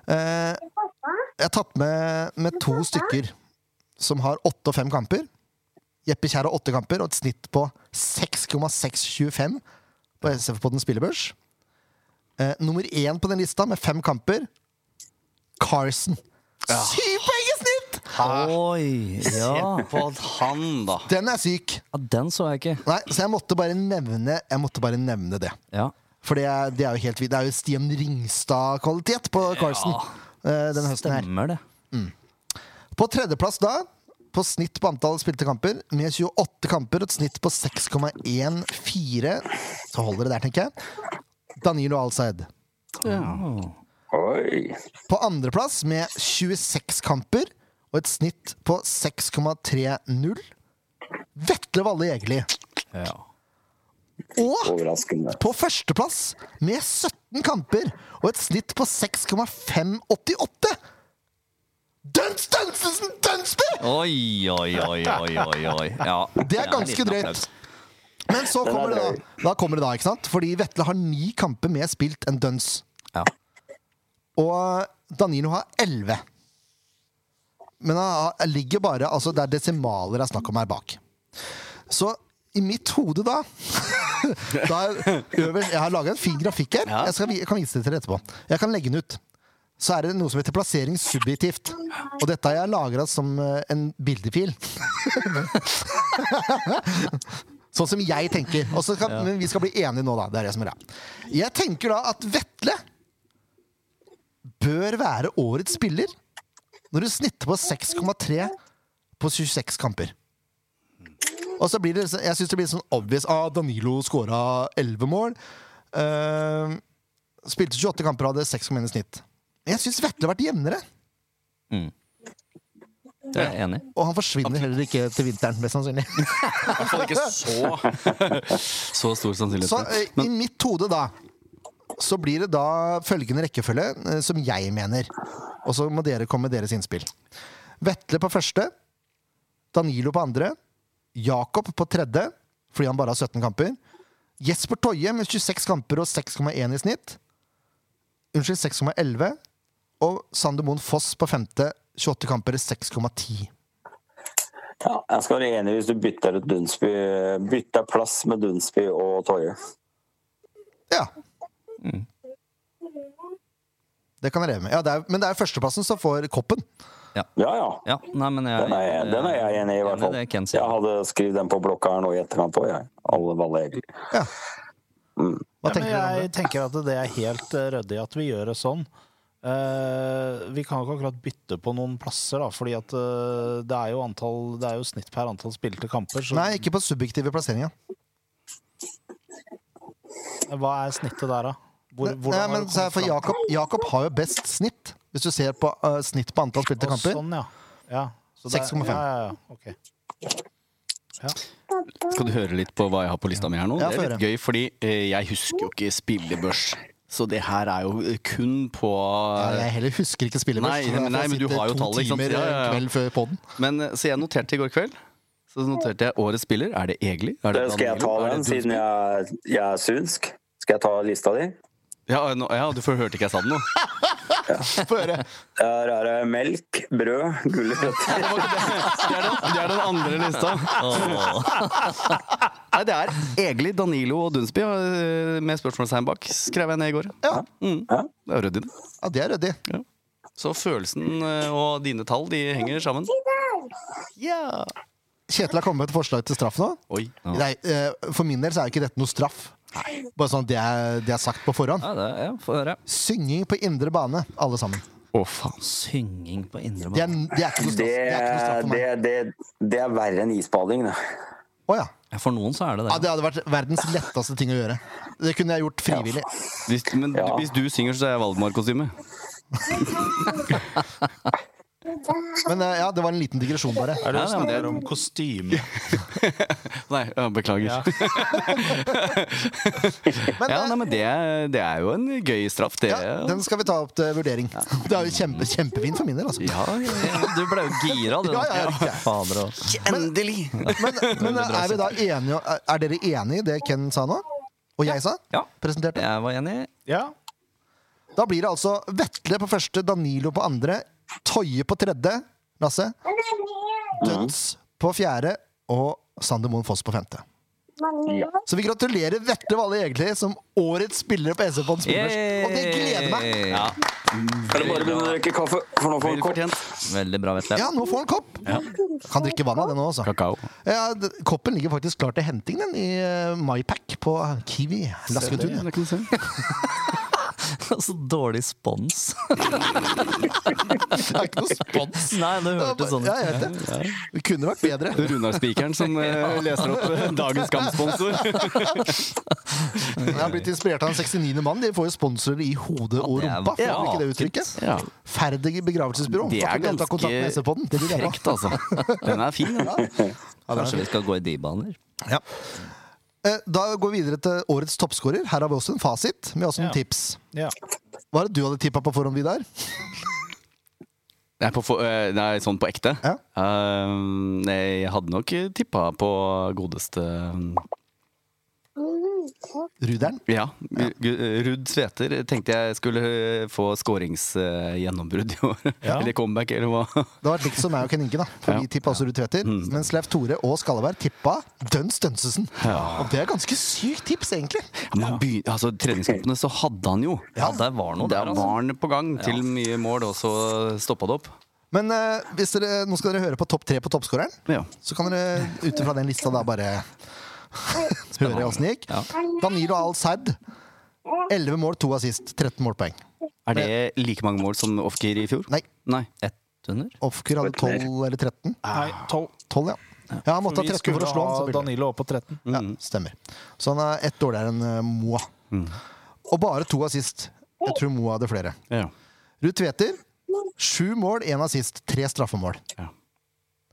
Speaker 1: Eh, jeg har tatt med, med to stykker som har åtte og fem kamper. Jeppe Kjær har åtte kamper og et snitt på 6,625 på SF på den spillebørs. Eh, nummer én på den lista med fem kamper Carson. Syv poeng i snitt!
Speaker 5: Oi! Ja.
Speaker 3: På han, da.
Speaker 1: Den er syk.
Speaker 5: ja, den så jeg ikke.
Speaker 1: Nei, så jeg måtte bare nevne, jeg måtte bare nevne det.
Speaker 5: Ja.
Speaker 1: For det er, det er jo helt vidt. Det er jo Stian Ringstad-kvalitet på Carson eh, denne høsten her.
Speaker 5: Stemmer det.
Speaker 1: På tredjeplass da, på snitt på antall spilte kamper, med 28 kamper og et snitt på 6,14 Så holder det der, tenker jeg. Danilo Alsaid.
Speaker 4: Oi.
Speaker 1: På andreplass med 26 kamper og et snitt på 6,30. Vetle Valle Jegerli.
Speaker 5: Ja.
Speaker 1: Og
Speaker 4: Overraskende.
Speaker 1: på førsteplass med 17 kamper og et snitt på 6,588. Duns Dunsesen Dunsby!
Speaker 5: Oi, oi, oi, oi, oi. oi. Ja.
Speaker 1: Det er
Speaker 5: en
Speaker 1: ganske
Speaker 5: liten
Speaker 1: drøyt.
Speaker 5: applaus.
Speaker 1: Men så
Speaker 4: Den er
Speaker 1: kommer det da.
Speaker 4: drøy.
Speaker 1: Da kommer det da, ikke sant? Fordi Vetle har ni kamper mer spilt enn Duns.
Speaker 5: Ja.
Speaker 1: Og eh, Danilo har elleve. Men han har- han ligger bare Altså, det er desimaler det er snakk om her bak. Så i mitt hode, da, da er øverst, Jeg har laga en fin grafikk her. Jeg, skal, vi- jeg kan vise det til dere etterpå. Jeg kan legge den ut. Så er det noe som heter plassering subjektivt. Og dette har jeg lagra som eh, en bildefil. Sånn som jeg tenker. Og så kan, Men vi skal bli enige nå, da. Det er det som er greia. Jeg tenker da at Vetle bør være årets spiller når du snitter på 6,3 på 26 kamper. Og så blir det så- Jeg syns det blir sånn obvious. Ah, Danilo skåra 11 mål. Eh, spilte 28 kamper og hadde 6,1 i snitt. Men jeg syns Vetle har vært jevnere.
Speaker 5: Det er jeg enig i.
Speaker 1: Og han forsvinner heller ikke til vinteren, mest sannsynlig.
Speaker 3: I hvert fall ikke så Så stor sannsynlighet.
Speaker 1: Så
Speaker 3: for
Speaker 1: eh,
Speaker 3: det. Men
Speaker 1: i mitt hode, da, så blir det da følgende rekkefølge eh, som jeg mener. Og så må dere komme med deres innspill. Vetle på første. Danilo på andre. Jakob på tredje, fordi han bare har 17 kamper. Jesper Toje med 26 kamper og 6,1 i snitt. Unnskyld, 6,11. Og Sander Moen Foss på femte, 28 kamper, 6,10.
Speaker 4: Ja, jeg skal være enig hvis du bytter, ut Dunsby, bytter plass med Dunsby og Toje.
Speaker 1: Ja.
Speaker 3: Mm.
Speaker 1: Det kan jeg leve med. Ja, det er, men det er førsteplassen som får koppen.
Speaker 4: Ja, ja.
Speaker 5: Ja, nei, men jeg,
Speaker 4: Den er, jeg- den er jeg enig i, i hvert fall.
Speaker 5: Det er Ken
Speaker 4: Jeg
Speaker 5: sier.
Speaker 4: hadde skrevet den på blokka her nå i etterkant òg, jeg. Alle Valle egentlig.
Speaker 1: Ja.
Speaker 4: Mm.
Speaker 1: Hva
Speaker 6: Ja, men
Speaker 1: tenker dere om det?
Speaker 6: jeg tenker at det er helt eh, ryddig at vi gjør det sånn. Eh, vi kan jo ikke akkurat bytte på noen plasser, da, fordi at eh, det, er jo antall, det er jo snitt per antall spilte kamper. Så
Speaker 1: Nei, ikke på subjektive plasseringer.
Speaker 6: Hva er snittet der, da? Hvor,
Speaker 1: Nei,
Speaker 6: hvordan har
Speaker 1: men
Speaker 6: du
Speaker 1: så er for
Speaker 6: kommet fram?
Speaker 1: Jakob, Jakob har jo best snitt, hvis du ser på eh, snitt på antall spilte
Speaker 6: Å,
Speaker 1: kamper.
Speaker 6: Sånn, ja. ja. Så det-
Speaker 1: 6,5.
Speaker 6: Ja, ja, ja. ok.
Speaker 3: Skal du høre litt på hva jeg har på lista mi her nå?
Speaker 1: Ja,
Speaker 3: det
Speaker 1: få
Speaker 3: er litt gøy, fordi eh, jeg husker jo ikke spillebørs. Så det her er jo eh, kun på
Speaker 1: Ja, jeg heller husker ikke spillet
Speaker 3: Nei,
Speaker 1: først, så
Speaker 3: nei,
Speaker 1: derfor
Speaker 3: men du
Speaker 1: sitter
Speaker 3: har jo
Speaker 1: to
Speaker 3: tallet, ikke sant?
Speaker 1: timer
Speaker 3: Ja, ja, ja.
Speaker 1: eh, kveld før podden.
Speaker 3: Men eh, så jeg noterte i går kveld. Så noterte jeg årets spiller. Er det Egli? Er
Speaker 4: Det skal jeg ta
Speaker 3: Danilo? Er
Speaker 4: den,
Speaker 3: det Dunsby?
Speaker 4: siden jeg, jeg er sunsk. Skal jeg ta lista di?
Speaker 3: Ja, nå, ja, du får hørte ikke jeg sa den nå.
Speaker 1: Få høre.
Speaker 4: Der er det melk, brød, gulrøtter.
Speaker 3: Det, var ikke det. det, er den, det er den andre lista. Nei, det er Egli, Danilo og Dunsby eh, med spørsmålstegn bak, skrev jeg ned i går.
Speaker 1: Ja,
Speaker 3: Mm.
Speaker 4: Ja.
Speaker 3: Det er ryddig, det.
Speaker 1: ja det er ryddig.
Speaker 3: Så følelsen eh, og dine tall, de henger sammen. Ja.
Speaker 1: Kjetil har kommet med et forslag til straff nå.
Speaker 3: Oi.
Speaker 1: Nei, eh, for min del så er jo ikke dette noe straff. Bare sånn at det er, det er sagt på forhånd.
Speaker 5: Ja, det er, ja, Få høre.
Speaker 1: Synging på indre bane, alle sammen.
Speaker 3: Å, faen.
Speaker 5: Synging på indre
Speaker 1: Det er,
Speaker 5: bane.
Speaker 1: det er ikke noe straff,
Speaker 4: Det,
Speaker 1: det er ikke noe straff for
Speaker 4: det,
Speaker 1: meg.
Speaker 4: det, det er verre enn isbading, det.
Speaker 1: Å ja.
Speaker 5: Ja, For noen så er det
Speaker 1: ja.
Speaker 5: det.
Speaker 1: Det hadde vært verdens letteste ting å gjøre. Det kunne jeg gjort frivillig.
Speaker 3: Hvis, men du-
Speaker 4: Ja.
Speaker 3: hvis du synger, så er jeg Valdemar-kostyme.
Speaker 1: Men eh, ja, det var en liten digresjon, bare.
Speaker 6: Er det
Speaker 3: Ja,
Speaker 6: du
Speaker 3: ja, men det er-
Speaker 6: snakker om kostyme?
Speaker 3: Nei, ja, beklager.
Speaker 6: Ja.
Speaker 1: Men,
Speaker 3: Ja,
Speaker 1: eh,
Speaker 3: nei, men det, er- det er jo en gøy straff, det.
Speaker 1: ja, den skal vi ta opp til vurdering. Det er jo kjempe, kjempefint for min del, altså.
Speaker 3: Ja, ja, ja.
Speaker 5: Du ble jo gira, du.
Speaker 1: Ja, ja, ja, riktig.
Speaker 5: Fader, og.
Speaker 3: Endelig!
Speaker 1: Men, men er, vi da enige, er dere enige i det Ken sa nå? Og jeg sa?
Speaker 5: Ja.
Speaker 1: Presenterte?
Speaker 5: Jeg var enig.
Speaker 6: Ja.
Speaker 1: Da blir det altså Vetle på første, Danilo på andre, Toje på tredje, Lasse. Døds på fjerde og Sander Moen Foss på femte.
Speaker 4: Ja.
Speaker 1: Så vi gratulerer Vetle Valle egentlig som årets spiller på SF-bånd Spillers. Og det gleder meg!
Speaker 5: Ja,
Speaker 4: Er det bare å begynne å drikke kaffe? For nå får
Speaker 3: Vel
Speaker 4: man kopp.
Speaker 3: fortjent.
Speaker 5: Veldig bra, Vetle.
Speaker 1: Ja, nå får han kopp! Kan drikke vann av det nå, altså.
Speaker 3: Kakao.
Speaker 1: Ja, d- koppen ligger faktisk klar til henting, den, i eh, MyPack på Kiwi. Lasketun.
Speaker 3: Det kan du se.
Speaker 5: Så dårlig spons.
Speaker 1: Det er ikke noe spons.
Speaker 5: Nei, det
Speaker 1: Ja,
Speaker 5: hørtes sånn
Speaker 1: ja, jeg vet det. Det kunne vært bedre.
Speaker 3: Runar Spikeren som eh, leser opp eh, dagens kampsponsor.
Speaker 1: Jeg har blitt inspirert av en 69. mann. De får jo sponsorer i hodet og
Speaker 5: det er
Speaker 1: rumpa. Får de ikke det uttrykket?
Speaker 3: Ja.
Speaker 1: Ferdig begravelsesbyrå.
Speaker 3: Det
Speaker 1: Får
Speaker 3: er
Speaker 1: ikke dere ta kontakt med
Speaker 3: ganske
Speaker 1: SV-podden? Det vil jeg ha.
Speaker 3: frekt, altså. Den er fin. den.
Speaker 5: Kanskje vi skal gå i de baner?
Speaker 1: Ja. Eh, Da går vi videre til årets toppskårer. Her har vi også en fasit med også noen
Speaker 6: Ja.
Speaker 1: tips.
Speaker 6: ja.
Speaker 1: Hva er det du hadde tippa på forhånd, Vidar?
Speaker 3: Nei, på, for- eh, nei, sånn på ekte.
Speaker 1: Ja.
Speaker 3: Um, nei, jeg hadde nok tippa på godeste um,
Speaker 1: Ruderen?
Speaker 3: Ja. Gu- Gu- Ruud Tveter tenkte jeg skulle eh, få skåringsgjennombrudd i år.
Speaker 6: Ja.
Speaker 3: Eller comeback, eller hva.
Speaker 1: Det har vært likt som meg og Ken Inge, da. For
Speaker 3: Ja.
Speaker 1: vi tippa også Ruud Tveter. Mens Leif Tore og Skalleberg tippa Dønn Stønsesen. Og det er ganske sykt tips, egentlig.
Speaker 3: Men han begyn- altså, treningskampene så hadde han jo.
Speaker 5: Ja, der var noe der,
Speaker 3: Der
Speaker 5: altså.
Speaker 3: var han på gang til mye mål, og så stoppa det opp.
Speaker 1: Men eh, hvis dere, nå skal dere høre på topp tre på toppskåreren.
Speaker 3: Ja.
Speaker 1: Så kan dere ut ifra den lista da bare høre åssen det gikk.
Speaker 5: Ja.
Speaker 1: Danilo Al-Said. 11 mål, 2 assist. 13 målpoeng.
Speaker 3: Er det like mange mål som Ofkir i fjor?
Speaker 1: Nei,
Speaker 3: Nei.
Speaker 5: Ett under?
Speaker 1: Ofker hadde 12 eller 13.
Speaker 6: Nei, tolv.
Speaker 1: 12, ja. Ja, han måtte ha
Speaker 6: Vi
Speaker 1: 13 for
Speaker 6: skulle
Speaker 1: å slå
Speaker 6: ha
Speaker 1: han. så billig.
Speaker 6: Danilo opp på 13.
Speaker 1: Ja, stemmer. Så han er ett dårligere enn eh, Moa. Og bare to assist. Jeg tror Moa hadde flere.
Speaker 3: Ja.
Speaker 1: Ruud Tveter, sju mål, én assist, tre straffemål.
Speaker 3: Ja.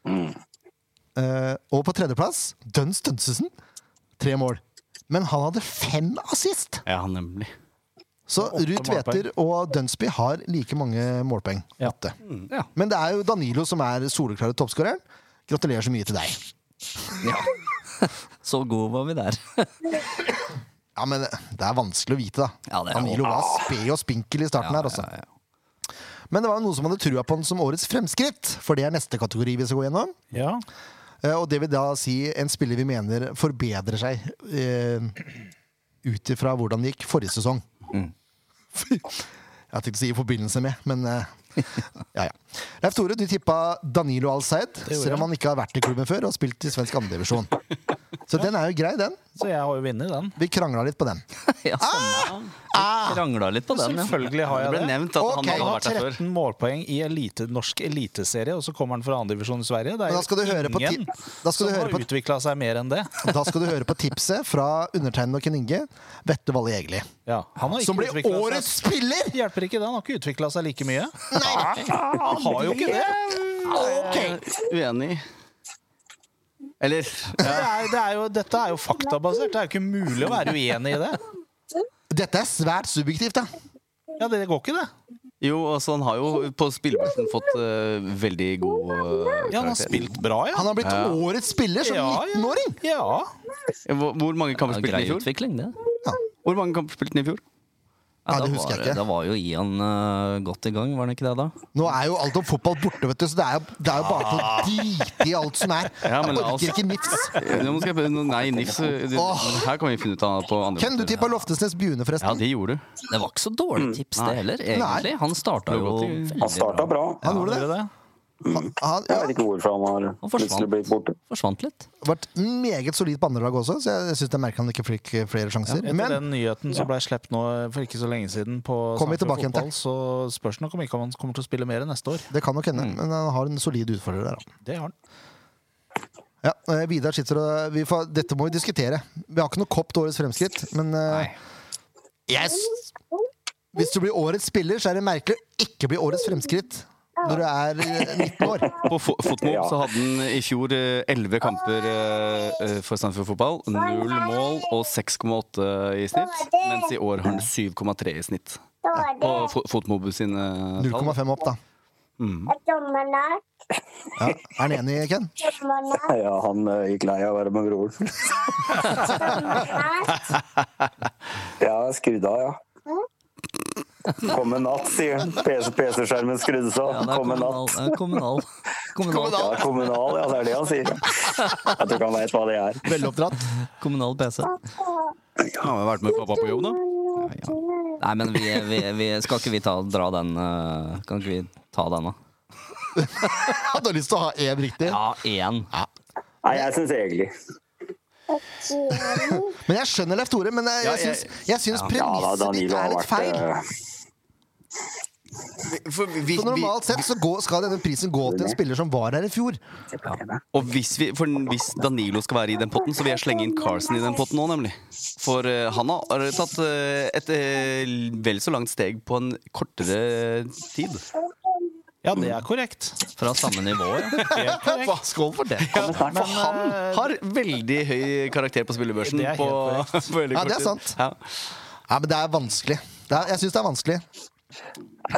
Speaker 1: Eh, og på tredjeplass, Dønn Stønsesen, tre mål. Men han hadde fem assist!
Speaker 3: ja, nemlig.
Speaker 1: Så
Speaker 6: åtte
Speaker 1: Ruud Tveter og Dønsby har like mange målpoeng.
Speaker 6: Ja.
Speaker 1: Åtte.
Speaker 3: Ja.
Speaker 1: Men det er jo Danilo som er soleklare toppskåreren. Gratulerer så mye til deg.
Speaker 5: Ja. Så gode var vi der.
Speaker 1: Ja, men Det er vanskelig å vite, da.
Speaker 5: Ja, det er
Speaker 1: Danilo
Speaker 5: jo-
Speaker 1: var sped og spinkel i starten her. Også.
Speaker 5: Ja, ja, ja.
Speaker 1: Men det var jo noen som hadde trua på den som årets fremskritt, for det er neste kategori vi skal gå gjennom.
Speaker 6: Ja.
Speaker 1: Eh, Og det vil da si en spiller vi mener forbedrer seg eh, ut ifra hvordan det gikk forrige sesong.
Speaker 5: Mm.
Speaker 1: Jeg tenkte å si i forbindelse med, men eh, ja, ja. Leif Tore, du tippa Danilo Al-Said, selv om han ikke har vært i klubben før og spilt i svensk andredivisjon. Så den er jo grei, den.
Speaker 6: Så jeg har jo vunnet den.
Speaker 1: Vi krangla litt på den.
Speaker 5: Ja,
Speaker 1: Ah!
Speaker 5: sånn. Jeg Krangla litt på den, ja.
Speaker 6: Selvfølgelig har
Speaker 3: Det
Speaker 6: jeg
Speaker 3: ble
Speaker 6: det.
Speaker 3: nevnt at
Speaker 1: Ok,
Speaker 6: Han
Speaker 3: han hadde
Speaker 6: har
Speaker 3: vært der før.
Speaker 6: 13 målpoeng i elite, norsk eliteserie, og så kommer han fra andredivisjon i Sverige. Det er
Speaker 1: Men da skal du
Speaker 6: jo
Speaker 1: høre på ti-
Speaker 6: ingen
Speaker 1: da skal
Speaker 6: som
Speaker 1: du høre
Speaker 6: har
Speaker 1: på-
Speaker 6: utvikla seg mer enn det.
Speaker 1: Da skal du høre på tipset fra undertegnede og Ken Inge. Vetle Valle Jegli.
Speaker 6: Ja, han har
Speaker 1: Som
Speaker 6: ikke
Speaker 1: blir
Speaker 6: utviklet seg-
Speaker 1: årets spiller!
Speaker 6: Hjelper ikke det, han har ikke utvikla seg like mye.
Speaker 1: Nei!
Speaker 6: Han har jo ikke det.
Speaker 1: Ok.
Speaker 3: Uenig. Eller
Speaker 6: Det er, det er jo, dette er jo faktabasert. Det er jo ikke mulig å være uenig i det.
Speaker 1: Dette er svært subjektivt, da.
Speaker 6: Ja, det går ikke, det.
Speaker 3: Jo, altså, han har jo på spillebørsen fått eh, veldig god uh,
Speaker 6: Ja, han har spilt bra, ja.
Speaker 1: Han har blitt årets spiller som
Speaker 6: Ja, ja.
Speaker 1: 19-åring!
Speaker 6: Ja.
Speaker 3: Hvor, hvor mange kamper
Speaker 5: Ja,
Speaker 3: spilte
Speaker 5: grei
Speaker 3: han i fjor?
Speaker 5: utvikling, det.
Speaker 3: Hvor mange kamper spilte han i fjor?
Speaker 1: Ja,
Speaker 5: da
Speaker 1: det husker jeg
Speaker 5: var-
Speaker 1: ikke.
Speaker 5: Da var jo Ian eh, godt i gang, var han ikke det da?
Speaker 1: Nå er jo alt om fotball borte, vet du, så det er jo, det er jo bare til
Speaker 6: Ah.
Speaker 1: å drite i alt som er.
Speaker 3: Ja,
Speaker 1: Jeg
Speaker 3: men la oss-
Speaker 6: altså.
Speaker 1: orker ikke nifs.
Speaker 3: Nå skal jeg prøve noe- Nei, Nifs eh, det-
Speaker 1: Åh.
Speaker 3: men Her kan vi finne ut av på andre
Speaker 1: Ken, du tippa Loftesnes Bjune,
Speaker 3: Ja,
Speaker 1: forresten.
Speaker 3: det gjorde du.
Speaker 5: Det var ikke så dårlig tips, det heller, egentlig. Han starta
Speaker 3: Det
Speaker 5: jo
Speaker 3: var godt i-
Speaker 5: veldig
Speaker 4: Han starta
Speaker 5: bra.
Speaker 4: bra.
Speaker 1: Han gjorde det.
Speaker 6: Gjorde det?
Speaker 1: Han
Speaker 4: Jeg vet
Speaker 1: ja,
Speaker 4: ikke hvorfor han
Speaker 5: Han
Speaker 4: har
Speaker 5: forsvant.
Speaker 4: plutselig blitt borte.
Speaker 5: Forsvant litt.
Speaker 1: vært meget solid på andre lag også, så jeg syns jeg merker han ikke fikk flere sjanser.
Speaker 6: Etter
Speaker 1: Men
Speaker 6: den nyheten som ble sluppet nå for ikke så lenge siden, på
Speaker 1: Kom vi
Speaker 6: Sandefjord
Speaker 1: tilbake igjen til.
Speaker 6: fotball, så spørs det nok om ikke han kommer til å spille mer neste år.
Speaker 1: det kan nok
Speaker 6: Mm.
Speaker 1: hende. Men han har en solid utfordrer der, da.
Speaker 6: Det har han.
Speaker 1: Ja, eh, Vidar sitter og vi får, Dette må vi diskutere. Vi har ikke noe kopp til årets fremskritt, men eh, Yes! Hvis du blir årets spiller, så er det merkelig å ikke bli årets fremskritt når du er eh, 19 år.
Speaker 3: På fo Fotmob
Speaker 4: Ja.
Speaker 3: så hadde han eh, i fjor elleve kamper eh, eh, for Sandefjord fotball. Null mål og 6,8 i snitt. Mens i år har han 7,3 i snitt. På fo Fotmob sine tall.
Speaker 1: 0,5 opp, da. Ja. Er han enig, Ken?
Speaker 4: Ja, han eh, gikk lei av å være med broren. Ja, skrudd av, ja. Kom en natt, sier han. PC-skjermen skrudde seg
Speaker 5: Ja,
Speaker 4: av.
Speaker 5: det er
Speaker 4: Kom en
Speaker 5: kommunal.
Speaker 4: natt.
Speaker 5: det er kommunal. kommunal.
Speaker 4: Ja, kommunal, ja, det er det han sier. Jeg tror ikke han veit hva det er.
Speaker 1: Veloppdratt.
Speaker 5: Kommunal PC.
Speaker 3: Har han vært med pappa på jobb, da?
Speaker 5: Nei, men vi, vi, vi skal ikke vi ta, dra den eh, Kan ikke vi ta den, da?
Speaker 1: Hadde lyst til å ha én riktig.
Speaker 5: Ja, én.
Speaker 4: Nei, jeg syns egentlig
Speaker 1: Men jeg skjønner Leif Tore, men eh, jeg,
Speaker 3: Ja,
Speaker 1: jeg
Speaker 3: jeg-
Speaker 1: syns, jeg syns
Speaker 4: Ja da,
Speaker 1: premisset ditt
Speaker 4: Danilo
Speaker 1: er
Speaker 4: har
Speaker 1: litt
Speaker 4: vært
Speaker 1: feil.
Speaker 4: eh,
Speaker 3: For vi,
Speaker 1: Så
Speaker 3: vi,
Speaker 1: normalt sett så går, skal denne prisen gå til en spiller som var her i fjor.
Speaker 3: og hvis, vi, for hvis Danilo skal være i den potten, så vil jeg slenge inn Carlsen i den potten òg, nemlig. For eh, han har tatt eh, et eh, vel så langt steg på en kortere tid.
Speaker 6: Ja, det er korrekt.
Speaker 5: Fra samme nivå, ja.
Speaker 1: Hva, skål for det!
Speaker 6: Men, eh,
Speaker 3: Har veldig høy karakter på spillebørsen.
Speaker 6: Det er helt
Speaker 3: på,
Speaker 6: korrekt.
Speaker 3: på veldig
Speaker 1: Ja, det
Speaker 3: kort
Speaker 1: er sant.
Speaker 3: tid. Ja.
Speaker 1: Ja, men det er vanskelig. Det er, jeg syns det er vanskelig.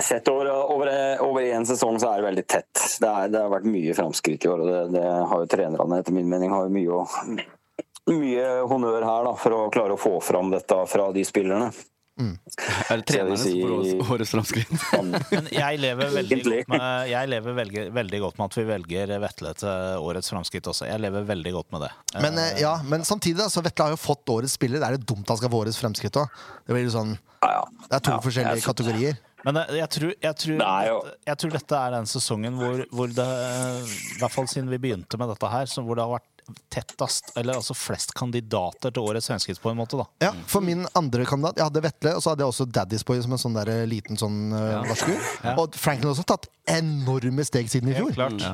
Speaker 4: Sett over, eh, over, over en sesong så er det veldig tett. Det, er, det har vært mye framskritt i år. og Det, det har jo trenerne etter min mening har jo mye, å, mye honnør her da, for å klare å få fram dette fra de spillerne.
Speaker 3: Er det trenerne
Speaker 4: Skal vi
Speaker 3: som får
Speaker 4: si-
Speaker 3: årets- årets framskritt?
Speaker 6: men jeg lever veldig
Speaker 4: Egentlig.
Speaker 6: godt med, jeg lever veldig, veldig godt med at vi velger Vetle til årets framskritt også. Jeg lever veldig godt med det.
Speaker 1: Men, eh, ja, men samtidig, da, så Vetle har jo fått årets spiller. Det er det dumt han skal få årets fremskritt òg. Det blir jo sånn,
Speaker 4: Ja, ja.
Speaker 1: det er to
Speaker 4: Ja, jeg
Speaker 1: forskjellige
Speaker 4: synes-
Speaker 1: kategorier.
Speaker 6: Men eh, jeg tror, jeg, tror,
Speaker 4: Det er jo-
Speaker 6: dette- jeg tror dette er den sesongen hvor, hvor det eh, I hvert fall siden vi begynte med dette her, så hvor det har vært tettest, eller altså flest kandidater til årets fremskritt, på en måte, da.
Speaker 1: Ja, For min andre kandidat Jeg hadde Vetle, og så hadde jeg også Daddy's Boy som en sånn der, eh, liten sånn uh, varsku. Og Franklin har også tatt enorme steg siden i fjor.
Speaker 6: klart.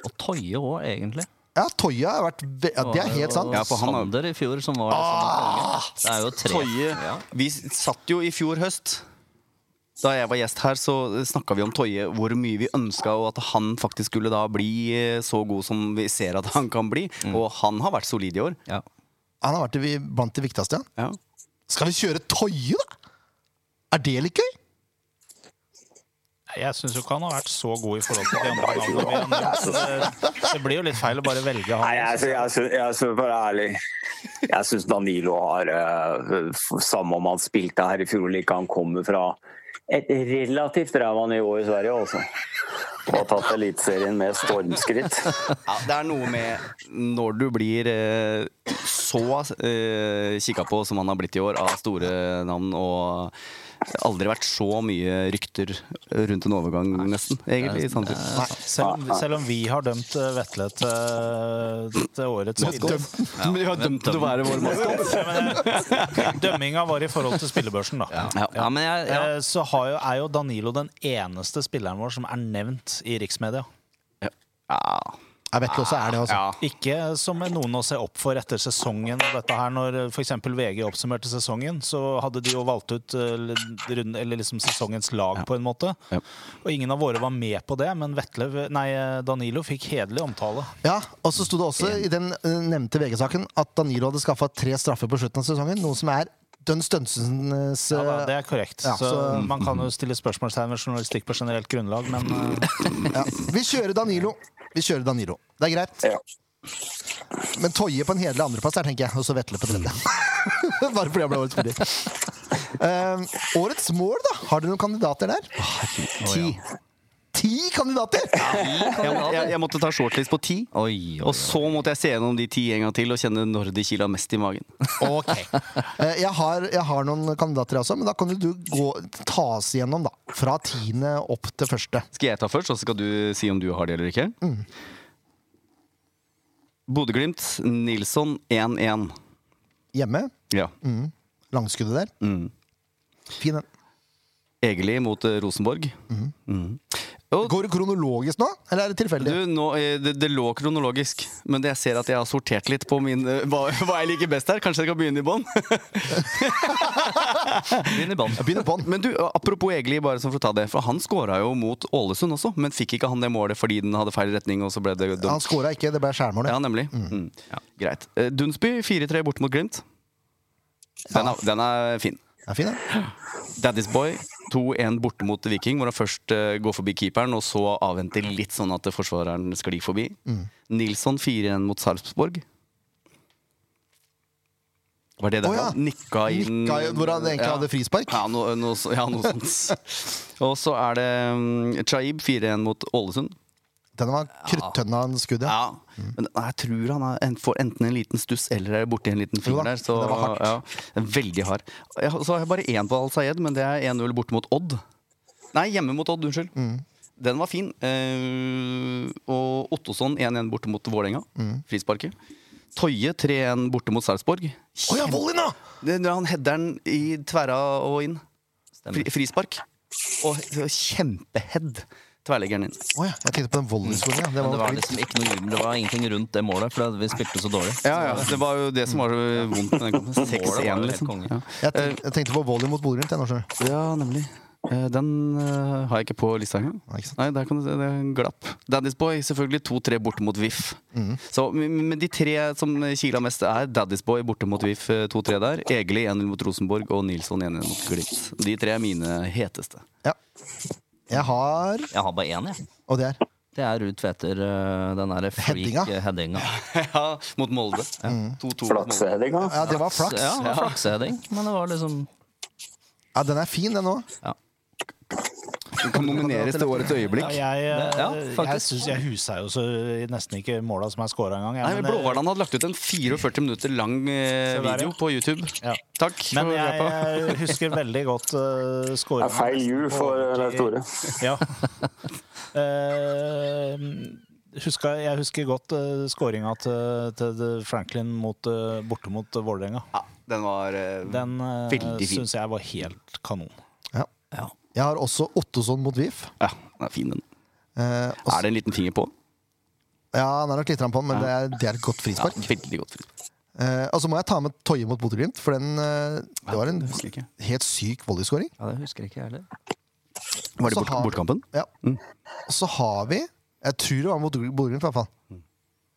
Speaker 5: Og Toye òg, egentlig.
Speaker 1: Ja, Toya har vært ve ja, Det er helt sant.
Speaker 5: Ja,
Speaker 3: Ja, for han har-
Speaker 5: Sander i fjor, som var det samme kongen. Det er jo tre.
Speaker 3: Toye Vi s- satt jo i fjor høst. Da jeg var gjest her, så snakka vi om Toye, hvor mye vi ønska, og at han faktisk skulle da bli eh, så god som vi ser at han kan bli.
Speaker 6: Mm.
Speaker 3: Og han har vært solid i år.
Speaker 5: Ja.
Speaker 1: Han har vært i- blant de viktigste. Ja.
Speaker 3: Ja.
Speaker 1: Skal vi kjøre Toye, da? Er det litt gøy?
Speaker 6: Jeg syns jo ikke han har vært så god i forhold til de andre lagene vi har nevnt, så det, det blir jo litt feil å bare velge
Speaker 4: Nei, jeg,
Speaker 6: han.
Speaker 4: sy- jeg, sy- jeg skal være ærlig. Jeg syns Danilo har eh, f- Samme om han spilte her i fjor eller ikke, han kommer fra et relativt ræva nivå i Sverige, altså. Og har tatt Eliteserien med stormskritt.
Speaker 3: Ja, det er noe med når du blir eh, så uh, kikka på som han har blitt i år, av store navn. Og aldri vært så mye rykter rundt en overgang, nesten, egentlig, i samtid.
Speaker 6: Selv om, selv om vi har dømt eh, Vetle eh, til, til årets maskot.
Speaker 3: Men vi har dømt til å være vår maskot.
Speaker 6: eh, Dømminga var i forhold til spillebørsen, da.
Speaker 5: Ja, ja, men jeg, ja.
Speaker 6: Eh, Så har jo, er jo Danilo den eneste spilleren vår som er nevnt i riksmedia.
Speaker 3: Ja.
Speaker 1: Jeg vet ikke også er det, altså.
Speaker 3: ja.
Speaker 6: Ikke som noen å se opp for etter sesongen. og Dette her, når eh, f.eks. VG oppsummerte sesongen, så hadde de jo valgt ut eh, runden- eller liksom sesongens lag, på en måte.
Speaker 3: Ja.
Speaker 6: Og ingen av våre var med på det, men Vetle, nei, eh, Danilo fikk hederlig omtale.
Speaker 1: Ja, og så sto det også i den eh, nevnte VG-saken at Danilo hadde skaffa tre straffer på slutten av sesongen, noe som er Dønn Stønsens
Speaker 6: Ja, da, det
Speaker 1: eh,
Speaker 6: er korrekt.
Speaker 1: Ja,
Speaker 6: så,
Speaker 1: så-
Speaker 6: man kan jo stille spørsmålstegn ved journalistikk på generelt grunnlag, men eh,
Speaker 1: ja. Vi kjører Danilo. Vi kjører Danilo. Det er greit.
Speaker 4: Ja.
Speaker 1: Men Toje på en hederlig andreplass der, tenker jeg. Og så Vetle på tredje. Bare fordi han ble årets spiller. Eh, årets mål, da? Har dere noen kandidater der? Ti. Ti kandidater!
Speaker 3: Jeg, jeg, jeg måtte ta shortlist på ti.
Speaker 5: Oi, oi,
Speaker 3: Og så måtte jeg se gjennom de ti en gang til og kjenne når de kila mest i magen.
Speaker 1: Ok. Eh, Jeg har, jeg har noen kandidater også, men da kan jo du gå, ta oss igjennom, da. Fra tiende opp til første.
Speaker 3: Skal jeg ta først, og så skal du si om du har det eller ikke? Bodø-Glimt, Nilsson 1-1.
Speaker 1: Hjemme.
Speaker 3: Ja.
Speaker 1: Langskuddet der.
Speaker 3: Mm.
Speaker 1: Fin den.
Speaker 3: Egeli mot eh, Rosenborg. Mm. Og
Speaker 1: Går det kronologisk nå, eller er det
Speaker 3: du,
Speaker 1: tilfeldig?
Speaker 3: nå, eh, det, det lå kronologisk, men jeg ser at jeg har sortert litt på min, eh, hva, hva jeg liker best her. Kanskje jeg skal begynne i bånn?
Speaker 5: begynn i bånn.
Speaker 1: Jeg begynner på den.
Speaker 3: Men du, eh, apropos Egeli, bare sånn for å ta det. For han skåra jo mot Ålesund også, men fikk ikke han det målet fordi den hadde feil retning, og så ble det dømt?
Speaker 1: Han skåra ikke, det ble skjærmål.
Speaker 3: Ja,
Speaker 1: det.
Speaker 3: nemlig. Mm. Ja. Greit. Eh, Dunsby 4-3 borte mot Glimt. Den er, den er fin.
Speaker 1: Ja, fin, den.
Speaker 3: Daddy's Boy 2-1 borte mot Viking, hvor han først eh, går forbi keeperen og så avventer litt sånn at forsvareren sklir forbi.
Speaker 1: Mm.
Speaker 3: Nilsson 4-1 mot Sarpsborg. Var det der
Speaker 1: Å, ja.
Speaker 3: han nikka inn
Speaker 1: Nikka i- hvor han egentlig hadde frispark?
Speaker 3: Ja, noe, noe, så- ja, noe sånt. og så er det um, Chaib 4-1 mot Ålesund.
Speaker 1: Den var kruttønna en skudd, ja.
Speaker 3: Ja, men jeg tror han er, en- får enten en liten stuss eller er borti en liten
Speaker 1: Jo
Speaker 3: finger
Speaker 1: da,
Speaker 3: der. Så,
Speaker 1: men det var hardt.
Speaker 3: ja, den er veldig hard. Jeg, har- så har jeg bare én på Al Sayed, men det er 1-0 borte mot Odd. Nei, hjemme mot Odd, unnskyld.
Speaker 1: Mm.
Speaker 3: Den var fin. Eh, og Ottosson 1-1 borte mot Vålerenga.
Speaker 1: Mm.
Speaker 3: Frisparket. Toje 3-1 borte mot Sarpsborg.
Speaker 1: Å ja, volley nå!
Speaker 3: Det- når Han header den i tverra og inn. Fri, frispark. Og kjempehead tverlegger den inn.
Speaker 1: Å ja, jeg tenkte på den volleyskolen, ja. Det
Speaker 5: Men det
Speaker 1: var
Speaker 5: var liksom ikke noe jubel, det var ingenting rundt det målet, for vi spilte så dårlig.
Speaker 3: Ja, ja, det var jo det som var så vondt med den kampen.
Speaker 5: Målet var jo
Speaker 3: 6-1,
Speaker 5: helt
Speaker 3: liksom.
Speaker 5: konge.
Speaker 3: Ja.
Speaker 1: jeg, tenkte, jeg tenkte på volley mot Bodø Glimt, jeg nå, skjønner du.
Speaker 3: ja, nemlig. Eh, Den eh, har jeg ikke på lista engang.
Speaker 1: Nei, ikke sant.
Speaker 3: Nei, der kan du se, det er en glapp. Daddy's Boy, selvfølgelig 2-3 borte mot VIF.
Speaker 5: Mm.
Speaker 3: Så, men men de tre som kiler mest, er Daddy's Boy borte mot VIF eh, 2-3 der. Egeli 1-0 mot Rosenborg og Nilsson 1-1 mot Glimt. De tre er mine heteste.
Speaker 1: Ja. Jeg har
Speaker 5: Jeg har bare én, jeg.
Speaker 1: Og det er
Speaker 5: Det er Ruud Tveter, øh, den derre
Speaker 1: Headinga.
Speaker 5: freak-headinga.
Speaker 3: ja, mot Molde.
Speaker 5: Mm.
Speaker 3: 2-2 mot Molde.
Speaker 4: Flakseheadinga.
Speaker 1: Ja, det var flaks.
Speaker 5: Ja, det var flakseheading, men det var liksom
Speaker 1: Ja, den er fin, den òg.
Speaker 3: Du kan nomineres til årets øyeblikk.
Speaker 6: Ja, eh, jeg,
Speaker 5: Ja, faktisk.
Speaker 6: jeg, synes jeg husa jo så nesten ikke måla som er scora engang. jeg,
Speaker 3: Nei, men
Speaker 6: men, eh,
Speaker 3: Blåhvaland hadde lagt ut en 44 minutter lang eh,
Speaker 6: Se der,
Speaker 3: video
Speaker 6: ja.
Speaker 3: på YouTube.
Speaker 6: Ja.
Speaker 3: Takk. for
Speaker 6: Men jeg,
Speaker 3: hjelpa.
Speaker 6: eh, husker veldig godt uh,
Speaker 4: Det
Speaker 6: skåringa.
Speaker 4: er feil jul for eh, Leif Tore.
Speaker 6: Ja. Eh, huska, jeg husker godt uh, skåringa til, til Franklin mot, eh, borte mot Vålerenga.
Speaker 3: ja, den var eh,
Speaker 6: Den uh,
Speaker 3: Veldig fin.
Speaker 6: syns jeg var helt kanon.
Speaker 1: Ja.
Speaker 5: Ja.
Speaker 1: Jeg har også Ottosson mot VIF.
Speaker 3: Ja, den er fin, den.
Speaker 1: Eh, og
Speaker 3: Er det en liten finger på?
Speaker 1: Ja, han er nok litt på han, men det er, det er et godt
Speaker 3: Ja,
Speaker 1: frispark.
Speaker 3: veldig godt frispark.
Speaker 1: Eh, og så må jeg ta med Toje mot Bodø-Glimt, for den, eh, det var en
Speaker 3: det husker jeg ikke.
Speaker 1: helt syk volleyskåring.
Speaker 5: Ja, det husker jeg ikke, jeg heller.
Speaker 3: Var det
Speaker 1: Så
Speaker 3: bort,
Speaker 1: har-
Speaker 3: bortkampen?
Speaker 1: Ja. Og så har vi Jeg tror det var mot Bodø-Glimt, i hvert fall.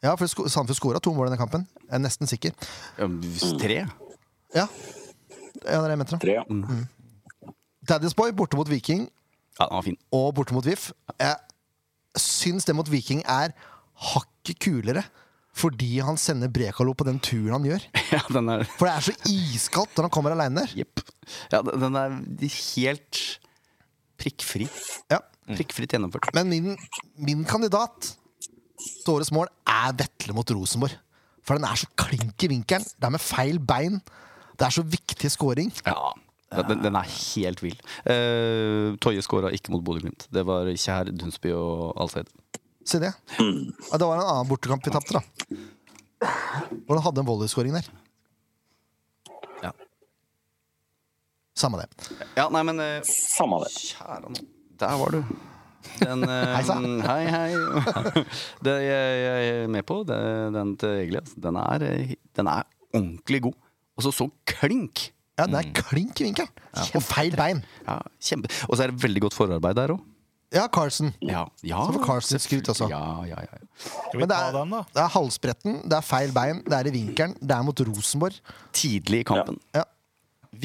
Speaker 1: Ja, for sko- Sandefjord skåra to mål i denne kampen. Jeg er nesten sikker.
Speaker 3: Ja, hvis tre?
Speaker 1: Ja, ja det er det jeg mente. da.
Speaker 4: Tre, ja.
Speaker 1: Daddy's Boy borte mot Viking
Speaker 3: Ja, den var fin.
Speaker 1: og borte mot VIF. Jeg syns det mot Viking er hakket kulere. Fordi han sender Brekalo på den turen han gjør.
Speaker 3: Ja, den er
Speaker 1: For det er så iskaldt når han kommer aleine der.
Speaker 3: Jepp. Ja, den- den er helt prikkfri.
Speaker 1: Ja.
Speaker 6: Mm.
Speaker 3: Prikkfritt gjennomført.
Speaker 1: Men min, min kandidat til årets mål er Vetle mot Rosenborg. For den er så klink i vinkelen. Det er med feil bein. Det er så viktig scoring.
Speaker 3: Ja. Den, den er helt vill. Eh, Toje skåra ikke mot Bodø-Glimt. Det var Kjær, Dunsby og Alseid.
Speaker 1: Se det. Ja, det var en annen bortekamp vi tapte, da. Hvor han hadde en volleyscoring der.
Speaker 3: Ja.
Speaker 1: Samme det.
Speaker 3: Ja, nei, men eh,
Speaker 4: Samme det.
Speaker 3: Kjære nå. Der var du. Den, eh,
Speaker 1: Hei, sa.
Speaker 3: hei, hei. Det, jeg, jeg er med på det, den til Egil. ass. Den er, eh, den er ordentlig god. Og så så klink!
Speaker 1: Ja, den er klink i vinkelen. Og feil bein.
Speaker 3: Ja, kjempe. Og så er det veldig godt forarbeid der òg.
Speaker 1: Ja, Carlsen.
Speaker 3: Ja, ja,
Speaker 1: Så får Carlsen litt skryt også.
Speaker 3: Ja, ja, ja. ja.
Speaker 6: Skal vi
Speaker 1: Men det
Speaker 6: ta
Speaker 1: er,
Speaker 6: den, da?
Speaker 1: det er halsbretten, det er feil bein, det er i vinkelen, det er mot Rosenborg.
Speaker 3: Tidlig i kampen.
Speaker 1: Ja.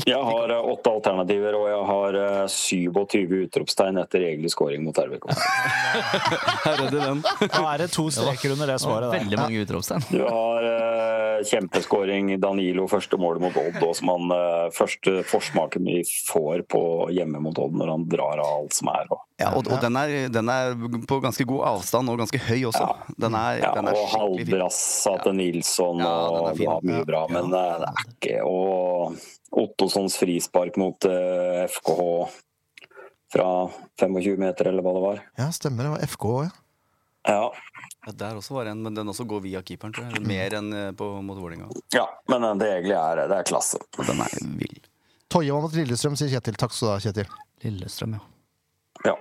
Speaker 4: Jeg har eh, åtte alternativer, og jeg har eh, 27 utropstegn etter egentlig scoring mot RBK.
Speaker 3: Her er det den.
Speaker 6: Da er det to streker under det svaret der.
Speaker 5: Veldig mange utropstegn.
Speaker 4: Du har eh, kjempeskåring Danilo, første målet mot Odd, og som han eh, første forsmaken vi får på hjemme mot Odd, når han drar av alt som er. Og,
Speaker 3: Ja, og og den, er, den er på ganske god avstand og ganske høy også. Den er,
Speaker 4: ja,
Speaker 3: den er
Speaker 4: og
Speaker 3: skikkelig fin.
Speaker 4: halvbrassa til Nilsson,
Speaker 3: Ja, den er
Speaker 4: og
Speaker 3: fin.
Speaker 4: det var mye bra, men eh, det er ikke Og Ottossons frispark mot eh, FKH fra 25 meter, eller hva det var.
Speaker 1: Ja, stemmer. Det var FK òg, ja.
Speaker 4: Ja,
Speaker 3: Ja, der også var en, men den også går via keeperen, tror jeg. Mer enn eh, på, mot Vålerenga.
Speaker 4: ja men eh, det egentlig er, det er klasse.
Speaker 3: Den er vill.
Speaker 1: Toje var mot Lillestrøm, sier Kjetil. Takk skal du ha, Kjetil.
Speaker 5: Lillestrøm, ja.
Speaker 4: Ja.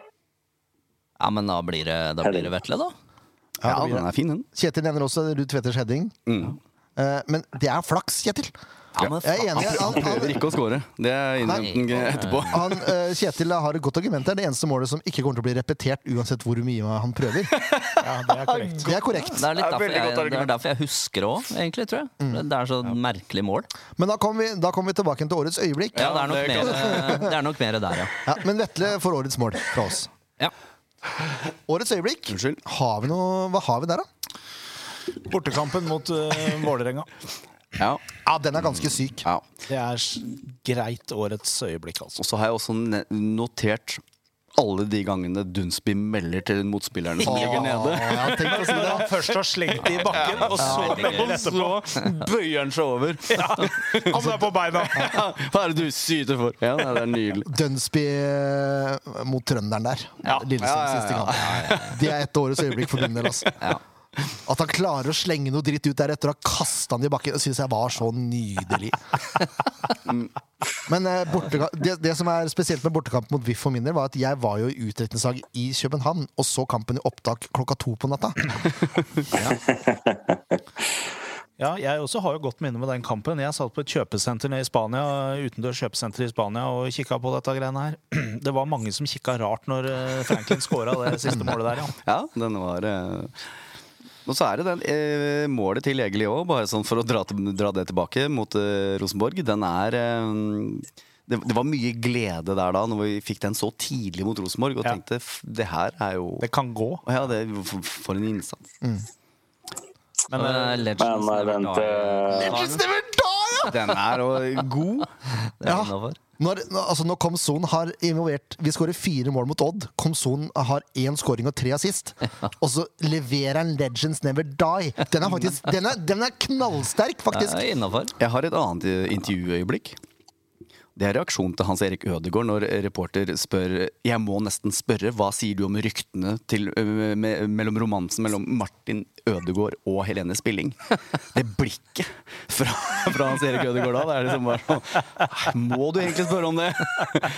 Speaker 5: Ja, men da blir det, da blir det Vetle, da.
Speaker 1: Ja,
Speaker 3: Ja,
Speaker 1: det blir
Speaker 3: den er fin, den.
Speaker 1: Kjetil nevner også Ruud Tvedters heading.
Speaker 3: Mm.
Speaker 1: Eh, men det er flaks, Kjetil!
Speaker 5: Ja, men
Speaker 1: Jeg er enig.
Speaker 5: faen.
Speaker 1: Han,
Speaker 3: Prøver
Speaker 1: han,
Speaker 3: ikke å score. Det er innrømt etterpå.
Speaker 1: han, eh, Kjetil har et godt argument der. Det eneste målet som ikke kommer til å bli repetert, uansett hvor mye han prøver.
Speaker 6: Ja, det er korrekt.
Speaker 1: Det er korrekt.
Speaker 5: Det er, litt
Speaker 3: Det er
Speaker 5: derfor
Speaker 3: veldig godt
Speaker 5: jeg, det er
Speaker 3: argument.
Speaker 5: derfor jeg husker òg, egentlig, tror jeg. Det er så merkelig mål.
Speaker 1: Men da kommer vi, da kommer vi tilbake til årets øyeblikk.
Speaker 5: Ja, det er nok
Speaker 3: det
Speaker 5: mer, det er nok mer der, ja.
Speaker 1: Ja, men Vetle får årets mål fra oss.
Speaker 5: ja.
Speaker 1: Årets øyeblikk.
Speaker 3: Unnskyld.
Speaker 1: Har vi noe Hva har vi der, da?
Speaker 6: Bortekampen mot eh, Vålerenga.
Speaker 3: Ja.
Speaker 1: Ja, Ah, den er ganske syk.
Speaker 3: ja.
Speaker 6: Det er s- greit årets øyeblikk, altså.
Speaker 3: Og så har jeg også ne- notert alle de gangene Dunsby melder til motspillerne som ligger nede.
Speaker 1: Åh, Ah, ja, tenk å si det.
Speaker 6: Når han først har slengt det i bakken, og så
Speaker 3: Og så bøyer han seg over.
Speaker 6: kom deg på beina!
Speaker 3: Hva er det du syter for? Ja, nei, det er nydelig.
Speaker 1: Dunsby eh, mot trønderen der.
Speaker 3: Ja.
Speaker 1: Lillestrøm
Speaker 3: Ja, ja, ja.
Speaker 1: siste kamp. Det er et årets øyeblikk for min del. Altså. At han klarer å slenge noe dritt ut der etter å ha kasta han i bakken, syns jeg var så nydelig. Men eh, bortega- det, det som er spesielt med bortekamp mot VIF for min del, var at jeg var jo i utdrikningslag i København og så kampen i opptak klokka to på natta.
Speaker 6: Ja, jeg også har jo godt minne med den kampen. Jeg satt på et kjøpesenter nede i Spania, utendørs kjøpesenter i Spania og kikka på dette greiene her. Det var mange som kikka rart når eh, Franklin scora det siste målet der, ja.
Speaker 3: Ja, den var eh, Og så er det den eh, målet til Egil òg, bare sånn for å dra, til, dra det tilbake mot eh, Rosenborg. Den er eh, det, det var mye glede der da, når vi fikk den så tidlig mot Rosenborg, og
Speaker 6: Ja.
Speaker 3: tenkte "F- det her er jo
Speaker 6: Det kan gå.
Speaker 3: Å ja, det, for, for en innsats.
Speaker 6: Men eh,
Speaker 4: Men eh, vent eh,
Speaker 1: Legends never die, ja!
Speaker 3: Den er jo god.
Speaker 1: Ja. Når, nå- altså når Komson har involvert Vi skårer fire mål mot Odd. Komson har én scoring og tre assist. Og så leverer han Legends Never Die. Den er, faktisk, den er, den er knallsterk, faktisk.
Speaker 4: eh,
Speaker 5: Ja, innafor.
Speaker 3: Jeg har et annet eh, intervjuøyeblikk. Det er reaksjonen til Hans Erik Ødegaard når reporter spør Jeg må nesten spørre, hva sier du om ryktene til, ø, me, mellom romansen mellom Martin Ødegaard og Helene Spilling? Det blikket fra, fra Hans Erik Ødegaard da, det er liksom bare sånn Må du egentlig spørre om det?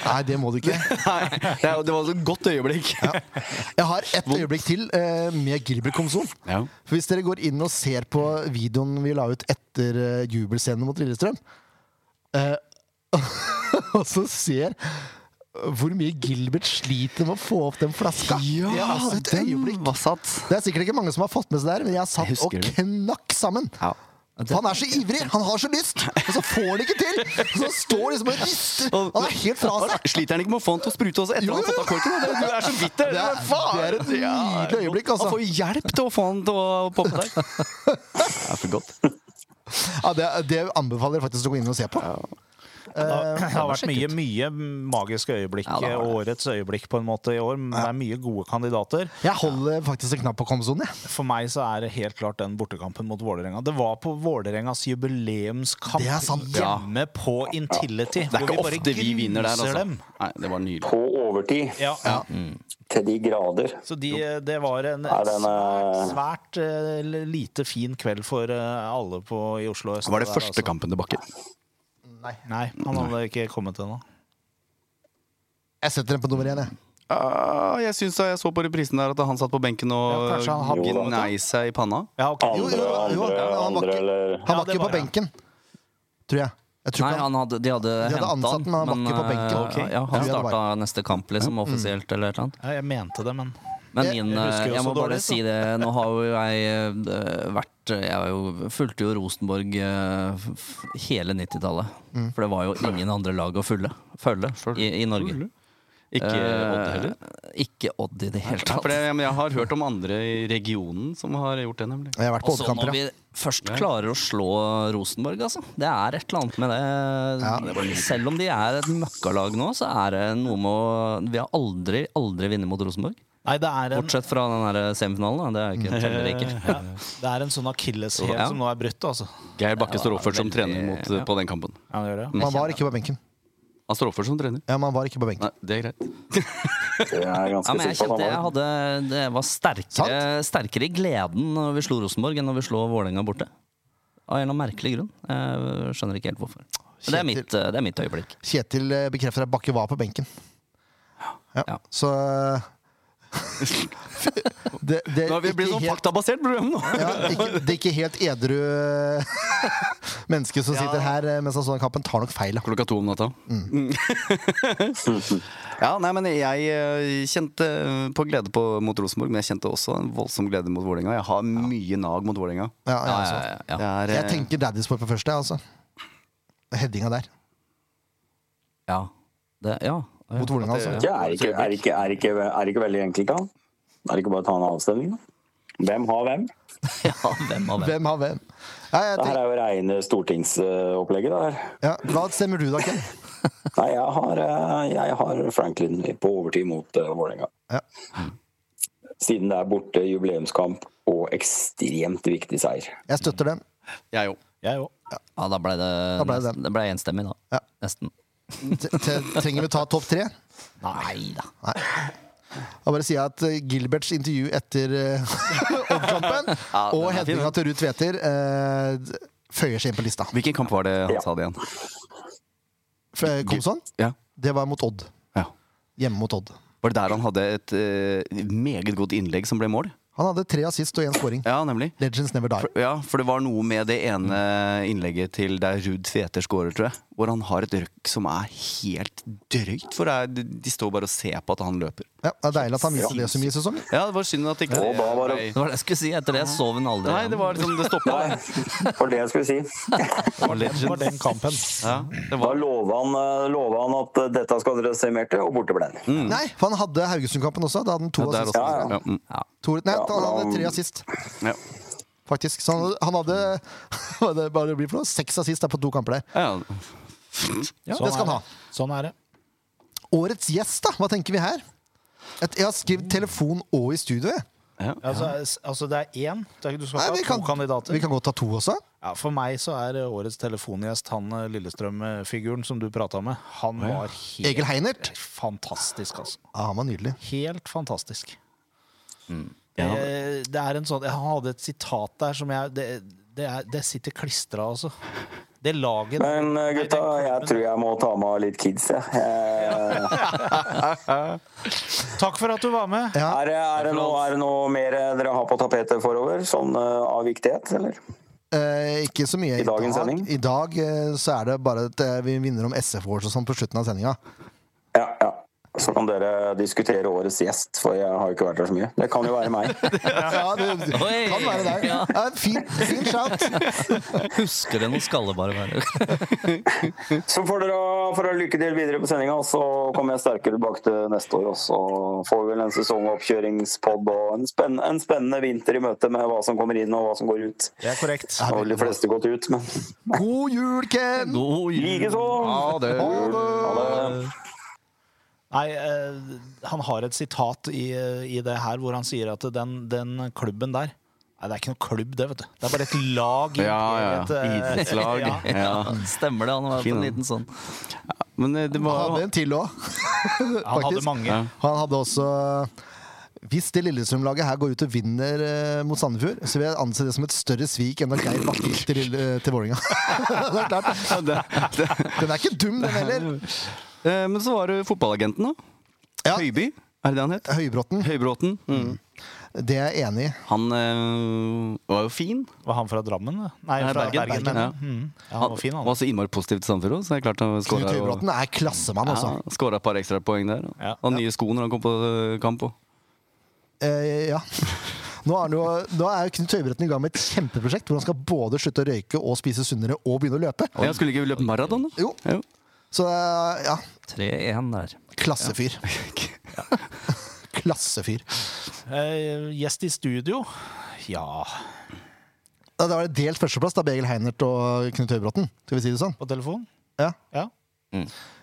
Speaker 1: Nei, det må du ikke.
Speaker 3: Nei, det, er- det var et godt øyeblikk.
Speaker 1: Jeg har ett øyeblikk til eh, med Gilbert Komson.
Speaker 3: Ja.
Speaker 1: For Hvis dere går inn og ser på videoen vi la ut etter eh, jubelscenen mot Lillestrøm, eh, og så ser hvor mye Gilbert sliter med å få opp den flaska. Det er altså et øyeblikk.
Speaker 3: den var satt.
Speaker 1: Det er sikkert ikke mange som har fått med seg det her, men jeg har satt
Speaker 3: Jeg husker
Speaker 1: og
Speaker 3: det.
Speaker 1: knakk sammen.
Speaker 3: Ja.
Speaker 1: For Han er så ivrig, han har så lyst, og så får han det ikke til! Og Så han står liksom og rister. Han er helt fra seg.
Speaker 3: Sliter han ikke med å få han til å sprute også etter
Speaker 1: Jo, jo,
Speaker 3: at han satt av korken? da? Det, det er så vidt, det!
Speaker 1: Det er-
Speaker 3: Men faen!
Speaker 1: det er et nydelig øyeblikk, altså.
Speaker 3: Han får jo hjelp til å få han til å poppe der. Det er for godt.
Speaker 1: Ja, det, det anbefaler jeg faktisk å gå inn og se på.
Speaker 6: Det
Speaker 1: Eh,
Speaker 6: har vært mye, mye magiske øyeblikk.
Speaker 5: Ja, det har det.
Speaker 6: Årets øyeblikk på en måte i år. men Det er mye gode kandidater.
Speaker 1: jeg holder faktisk en knapp på Komsonen, jeg.
Speaker 6: For meg så er det helt klart den bortekampen mot Vålerenga. Det var på Vålerengas jubileumskamp
Speaker 1: Det er sant.
Speaker 6: hjemme på Intility.
Speaker 3: Det er
Speaker 6: hvor
Speaker 3: ikke
Speaker 6: bare
Speaker 3: ofte vi vinner der,
Speaker 6: gruser
Speaker 3: altså.
Speaker 6: dem.
Speaker 3: Nei, det var nydelig.
Speaker 4: På overtid,
Speaker 6: Ja,
Speaker 4: til de grader.
Speaker 6: Så de, eh, det var en
Speaker 4: Nei, den
Speaker 6: svært,
Speaker 4: er-
Speaker 6: svært eh, lite fin kveld for eh, alle på, i Oslo øst.
Speaker 3: Var det
Speaker 6: der,
Speaker 3: første
Speaker 6: altså.
Speaker 3: kampen til Bakke?
Speaker 6: Nei, han hadde ikke kommet ennå.
Speaker 1: Jeg setter den på nummer én, jeg.
Speaker 3: Ah, jeg syns da jeg så på reprisen der at han satt på benken
Speaker 6: Ja,
Speaker 3: og
Speaker 6: kanskje han hadde-
Speaker 3: gnei seg i panna.
Speaker 6: Ja, ok.
Speaker 1: Jo, jo,
Speaker 4: Andre,
Speaker 1: jo,
Speaker 4: andre,
Speaker 1: han var
Speaker 4: andre,
Speaker 1: ikke-
Speaker 4: eller
Speaker 1: Han
Speaker 6: Ja,
Speaker 1: var
Speaker 6: det
Speaker 1: ikke på
Speaker 6: var det.
Speaker 1: benken, tror jeg. jeg tror
Speaker 5: Nei,
Speaker 1: ikke han,
Speaker 5: han hadde, de hadde,
Speaker 1: hadde
Speaker 5: hentet
Speaker 1: ansatt den, men han var ikke på
Speaker 5: men,
Speaker 1: benken.
Speaker 5: eh,
Speaker 1: Ok.
Speaker 5: Ja,
Speaker 1: Ja,
Speaker 5: han
Speaker 1: det var-
Speaker 5: starta neste kamp liksom, offisielt eller et eller annet.
Speaker 6: Ja, jeg mente det, men
Speaker 5: Men
Speaker 1: Jeg-
Speaker 5: min,
Speaker 6: jeg husker
Speaker 5: jeg,
Speaker 6: jo så
Speaker 5: må bare
Speaker 6: dårlig, så.
Speaker 5: si det, nå har jo jeg eh, vært Jeg har jo, fulgte jo Rosenborg eh, f- f- hele 90-tallet. For det var jo ingen andre lag å følge, følge i, i Norge.
Speaker 3: Ikke
Speaker 5: Eh,
Speaker 3: Odd heller.
Speaker 5: Ikke Odd i det hele
Speaker 3: Nei,
Speaker 5: tatt.
Speaker 3: for det, men jeg har hørt om andre i regionen som har gjort det, nemlig.
Speaker 1: jeg har vært på
Speaker 5: Og så Altså, når
Speaker 1: Odd-kamper,
Speaker 5: vi
Speaker 1: ja.
Speaker 5: først klarer å slå Rosenborg, altså. Det er et eller annet med
Speaker 1: Ja,
Speaker 5: det. Selv om de er et møkkalag nå, så er det noe med å Vi har aldri, aldri vunnet mot Rosenborg.
Speaker 6: Nei, det er en,
Speaker 5: Bortsett fra den der semifinalen, da. Det er ikke, teller ikke.
Speaker 6: det er en sånn akilleshæl
Speaker 5: Ja.
Speaker 6: som nå er brutt, altså.
Speaker 3: Geir Bakke står oppført som
Speaker 5: veldig-
Speaker 3: trener mot,
Speaker 5: ja.
Speaker 3: på den kampen.
Speaker 6: Ja, det gjør det.
Speaker 1: Man var ikke på benken.
Speaker 3: Han står oppført som trener.
Speaker 1: Ja, man var ikke på benken.
Speaker 3: Nei, det er greit.
Speaker 4: Det er jeg
Speaker 5: Ja,
Speaker 4: ganske
Speaker 5: men jeg
Speaker 4: sikker på.
Speaker 5: kjente jeg
Speaker 4: at han var.
Speaker 5: hadde, det var sterkere, sterkere i gleden når vi slo Rosenborg enn når vi slo Vålerenga borte. Av en eller annen merkelig grunn. Jeg skjønner ikke helt hvorfor. Men det er mitt, eh, det er mitt øyeblikk.
Speaker 1: Kjetil eh, bekrefter at Bakke var på benken. Ja,
Speaker 5: Ja.
Speaker 1: så eh, det, det,
Speaker 3: Nå har vi
Speaker 1: Eh, ikke
Speaker 3: blitt sånn
Speaker 1: helt-
Speaker 3: faktabasert program nå!
Speaker 1: ja, ikke, det er ikke helt edru eh, menneske som sitter her eh, mens han så den kampen, tar nok feil. da.
Speaker 3: Klokka to om natta. Mm. ja, nei, men jeg eh, kjente på glede på, mot Rosenborg, men jeg kjente også en voldsom glede mot Vålerenga. Jeg har mye nag mot Vålerenga.
Speaker 1: Ja, ja, altså.
Speaker 5: ja,
Speaker 3: Det
Speaker 5: ja.
Speaker 3: er, eh,
Speaker 1: Jeg tenker Daddy Sport på første, jeg, altså. Headinga der.
Speaker 5: ja. Det, ja.
Speaker 1: Mot Vålerenga, altså.
Speaker 4: Ja, er ikke, er, ikke, er, ikke, er ikke veldig enkelt, da? Er det ikke bare å ta en avstemning, da? Hvem har hvem?
Speaker 5: ja, hvem av hvem?
Speaker 1: Hvem har hvem? Ja, jeg
Speaker 4: Det her
Speaker 1: tenker,
Speaker 4: er jo reine stortingsopplegget. det her.
Speaker 1: ja. Hva stemmer du, da, Ken?
Speaker 4: Nei, jeg har, eh, jeg har Franklin på overtid mot eh, Vålerenga.
Speaker 1: Ja.
Speaker 4: Siden det er borte jubileumskamp og ekstremt viktig seier.
Speaker 1: Jeg støtter den.
Speaker 3: Jeg òg.
Speaker 6: Jeg òg.
Speaker 5: Ja, da ble det,
Speaker 1: Da ble det
Speaker 5: nesten-
Speaker 1: den.
Speaker 5: det ble enstemmig, da.
Speaker 1: Ja.
Speaker 5: Nesten.
Speaker 1: T- t- Trenger vi ta topp tre?
Speaker 5: Nei da.
Speaker 1: Da bare sier jeg at eh, Gilberts intervju etter eh, Odd-kampen
Speaker 3: Ja, den
Speaker 1: og
Speaker 3: er fin,
Speaker 1: headinga til Ruud Tveter eh, d- føyer seg inn på lista.
Speaker 3: Hvilken kamp var det han
Speaker 4: Ja.
Speaker 3: sa det igjen?
Speaker 1: F- eh, Komson,
Speaker 3: Ja.
Speaker 1: det var mot Odd.
Speaker 3: ja.
Speaker 1: Hjemme mot Odd.
Speaker 3: Var det der han hadde et eh, meget godt innlegg som ble mål?
Speaker 1: Han hadde tre assist og én scoring.
Speaker 3: Ja, nemlig.
Speaker 1: Legends never die.
Speaker 3: Ja, for det var noe med det ene innlegget til der Ruud Tveter scorer, tror jeg. Hvor han har et røkk som er helt drøyt. For det er, de står bare og ser på at han løper.
Speaker 1: Ja, det er deilig at han viser det så mye i sesongen.
Speaker 3: Ja, det var synd at ikke
Speaker 4: Og da var det-
Speaker 3: Nei.
Speaker 5: Det var det jeg skulle si. Etter det sov hun aldri.
Speaker 3: Nei, det var liksom Det stoppa.
Speaker 4: Nei, for det jeg skulle si.
Speaker 6: Det var den kampen.
Speaker 3: Ja, det
Speaker 4: Da
Speaker 3: var
Speaker 4: lova han, eh, lova han at eh, dette skal dere se mer til, og borte ble den.
Speaker 1: Nei, for han hadde Haugesund-kampen også. Da hadde han to
Speaker 3: der
Speaker 1: assist.
Speaker 3: også.
Speaker 4: Ja, ja.
Speaker 3: Mm. Ja, mm.
Speaker 1: To, nei,
Speaker 4: Ja,
Speaker 1: han
Speaker 4: da-
Speaker 1: hadde tre assist,
Speaker 3: ja.
Speaker 1: faktisk. Så han, han hadde hva det bare blir for noe, seks assist der på to kamper der.
Speaker 3: Ja,
Speaker 1: det skal han ha.
Speaker 6: Sånn er det.
Speaker 1: Årets gjest, da? Hva tenker vi her? Et, jeg har skrevet telefon og i studio. jeg.
Speaker 6: Altså, s- altså det er én. Det er, ikke- du skal
Speaker 1: Nei,
Speaker 6: ikke
Speaker 1: vi
Speaker 6: ha to
Speaker 1: kan-
Speaker 6: kandidater.
Speaker 1: Vi kan godt ta to også.
Speaker 6: Ja, for meg så er eh, årets telefongjest han eh, Lillestrøm-figuren som du prata med. Han var helt
Speaker 1: Egil Heinert.
Speaker 6: fantastisk, altså.
Speaker 1: Ja, han var nydelig.
Speaker 6: Helt fantastisk.
Speaker 3: Mm.
Speaker 6: Eh, Det, det er en sånn Han hadde et sitat der som jeg Det, det, er, det sitter klistra, altså. Det laget
Speaker 4: Men eh, gutta, jeg tror jeg må ta med litt kids, jeg. Eh,
Speaker 6: Takk for at du var med!
Speaker 1: Ja,
Speaker 4: Er, det- er, det noe, er det noe mer dere har på tapetet forover, sånn eh, av viktighet, eller?
Speaker 1: eh, ikke så mye i,
Speaker 4: dagens
Speaker 1: dag.
Speaker 4: sending?
Speaker 1: I dag eh, så er det bare at eh, vi vinner om SF Awards og sånn på slutten av sendinga.
Speaker 4: Ja, ja. Så kan dere diskutere årets gjest, for jeg har jo ikke vært her så mye. Det kan jo være meg.
Speaker 1: Ja, det
Speaker 5: Oi!
Speaker 1: kan være deg.
Speaker 5: Ja.
Speaker 1: Ja, fin, fin shout.
Speaker 5: Husker det noe skalle bare være.
Speaker 4: Så får dere, får dere lykke til videre på sendinga, og så kommer jeg sterkere tilbake til neste år. Og så får vi vel en sesongoppkjøringspod og en spennende, en spennende vinter i møte med hva som kommer inn og hva som går ut.
Speaker 2: Det er korrekt.
Speaker 4: Nå har de fleste gått ut, men
Speaker 1: God jul, Ken!
Speaker 5: God jul.
Speaker 4: likeså!
Speaker 3: det
Speaker 4: Ha det.
Speaker 6: Nei, eh, han har et sitat i, i det her hvor han sier at den, den klubben der Nei, det er ikke noe klubb, det, vet du. Det er bare et lag. i-
Speaker 3: Ja, ja.
Speaker 6: et, eh,
Speaker 3: Idrettslag.
Speaker 6: ja.
Speaker 3: Ja.
Speaker 5: Stemmer det, han var på
Speaker 3: Fin,
Speaker 5: en
Speaker 3: han.
Speaker 5: liten sånn.
Speaker 3: Men eh, det
Speaker 1: Han
Speaker 3: var
Speaker 1: hadde en til òg,
Speaker 6: Han hadde
Speaker 1: faktisk.
Speaker 6: mange.
Speaker 3: Ja.
Speaker 1: Han hadde også Hvis det Lillestrøm-laget her går ut og vinner eh, mot Sandefjord, så vil jeg anse det som et større svik enn at Geir Bakke gikk til, Lille- til Vålerenga. Det er klart.
Speaker 3: Ja, det, det.
Speaker 1: Den er ikke dum, den heller.
Speaker 3: Eh, Men så var det fotballagenten, da.
Speaker 1: Ja.
Speaker 3: Høiby, er det det han het?
Speaker 1: Høybråten.
Speaker 3: Høybråten. Mm.
Speaker 1: Det er jeg enig i.
Speaker 3: Han eh, var jo fin.
Speaker 6: Var han fra Drammen? da? Nei,
Speaker 3: Nei,
Speaker 6: fra
Speaker 3: Bergen.
Speaker 6: Bergen.
Speaker 3: Bergen, ja.
Speaker 6: men- Mm. ja, han var fin, han.
Speaker 3: var så innmari positiv til Sandefjord òg, så det er klart han
Speaker 1: Knut
Speaker 3: skåra jo
Speaker 1: Høybråten er klassemann, altså.
Speaker 3: ja, skåra et par ekstrapoeng der.
Speaker 6: Ja.
Speaker 3: Og nye sko når han kom på eh, kamp òg.
Speaker 1: Eh, ja. Nå er, han jo, nå er jo Knut Høybråten i gang med et kjempeprosjekt hvor han skal både slutte å røyke og spise sunnere og begynne å løpe.
Speaker 3: Jeg skulle ikke løpt maraton, da.
Speaker 1: Jo,
Speaker 3: Jo.
Speaker 1: Så eh, ja,
Speaker 5: 3-1 der.
Speaker 1: klassefyr. Klassefyr.
Speaker 6: Eh, gjest i studio? Ja
Speaker 1: Ja, Da var det delt førsteplass, da, Begel Heinert og Knut Høybråten. Skal vi si det sånn?
Speaker 6: På telefon?
Speaker 1: Ja.
Speaker 6: Ja.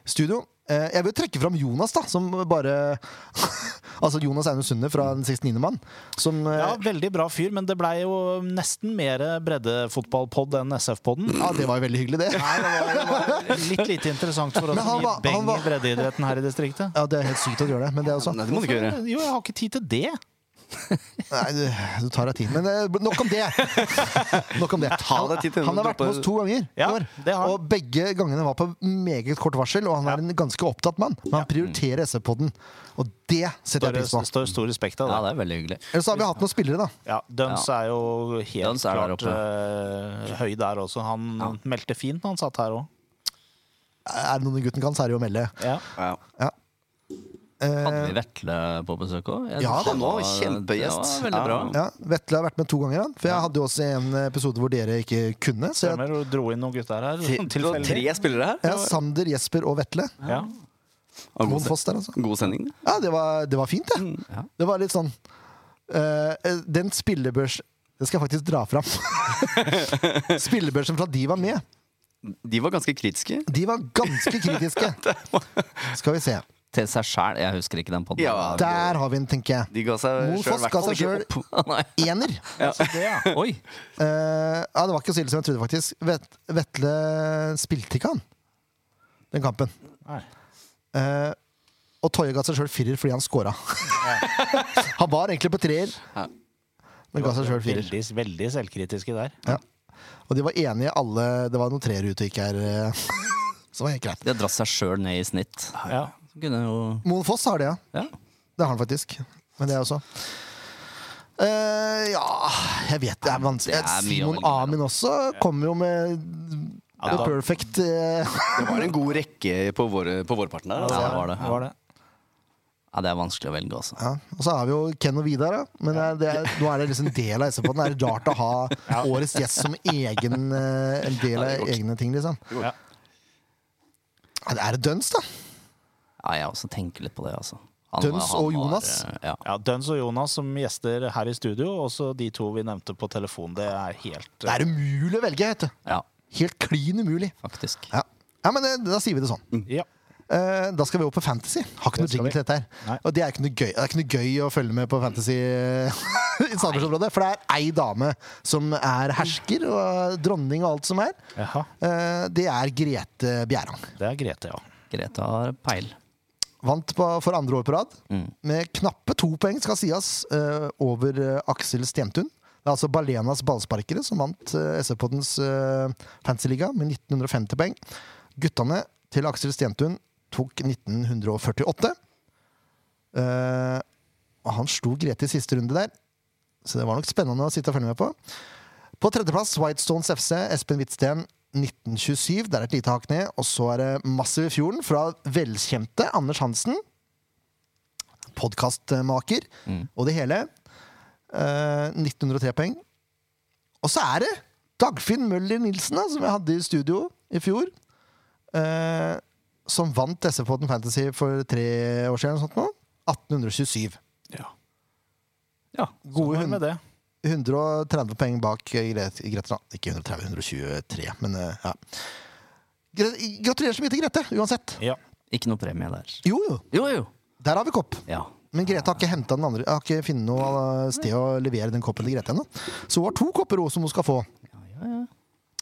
Speaker 1: Studio. Eh, Jeg vil trekke fram Jonas, da, som bare Altså Jonas Einar Sunde fra Den 69. mann. Som eh,
Speaker 6: ja, veldig bra fyr, men det blei jo nesten mer breddefotballpod enn SF-podden.
Speaker 1: Ja, det var jo veldig hyggelig, det.
Speaker 6: Nei, det var, det var litt lite interessant for oss
Speaker 1: Men
Speaker 6: som
Speaker 1: han
Speaker 6: gir
Speaker 1: var- han
Speaker 6: beng i
Speaker 1: var-
Speaker 6: breddeidretten her i distriktet.
Speaker 1: Ja, Det er helt sykt å gjøre det, men det er sånn. også
Speaker 3: Nei, det må du ikke gjøre.
Speaker 6: Jo, jeg har ikke tid til det.
Speaker 1: Nei, du, du tar deg tid. Men eh, nok om det! Nok om det. Han,
Speaker 3: deg tid til å
Speaker 1: han har vært
Speaker 3: droppe-
Speaker 1: med oss to ganger. i
Speaker 6: Ja,
Speaker 1: år.
Speaker 6: det har han.
Speaker 1: og begge gangene var på meget kort varsel, og han er en ganske opptatt mann. Men han prioriterer SF-podden, og det setter jeg pris
Speaker 6: Står,
Speaker 1: på.
Speaker 6: står stor respekt av
Speaker 5: Ja,
Speaker 6: det.
Speaker 5: det er veldig hyggelig.
Speaker 1: Ellers har vi hatt noen spillere, da.
Speaker 6: Ja, Duns er jo helt
Speaker 5: Duns er der
Speaker 6: klart eh, høy der også. Han meldte fint når han satt her òg.
Speaker 1: Er det noen gutten kan, så er det jo å melde.
Speaker 6: Ja.
Speaker 3: Ja.
Speaker 5: Hadde vi Vetle på besøk òg?
Speaker 1: Ja,
Speaker 3: han var kjempegjest.
Speaker 5: Det var veldig bra.
Speaker 3: Ja.
Speaker 1: Ja, Vetle har vært med to ganger, han. For jeg hadde jo også en episode hvor dere ikke kunne. Så jeg,
Speaker 6: Stemmer, og dro inn noen gutter her. sånn
Speaker 3: Det var
Speaker 6: Tilfeldig.
Speaker 3: tre spillere her.
Speaker 1: ja, Sander, Jesper og Vetle.
Speaker 6: Ja.
Speaker 3: Og
Speaker 1: Mon
Speaker 3: God, se-
Speaker 1: Foss der, altså.
Speaker 3: god sending.
Speaker 1: Ja, det var, det var fint, det. Det var litt sånn eh, Den spillebørs... Det skal jeg faktisk dra fram. Spillebørsen fra de var med.
Speaker 3: De var ganske kritiske.
Speaker 1: De var ganske kritiske. Skal vi se.
Speaker 5: Til seg sjæl. Jeg husker ikke den podden.
Speaker 3: Ja.
Speaker 1: Der har vi den, tenker jeg.
Speaker 3: De ga seg
Speaker 1: Mo
Speaker 3: sjøl, i
Speaker 1: Foss
Speaker 3: hvert
Speaker 1: ga
Speaker 3: fall
Speaker 1: seg
Speaker 3: ikke
Speaker 1: selv-
Speaker 3: opp.
Speaker 5: Nei.
Speaker 1: Ener.
Speaker 5: Oi!
Speaker 1: Eh, ja, det var ikke så ille som jeg trodde, faktisk. Vet, Vetle spilte ikke han den kampen.
Speaker 6: Nei.
Speaker 1: Eh, og Toje ga seg sjøl firer fordi han scora. han var egentlig på treer, men ga seg sjøl firer.
Speaker 6: Veldig, veldig selvkritiske der.
Speaker 1: Og de var enige alle Det var noen treere ute og gikk her. eh, Så var helt greit.
Speaker 5: De har dratt seg sjøl ned i snitt.
Speaker 6: Ja.
Speaker 5: Så kunne jo
Speaker 1: Moen Foss har det, ja.
Speaker 5: Ja.
Speaker 1: Det har han faktisk. Men det er også. Eh, ja Jeg vet det er vanskelig.
Speaker 5: Det er mye å
Speaker 1: Simon
Speaker 5: velge mellom.
Speaker 1: Amin også kommer jo med the
Speaker 6: da-
Speaker 1: perfect eh,
Speaker 3: Det var en god rekke på, våre, på vårparten der.
Speaker 5: Ja,
Speaker 3: Altså.
Speaker 5: det var det.
Speaker 6: Det var det.
Speaker 5: Ja, det er vanskelig å velge, altså.
Speaker 1: ja. Og så har vi jo Ken og Vidar, da. Men eh, det er, det er, nå er det liksom del av SV-podden. Det er rart å ha årets gjest som egen, eh, en del
Speaker 3: Ja, det
Speaker 1: av
Speaker 3: går ikke.
Speaker 1: egne ting, liksom.
Speaker 3: går
Speaker 1: Ja,
Speaker 3: ikke.
Speaker 1: det er Duns, da.
Speaker 5: Ja, jeg også tenker litt på det, altså. Han-
Speaker 1: Tøns
Speaker 5: han
Speaker 1: og
Speaker 5: var,
Speaker 1: Jonas.
Speaker 5: eh, ja.
Speaker 6: Ja, Duns og Jonas som gjester her i studio, også de to vi nevnte på telefon. Det er helt
Speaker 1: Det er umulig å velge, vet du.
Speaker 5: ja,
Speaker 1: Helt klin umulig.
Speaker 5: faktisk.
Speaker 1: Ja, ja men det, da sier vi det sånn.
Speaker 6: Ja.
Speaker 1: Eh, da skal vi over på Fantasy. Har ikke noe jingle til dette her.
Speaker 6: Nei.
Speaker 1: Og det er, ikke noe gøy, det er ikke noe gøy å følge med på Fantasy eh, i Sandefjordsområdet. For det er ei dame som er hersker og dronning og alt som er.
Speaker 6: Jaha.
Speaker 1: Eh, det er Grete Bjerang.
Speaker 6: Det er Grete, ja.
Speaker 5: Grete har peil.
Speaker 1: Vant på, for andre år på rad med knappe to poeng, skal sies, eh, over eh, Aksel Stentun. Det er altså Balenas ballsparkere som vant eh, SV-poddens eh, fantasyliga med 1950 poeng. Guttene til Aksel Stentun tok 1948. Eh, og han slo Grete i siste runde der, så det var nok spennende å sitte og følge med på. På tredjeplass Whitestones FC, Espen Hvitsten 1927. Der er et lite hakk ned. Og så er det Massive Fjorden fra velkjente Anders Hansen. podkastmaker og det hele. Eh, 1903 poeng. Og så er det Dagfinn Møller Nilsen, da, som jeg hadde i studio i fjor. eh, som vant SV-poden Fantasy for tre år siden. eller noe Sånt nå. 1827.
Speaker 6: Ja,
Speaker 1: Gode
Speaker 6: sånn var det
Speaker 1: hund.
Speaker 6: med det.
Speaker 1: 130 poeng bak Grete. Grete da. Ikke 130, 123, men eh, ja. Gre- Gratulerer så mye til Grete, uansett.
Speaker 6: Ja.
Speaker 5: Ikke noe premie der.
Speaker 1: Jo, jo.
Speaker 5: Jo, jo.
Speaker 1: Der har vi kopp.
Speaker 5: Ja.
Speaker 1: Men Grete har ikke hentet den andre Har ikke funnet noe eh, sted å levere den koppen til Grete ennå. Så hun har to kopper også, som hun skal få.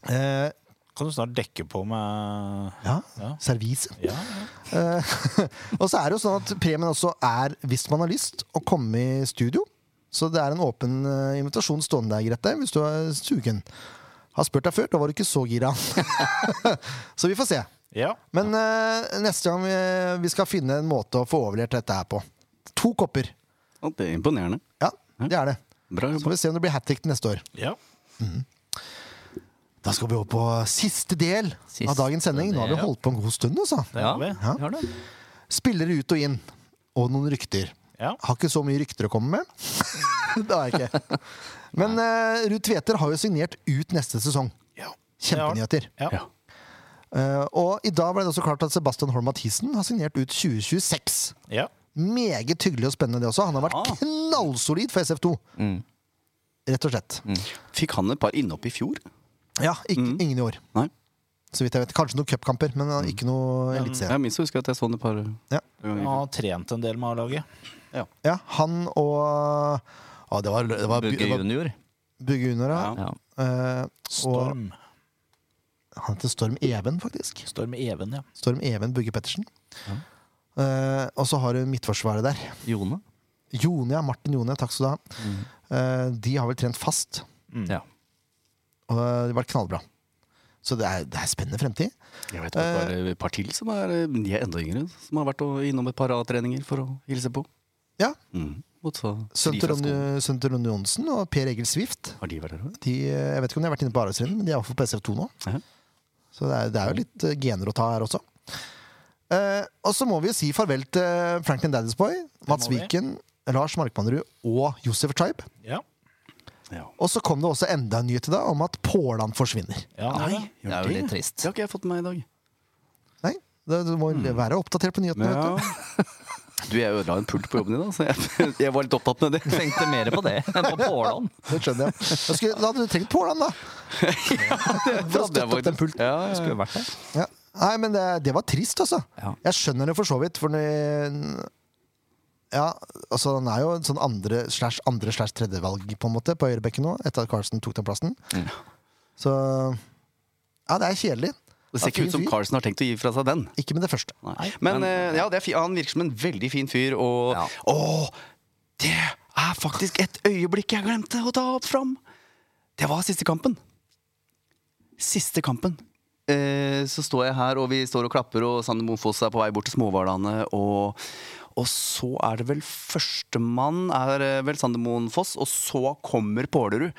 Speaker 1: Eh,
Speaker 6: Kan du snart dekke på med
Speaker 1: ja,
Speaker 6: Ja.
Speaker 1: servise.
Speaker 6: Ja,
Speaker 1: Eh, og så er det jo sånn at premien også er, hvis man har lyst, å komme i studio. Så det er en åpen eh, invitasjon stående der, Grete, hvis du er sugen. Har spurt deg før, da var du ikke så gira. så vi får se.
Speaker 6: ja.
Speaker 1: Men eh, neste gang vi, vi skal finne en måte å få overlevert dette her på. To kopper.
Speaker 3: Ja, Det er imponerende.
Speaker 1: Ja, det er det.
Speaker 3: Bra
Speaker 1: Så
Speaker 3: jobba.
Speaker 1: får vi se om det blir hat trick neste år.
Speaker 6: ja.
Speaker 1: Da skal vi over på siste del
Speaker 5: Siste
Speaker 1: av dagens sending. Nå har vi
Speaker 5: del.
Speaker 1: holdt på en god stund, altså.
Speaker 6: Det
Speaker 5: Ja.
Speaker 6: har vi.
Speaker 1: Ja.
Speaker 5: Vi har det.
Speaker 1: Spillere ut og inn, og noen rykter.
Speaker 6: Ja.
Speaker 1: Har ikke så mye rykter å komme med. det har jeg ikke. Men uh, Ruud Tveter har jo signert ut neste sesong. Kjempenyheter.
Speaker 6: Ja.
Speaker 3: Ja.
Speaker 1: Eh, og i dag ble det også klart at Sebastian Holm Mathisen har signert ut 2026.
Speaker 6: Ja.
Speaker 1: Meget hyggelig og spennende, det også. Han har vært
Speaker 5: Ah.
Speaker 1: knallsolid for SF2.
Speaker 5: Mm.
Speaker 1: Rett og slett.
Speaker 3: Fikk han et par innhopp i fjor?
Speaker 1: Ja, ikke,
Speaker 5: Mm.
Speaker 1: ingen i år.
Speaker 3: Nei.
Speaker 1: Så vidt jeg vet. Kanskje noen cupkamper, men eh, ikke noe eliteserie.
Speaker 3: Jeg minst husker jeg at jeg så han et par
Speaker 1: Ja.
Speaker 6: Han har trent en del med A-laget.
Speaker 1: Ja, han og Å, det var, det var,
Speaker 5: Bugge
Speaker 1: det var
Speaker 5: junior.
Speaker 1: Bugge Junior, ja.
Speaker 5: Ja.
Speaker 1: Eh, og
Speaker 6: Storm.
Speaker 1: han heter Storm Even, faktisk.
Speaker 6: Storm Even, ja.
Speaker 1: Storm Even Bugge Pettersen. Eh, og så har du midtforsvaret der.
Speaker 5: Jone.
Speaker 1: Jone, ja. Martin Jone, takk skal du ha.
Speaker 3: Mm.
Speaker 1: Eh, de har vel trent fast,
Speaker 5: Ja.
Speaker 1: og det har vært knallbra. Så det er, det er spennende fremtid.
Speaker 3: Jeg vet om det er et par til som er, de er enda yngre, som har vært og- innom et par A-treninger for å hilse på.
Speaker 1: Ja.
Speaker 3: Mm. Og så fri
Speaker 1: Sønter
Speaker 3: fra skolen.
Speaker 1: Ronny- Sønter Ronny Johnsen og Per Egil Swift.
Speaker 3: Har de vært her også?
Speaker 1: De, eh, jeg vet ikke om de har vært inne på Arvesvinden, men de er iallfall på SF2 nå.
Speaker 3: Ja.
Speaker 1: Så det er, det er jo litt eh, gener å ta her også. Eh, og så må vi jo si farvel til eh, Franklin Daddisboy, Mats
Speaker 6: må vi.
Speaker 1: Viken, Lars Markmannerud og Josef Tribe.
Speaker 6: ja.
Speaker 3: Ja.
Speaker 1: Og så kom det også enda en nyhet i dag om at Påland forsvinner.
Speaker 6: ja han har det.
Speaker 5: Det er jo litt trist.
Speaker 3: Det har ikke jeg fått med meg i dag.
Speaker 1: Nei, det, du må
Speaker 3: Mm.
Speaker 1: være oppdatert på nyhetene. vet du.
Speaker 3: Du, jeg ødela en pult på jobben i dag, så jeg, jeg var litt opptatt med det.
Speaker 5: Tenkte mer på det enn på Påland.
Speaker 1: Det skjønner jeg. Da, skulle, da hadde du trengt Påland, da! For å støtte opp den pulten.
Speaker 3: Ja, ja,
Speaker 5: Skulle vært der.
Speaker 1: Ja. Nei, men det, det var trist, altså.
Speaker 5: Ja.
Speaker 1: Jeg skjønner det for så vidt, for når- ja, altså Han er jo en sånn andre slash andre slash tredjevalg på en måte på høyrebekken nå, etter at Carlsen tok den plassen. Så Ja, det er kjedelig.
Speaker 3: Det ser ikke ut som
Speaker 1: Fin fyr.
Speaker 3: Carlsen har tenkt å gi fra seg den.
Speaker 1: Ikke med det første.
Speaker 3: Nei. Men, eh, ja, det er fi, han virker som en veldig fin fyr, og
Speaker 5: Ja.
Speaker 3: Åh, det er faktisk et øyeblikk jeg glemte å ta opp fram! Det var siste kampen. Siste kampen. Eh, så står jeg her, og vi står og klapper, og Sander Monfoss er på vei bort til Småhvalane, og og så er det vel førstemann er eh, vel Sandermoen Foss, og så kommer Pålerud.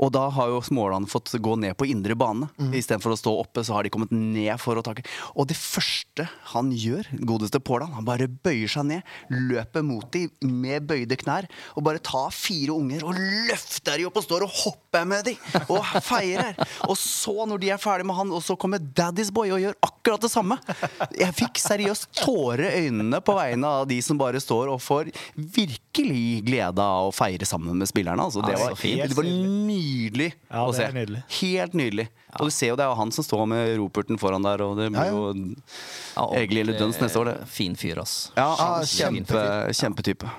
Speaker 3: Og da har jo Småland fått gå ned på indre bane. Istedenfor å stå oppe, så har de kommet ned for å takke. Og det første han gjør, godeste Påland, han bare bøyer seg ned, løper mot dem med bøyde knær, og bare tar fire unger og løfter de opp og står og hopper med dem og feirer. Og så, når de er ferdig med han, og så kommer Daddy's Boy og gjør akkurat det samme. Jeg fikk seriøst tårer i øynene på vegne av de som bare står og får virkelig glede av å feire sammen med spillerne. Altså, det,
Speaker 5: Ja,
Speaker 3: var,
Speaker 5: så fint.
Speaker 3: det var nydelig
Speaker 6: Ja,
Speaker 3: å
Speaker 6: det
Speaker 3: se.
Speaker 6: er nydelig.
Speaker 3: Helt nydelig. Og du ser jo det er jo han som står med roperten foran der, og det blir jo
Speaker 5: Ja, ordentlig
Speaker 3: Egil eller Duns neste år, det.
Speaker 5: Fin fyr, ass.
Speaker 3: Ja,
Speaker 1: Ah,
Speaker 3: kjempe, kjempetype.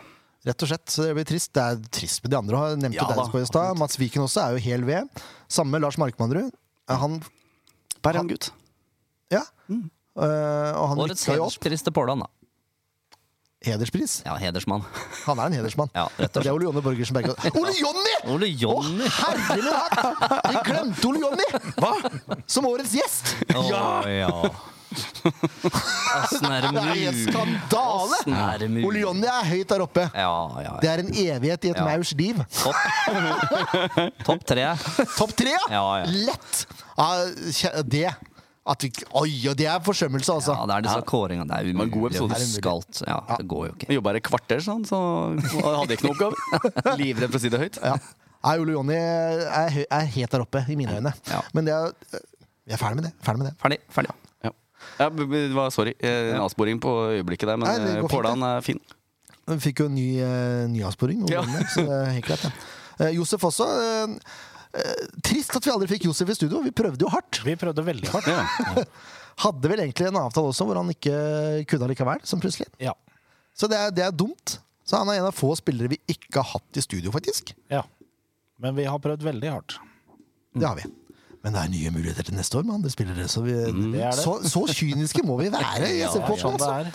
Speaker 1: Rett og slett, så det blir trist. Det er trist med de andre. Jeg nevnte
Speaker 3: Ja da.
Speaker 1: Deinsborg i stad. Mats Viken også er jo hel ved. Samme med Lars Markmannrud. Eh, Han
Speaker 3: Bare en gutt.
Speaker 1: Ja.
Speaker 5: Mm.
Speaker 1: Eh, og han
Speaker 5: Årets
Speaker 1: rykka jo opp.
Speaker 5: hederspris til Påland, da.
Speaker 1: Hederspris.
Speaker 5: Ja, hedersmann.
Speaker 1: Han er en hedersmann.
Speaker 5: Ja, rett og
Speaker 1: Det er Ole Jonny Borgersen Bergan. Ole Jonny!
Speaker 5: Ole Jonny!
Speaker 1: Herre min hatt! Vi glemte Ole Jonny! Hva? Som årets gjest!
Speaker 5: Å, ja! Åssen er det
Speaker 1: Det er en
Speaker 5: mulig?
Speaker 1: skandale!
Speaker 5: Åssen er
Speaker 1: Ole
Speaker 5: det mulig?
Speaker 1: Jonny er høyt der oppe.
Speaker 5: Ja, ja,
Speaker 1: Det
Speaker 5: ja.
Speaker 1: er en evighet i et
Speaker 5: Ja.
Speaker 1: maurs liv.
Speaker 5: Topp. Topp tre.
Speaker 1: Topp tre,
Speaker 5: Ja, ja.
Speaker 1: Lett! Ja, kje- det At vi, oi, og det er forsømmelse, altså.
Speaker 5: Ja, det er disse kåringene. Det er
Speaker 3: var en god
Speaker 5: umulig å
Speaker 3: episode.
Speaker 5: huske alt. Ja, det går jo ikke.
Speaker 3: Jeg jobba her et kvarter, sånn, så hadde jeg ikke noen oppgave. Livredd for å si det høyt.
Speaker 1: Ja. Nei, Ole Jonny er, hø- er helt der oppe, i mine øyne.
Speaker 5: Ja.
Speaker 1: Men det er, vi er ferdig med det. Ferdig med det.
Speaker 5: Ferdig. ferdig.
Speaker 3: Ja. Ja, b- b- det var, sorry, eh, en avsporing på øyeblikket der, men
Speaker 1: Nei, det
Speaker 3: eh,
Speaker 1: går fint,
Speaker 3: Pålan er fin.
Speaker 1: Vi fikk jo en ny, eh, ny avsporing, Ole
Speaker 3: Ja.
Speaker 1: Jonny, så det er helt greit. Ja. Eh, Josef også. eh, eh, trist at vi aldri fikk Josef i studio. Vi prøvde jo hardt.
Speaker 6: Vi prøvde veldig hardt.
Speaker 3: Ja.
Speaker 1: Hadde vel egentlig en avtale også hvor han ikke kunne likevel, som plutselig.
Speaker 6: Ja.
Speaker 1: Så det er, det er dumt. Så han er en av få spillere vi ikke har hatt i studio, faktisk.
Speaker 6: ja. Men vi har prøvd veldig hardt.
Speaker 1: Det har vi. Men det er nye muligheter til neste år med andre spillere. Så, vi,
Speaker 6: Mm. Det er det.
Speaker 1: så, så kyniske må vi være. i
Speaker 6: Ja, det
Speaker 1: SF-podden,
Speaker 6: er sånn det
Speaker 1: altså.
Speaker 6: er.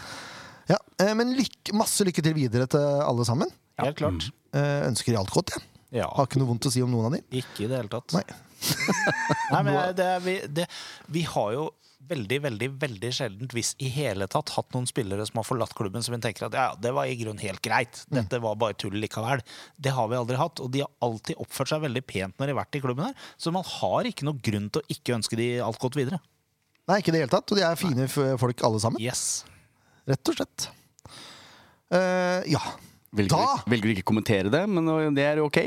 Speaker 1: Ja, eh, men lykke, masse lykke til videre til alle sammen.
Speaker 6: Helt klart.
Speaker 1: Eh, Ønsker de alt godt, jeg.
Speaker 6: Ja.
Speaker 1: Har ikke noe vondt å si om noen av de.
Speaker 6: Ikke i det hele tatt.
Speaker 1: Nei.
Speaker 6: Nei, men jeg- det, er- vi, det, vi har jo veldig, veldig veldig sjeldent, hvis i hele tatt, hatt noen spillere som har forlatt klubben som vi tenker at ja, ja, det var i grunnen helt greit. Dette var bare tull likevel. Det har vi aldri hatt. Og de har alltid oppført seg veldig pent når de har vært i klubben her. Så man har ikke noe grunn til å ikke ønske de alt godt videre.
Speaker 1: Nei, ikke i det hele tatt. Og de er fine f- folk alle sammen.
Speaker 6: Yes.
Speaker 1: Rett og slett. Eh, ja.
Speaker 3: Velger,
Speaker 1: Da-
Speaker 3: du- velger du ikke å kommentere det, men eh, det er ok.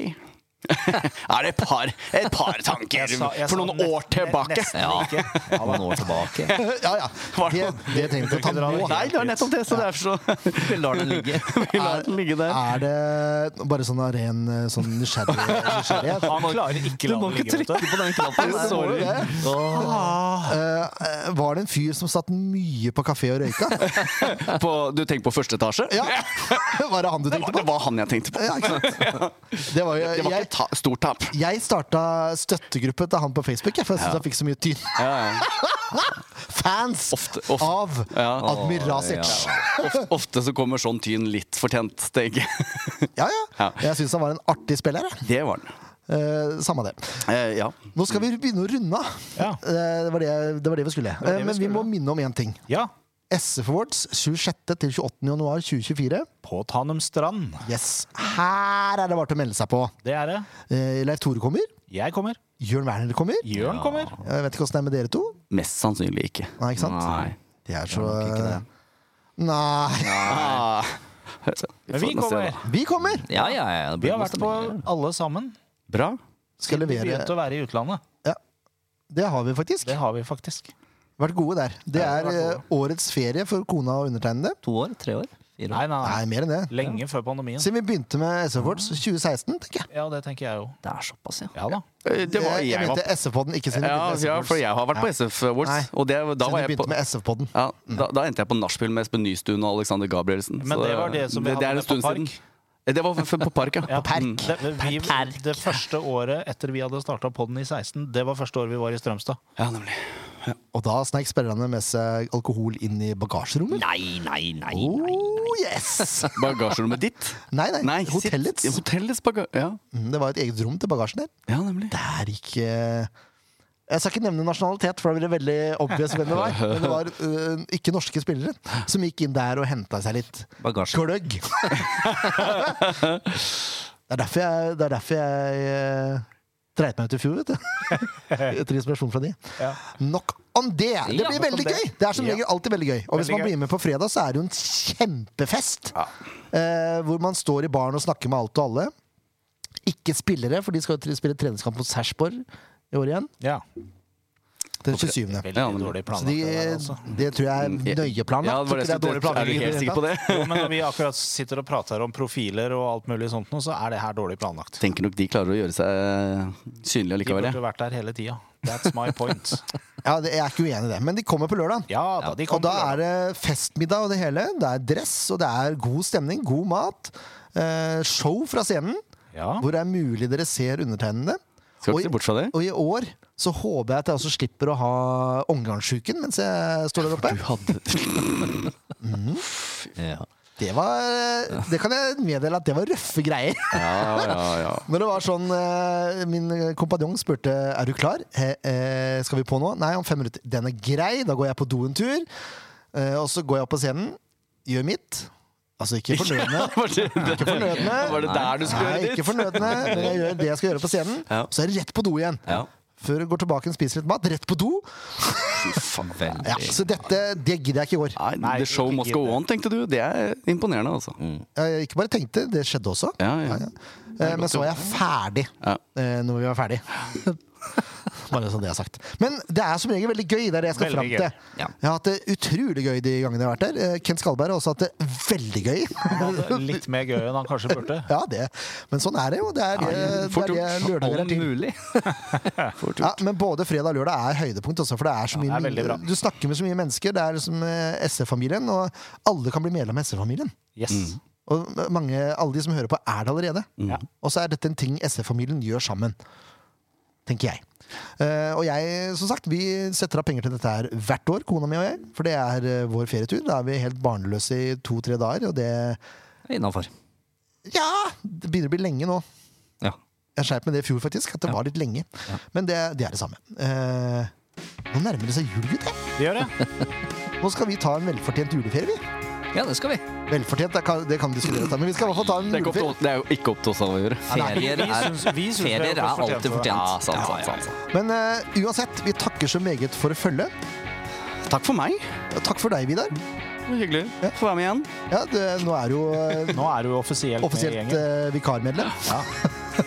Speaker 3: er det et par, et par tanker
Speaker 6: Jeg sa- jeg
Speaker 3: for
Speaker 6: sa
Speaker 3: noen
Speaker 6: nett-
Speaker 3: år tilbake?
Speaker 6: nesten ikke.
Speaker 5: Ja, noen år tilbake.
Speaker 1: ja, ja. Det, det tenkte jeg å ta nå.
Speaker 3: Nei, det var nettopp det, så derfor så
Speaker 5: Vi lar den ligge.
Speaker 3: vi lar den ligge der.
Speaker 1: Er det bare sånn av ren eh, sånn nysgjerrig, nysgjerrighet?
Speaker 6: Han klarer ikke la det ligge. vet du.
Speaker 5: på den knappen.
Speaker 1: Det må jo det.
Speaker 6: Ah.
Speaker 1: Eh, eh, var det en fyr som satt mye på kafé og røyka?
Speaker 3: På, du tenker på første etasje?
Speaker 1: Ja. Var det han du
Speaker 3: Det
Speaker 1: tenkte
Speaker 3: var,
Speaker 1: på?
Speaker 3: det var han jeg tenkte på.
Speaker 1: Ja, ikke sant? Det var jo
Speaker 3: Det var
Speaker 1: jeg,
Speaker 3: ikke ta, stort tap.
Speaker 1: jeg starta støttegruppe til han på Facebook, jeg, for jeg syntes han fikk så mye tyn.
Speaker 3: Ja, ja.
Speaker 1: Fans
Speaker 3: Ofte, ofte,
Speaker 1: av
Speaker 3: Ja.
Speaker 1: Admir Rasic.
Speaker 3: ofte, ofte så kommer sånn tyn litt fortjent, tenker jeg.
Speaker 1: Ja, ja.
Speaker 3: Ja.
Speaker 1: Jeg syns han var en artig spiller. jeg.
Speaker 3: Det var den.
Speaker 1: Eh, samme det.
Speaker 3: Eh, ja.
Speaker 1: Nå skal vi begynne å runde av.
Speaker 6: Ja.
Speaker 1: Eh, det, var det, det var det vi skulle. Eh, men vi må minne om én ting.
Speaker 6: Ja.
Speaker 1: SF Awards 26. til 28. januar 2024.
Speaker 6: På Tanum strand.
Speaker 1: Yes. Her er det bare til å melde seg på.
Speaker 6: Det er det.
Speaker 1: Eh, Leif Tore kommer.
Speaker 6: Jeg kommer.
Speaker 1: Jørn Werner kommer.
Speaker 6: Jørn kommer.
Speaker 1: Jeg vet ikke åssen det er med dere to.
Speaker 3: Mest sannsynlig ikke.
Speaker 1: Nei, ikke sant?
Speaker 3: Nei.
Speaker 1: Det er så
Speaker 5: nok ikke det.
Speaker 1: Nei.
Speaker 3: Ah.
Speaker 6: Men vi
Speaker 3: får nå se,
Speaker 6: kommer.
Speaker 3: da.
Speaker 1: Vi kommer!
Speaker 5: Ja, ja, ja. det blir
Speaker 6: Vi har vært
Speaker 5: masse
Speaker 6: på
Speaker 5: meldinger.
Speaker 6: alle sammen.
Speaker 3: Bra.
Speaker 1: Skal
Speaker 6: Vi
Speaker 1: levere.
Speaker 6: begynte å være i utlandet.
Speaker 1: Ja. Det har vi faktisk.
Speaker 6: Det har vi faktisk.
Speaker 1: Vært gode der. Det
Speaker 6: Ja,
Speaker 1: er
Speaker 6: vi har vært
Speaker 1: eh, årets ferie for kona og undertegnede.
Speaker 5: To år? Tre år? Fire år?
Speaker 6: Nei, nei,
Speaker 1: Nei,
Speaker 6: nei.
Speaker 1: mer enn det.
Speaker 6: Lenge før pandemien.
Speaker 1: Siden vi begynte med SF Awards 2016, tenker jeg.
Speaker 6: Ja, det tenker jeg jo.
Speaker 5: Det er såpass, ja.
Speaker 6: Ja da.
Speaker 3: Eh, Det var
Speaker 1: jeg,
Speaker 3: jeg, var
Speaker 1: mente SF-podden, ikke siden vi
Speaker 3: Ja,
Speaker 1: begynte med SF
Speaker 3: ja,
Speaker 1: Awards.
Speaker 3: for jeg har vært på
Speaker 1: Ja.
Speaker 3: SF Awards.
Speaker 1: Nei.
Speaker 3: Og det, da,
Speaker 1: Siden
Speaker 3: var
Speaker 1: vi
Speaker 3: jeg
Speaker 1: begynte
Speaker 3: på,
Speaker 1: med Mm. SF-podden.
Speaker 3: ja, da, da endte jeg på nachspiel med Espen Nystuen og Alexander Gabrielsen.
Speaker 6: Men
Speaker 3: så
Speaker 6: det var det som vi
Speaker 3: er
Speaker 6: hadde
Speaker 3: en stund
Speaker 6: på park.
Speaker 3: siden. Eh, Det var f- f- på Park, ja. Mm.
Speaker 6: Ja.
Speaker 1: Perk.
Speaker 6: Det, vi, det første året etter vi hadde starta podden i 16, det var første året vi var i Strømstad.
Speaker 3: ja nemlig.
Speaker 1: Og da snek spillerne med seg alkohol inn i bagasjerommet.
Speaker 5: Nei, nei, nei.
Speaker 1: Oh, yes!
Speaker 3: Bagasjerommet ditt?
Speaker 1: Nei, nei,
Speaker 3: Nei, sitt-
Speaker 1: hotellets.
Speaker 3: ja, Hotellets baga... Ja.
Speaker 1: Mm, Det var et eget rom til bagasjen der.
Speaker 3: ja, nemlig.
Speaker 1: Der gikk eh, Jeg skal ikke nevne nasjonalitet, for da blir det veldig obvious hvem det var. Men det var eh, ikke norske spillere som gikk inn der og henta seg litt
Speaker 5: Bagasje.
Speaker 1: gløgg. det er derfor jeg, det er derfor jeg eh, dreit meg ut i fjor, vet du. Etter inspirasjon fra de.
Speaker 6: Ja.
Speaker 1: Nok om det! Det
Speaker 5: Ja,
Speaker 1: blir
Speaker 5: nok om
Speaker 1: veldig
Speaker 6: det.
Speaker 1: gøy! Det er som
Speaker 6: Ja.
Speaker 1: regel alltid veldig gøy. Og hvis
Speaker 6: Veldig
Speaker 1: man
Speaker 6: gøy.
Speaker 1: blir med på fredag, så er det jo en kjempefest. Eh, hvor man står i baren og snakker med alt og alle. Ikke spillere, for de skal jo tre- spille treningskamp mot Sarpsborg i år igjen.
Speaker 6: Ja.
Speaker 1: Den 27.
Speaker 6: Veldig
Speaker 3: Ja, men-
Speaker 1: Så
Speaker 6: dårlig
Speaker 1: de,
Speaker 6: planlagt. det der, altså.
Speaker 1: det tror jeg er nøye
Speaker 3: Ja,
Speaker 1: planlagt.
Speaker 3: det
Speaker 1: Tror
Speaker 3: var det
Speaker 1: ikke det
Speaker 3: som
Speaker 1: er dårlig
Speaker 3: er du
Speaker 1: planlegging i det
Speaker 3: helt
Speaker 1: hele
Speaker 3: sikker på det?
Speaker 6: Jo, men når vi akkurat sitter og prater om profiler og alt mulig sånt nå, så er det her dårlig planlagt.
Speaker 3: Tenker nok de klarer å gjøre seg synlige
Speaker 6: De
Speaker 3: allikevel.
Speaker 6: burde
Speaker 3: Ja.
Speaker 6: vært der hele tida. That's my point.
Speaker 1: Ja, det, jeg er ikke uenig i det. Men de kommer på lørdag.
Speaker 6: Ja da, de
Speaker 1: Og
Speaker 6: kommer
Speaker 1: da
Speaker 6: på
Speaker 1: er
Speaker 6: lørdag.
Speaker 1: det festmiddag og det hele. Det er dress, og det er god stemning, god mat. Eh, show fra scenen,
Speaker 6: Ja.
Speaker 1: hvor det er mulig dere ser undertegnede.
Speaker 3: Skal
Speaker 1: Og i-
Speaker 3: ikke se bort fra det.
Speaker 1: Og i år så håper jeg at jeg også slipper å ha omgangssjuken mens jeg står der oppe.
Speaker 3: Du hadde
Speaker 5: Ja.
Speaker 1: Det, var, eh, det kan jeg meddele at det var røffe greier.
Speaker 3: Ja, ja, ja.
Speaker 1: Når det var sånn eh, Min kompanjong spurte Er du klar. Eh, eh, skal vi på nå? Nei, om fem minutter. Den er grei. Da går jeg på do en tur. Eh, og så går jeg opp på scenen, gjør mitt. Altså ikke fornøyende.
Speaker 3: Var det,
Speaker 1: Ikke fornøyende.
Speaker 3: var det der du skulle
Speaker 1: Nei,
Speaker 3: gjøre
Speaker 1: ikke
Speaker 3: ditt?
Speaker 1: fornøyende, men jeg gjør det jeg skal gjøre på scenen.
Speaker 3: Ja.
Speaker 1: Så er det rett på do igjen.
Speaker 5: Ja.
Speaker 1: Før jeg går tilbake og spiser litt mat. Rett på do.
Speaker 5: Veldig.
Speaker 1: Ja, så dette det gidder jeg ikke i år.
Speaker 3: Nei,
Speaker 6: Nei,
Speaker 3: The show
Speaker 6: ikke
Speaker 3: must go
Speaker 6: gitt.
Speaker 3: on, tenkte du. Det er imponerende, altså.
Speaker 1: Jeg ikke bare tenkte, det skjedde også.
Speaker 3: Ja, ja.
Speaker 1: Eh, Men så var jeg ferdig
Speaker 3: Ja.
Speaker 1: eh, når vi var ferdig. Bare sånn det er sagt. Men det er som regel veldig gøy. Det er det jeg skal
Speaker 2: Veldig
Speaker 1: fram
Speaker 2: gøy.
Speaker 1: til.
Speaker 5: Ja.
Speaker 1: Jeg har hatt det utrolig gøy de gangene jeg har vært der. Eh, Kent Skalberg har også hatt det veldig gøy.
Speaker 6: Han hadde Litt mer gøy enn han kanskje burde.
Speaker 1: Ja, det. Men sånn er det jo. Det er det, det,
Speaker 3: Fort
Speaker 1: er det
Speaker 3: gjort.
Speaker 1: lørdager er
Speaker 3: Om
Speaker 1: til.
Speaker 3: mulig. Fort
Speaker 1: Ja,
Speaker 3: gjort.
Speaker 1: men både fredag og lørdag er høydepunkt, også, for det er så mye
Speaker 6: det er veldig bra.
Speaker 1: Du snakker med så mye mennesker. Det er liksom eh, SF-familien, og alle kan bli medlem av SF-familien.
Speaker 6: Yes.
Speaker 1: Og mange, alle de som hører på, er det allerede.
Speaker 3: Mm.
Speaker 1: Og så er dette en ting SF-familien gjør sammen. Tenker jeg. Eh, og jeg, som sagt, vi setter av penger til dette her hvert år, kona mi og jeg. For det er eh, vår ferietur. Da er vi helt barnløse i to-tre dager, og det
Speaker 5: Innafor.
Speaker 1: Ja! Det begynner å bli lenge nå.
Speaker 5: Ja.
Speaker 1: Jeg skjerp med det i fjor, faktisk. At det var litt lenge. Men det, det er det samme. Eh, nå nærmer det seg jul, gutter.
Speaker 6: Det gjør det.
Speaker 1: Nå skal vi ta en velfortjent juleferie, vi.
Speaker 5: ja, det skal vi.
Speaker 1: Velfortjent, det kan, det kan diskuteres, da, men vi skal i hvert fall ta en
Speaker 3: Det er, ikke opp
Speaker 1: juleferie.
Speaker 3: til, oss- det er jo ikke opp til oss alle å gjøre.
Speaker 5: Ferier
Speaker 6: Vi
Speaker 5: er,
Speaker 6: syns- vi syns vi har
Speaker 5: ferier er
Speaker 6: fått fortjent
Speaker 5: alltid
Speaker 6: for det.
Speaker 5: fortjent.
Speaker 3: Ja, sant, sant, sant, sant.
Speaker 1: Men eh, uansett, vi takker så meget for følget.
Speaker 3: Takk for meg.
Speaker 1: Takk for deg, Vidar.
Speaker 3: Det var Hyggelig. Få være med igjen.
Speaker 1: Ja, det, nå er du jo eh,
Speaker 6: Nå er du offisielt, med i
Speaker 1: offisielt
Speaker 6: gjengen.
Speaker 1: eh, vikarmedlem. Så-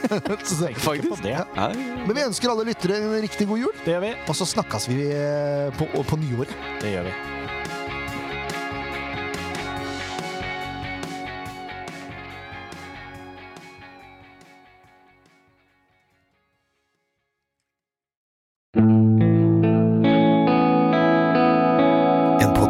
Speaker 6: Tenker ikke på
Speaker 3: faktisk.
Speaker 6: det.
Speaker 3: Nei.
Speaker 1: Men vi ønsker alle lyttere en riktig god jul,
Speaker 6: Det gjør vi.
Speaker 1: og så snakkes vi eh, på, på nyåret.
Speaker 6: Det gjør vi.
Speaker 1: En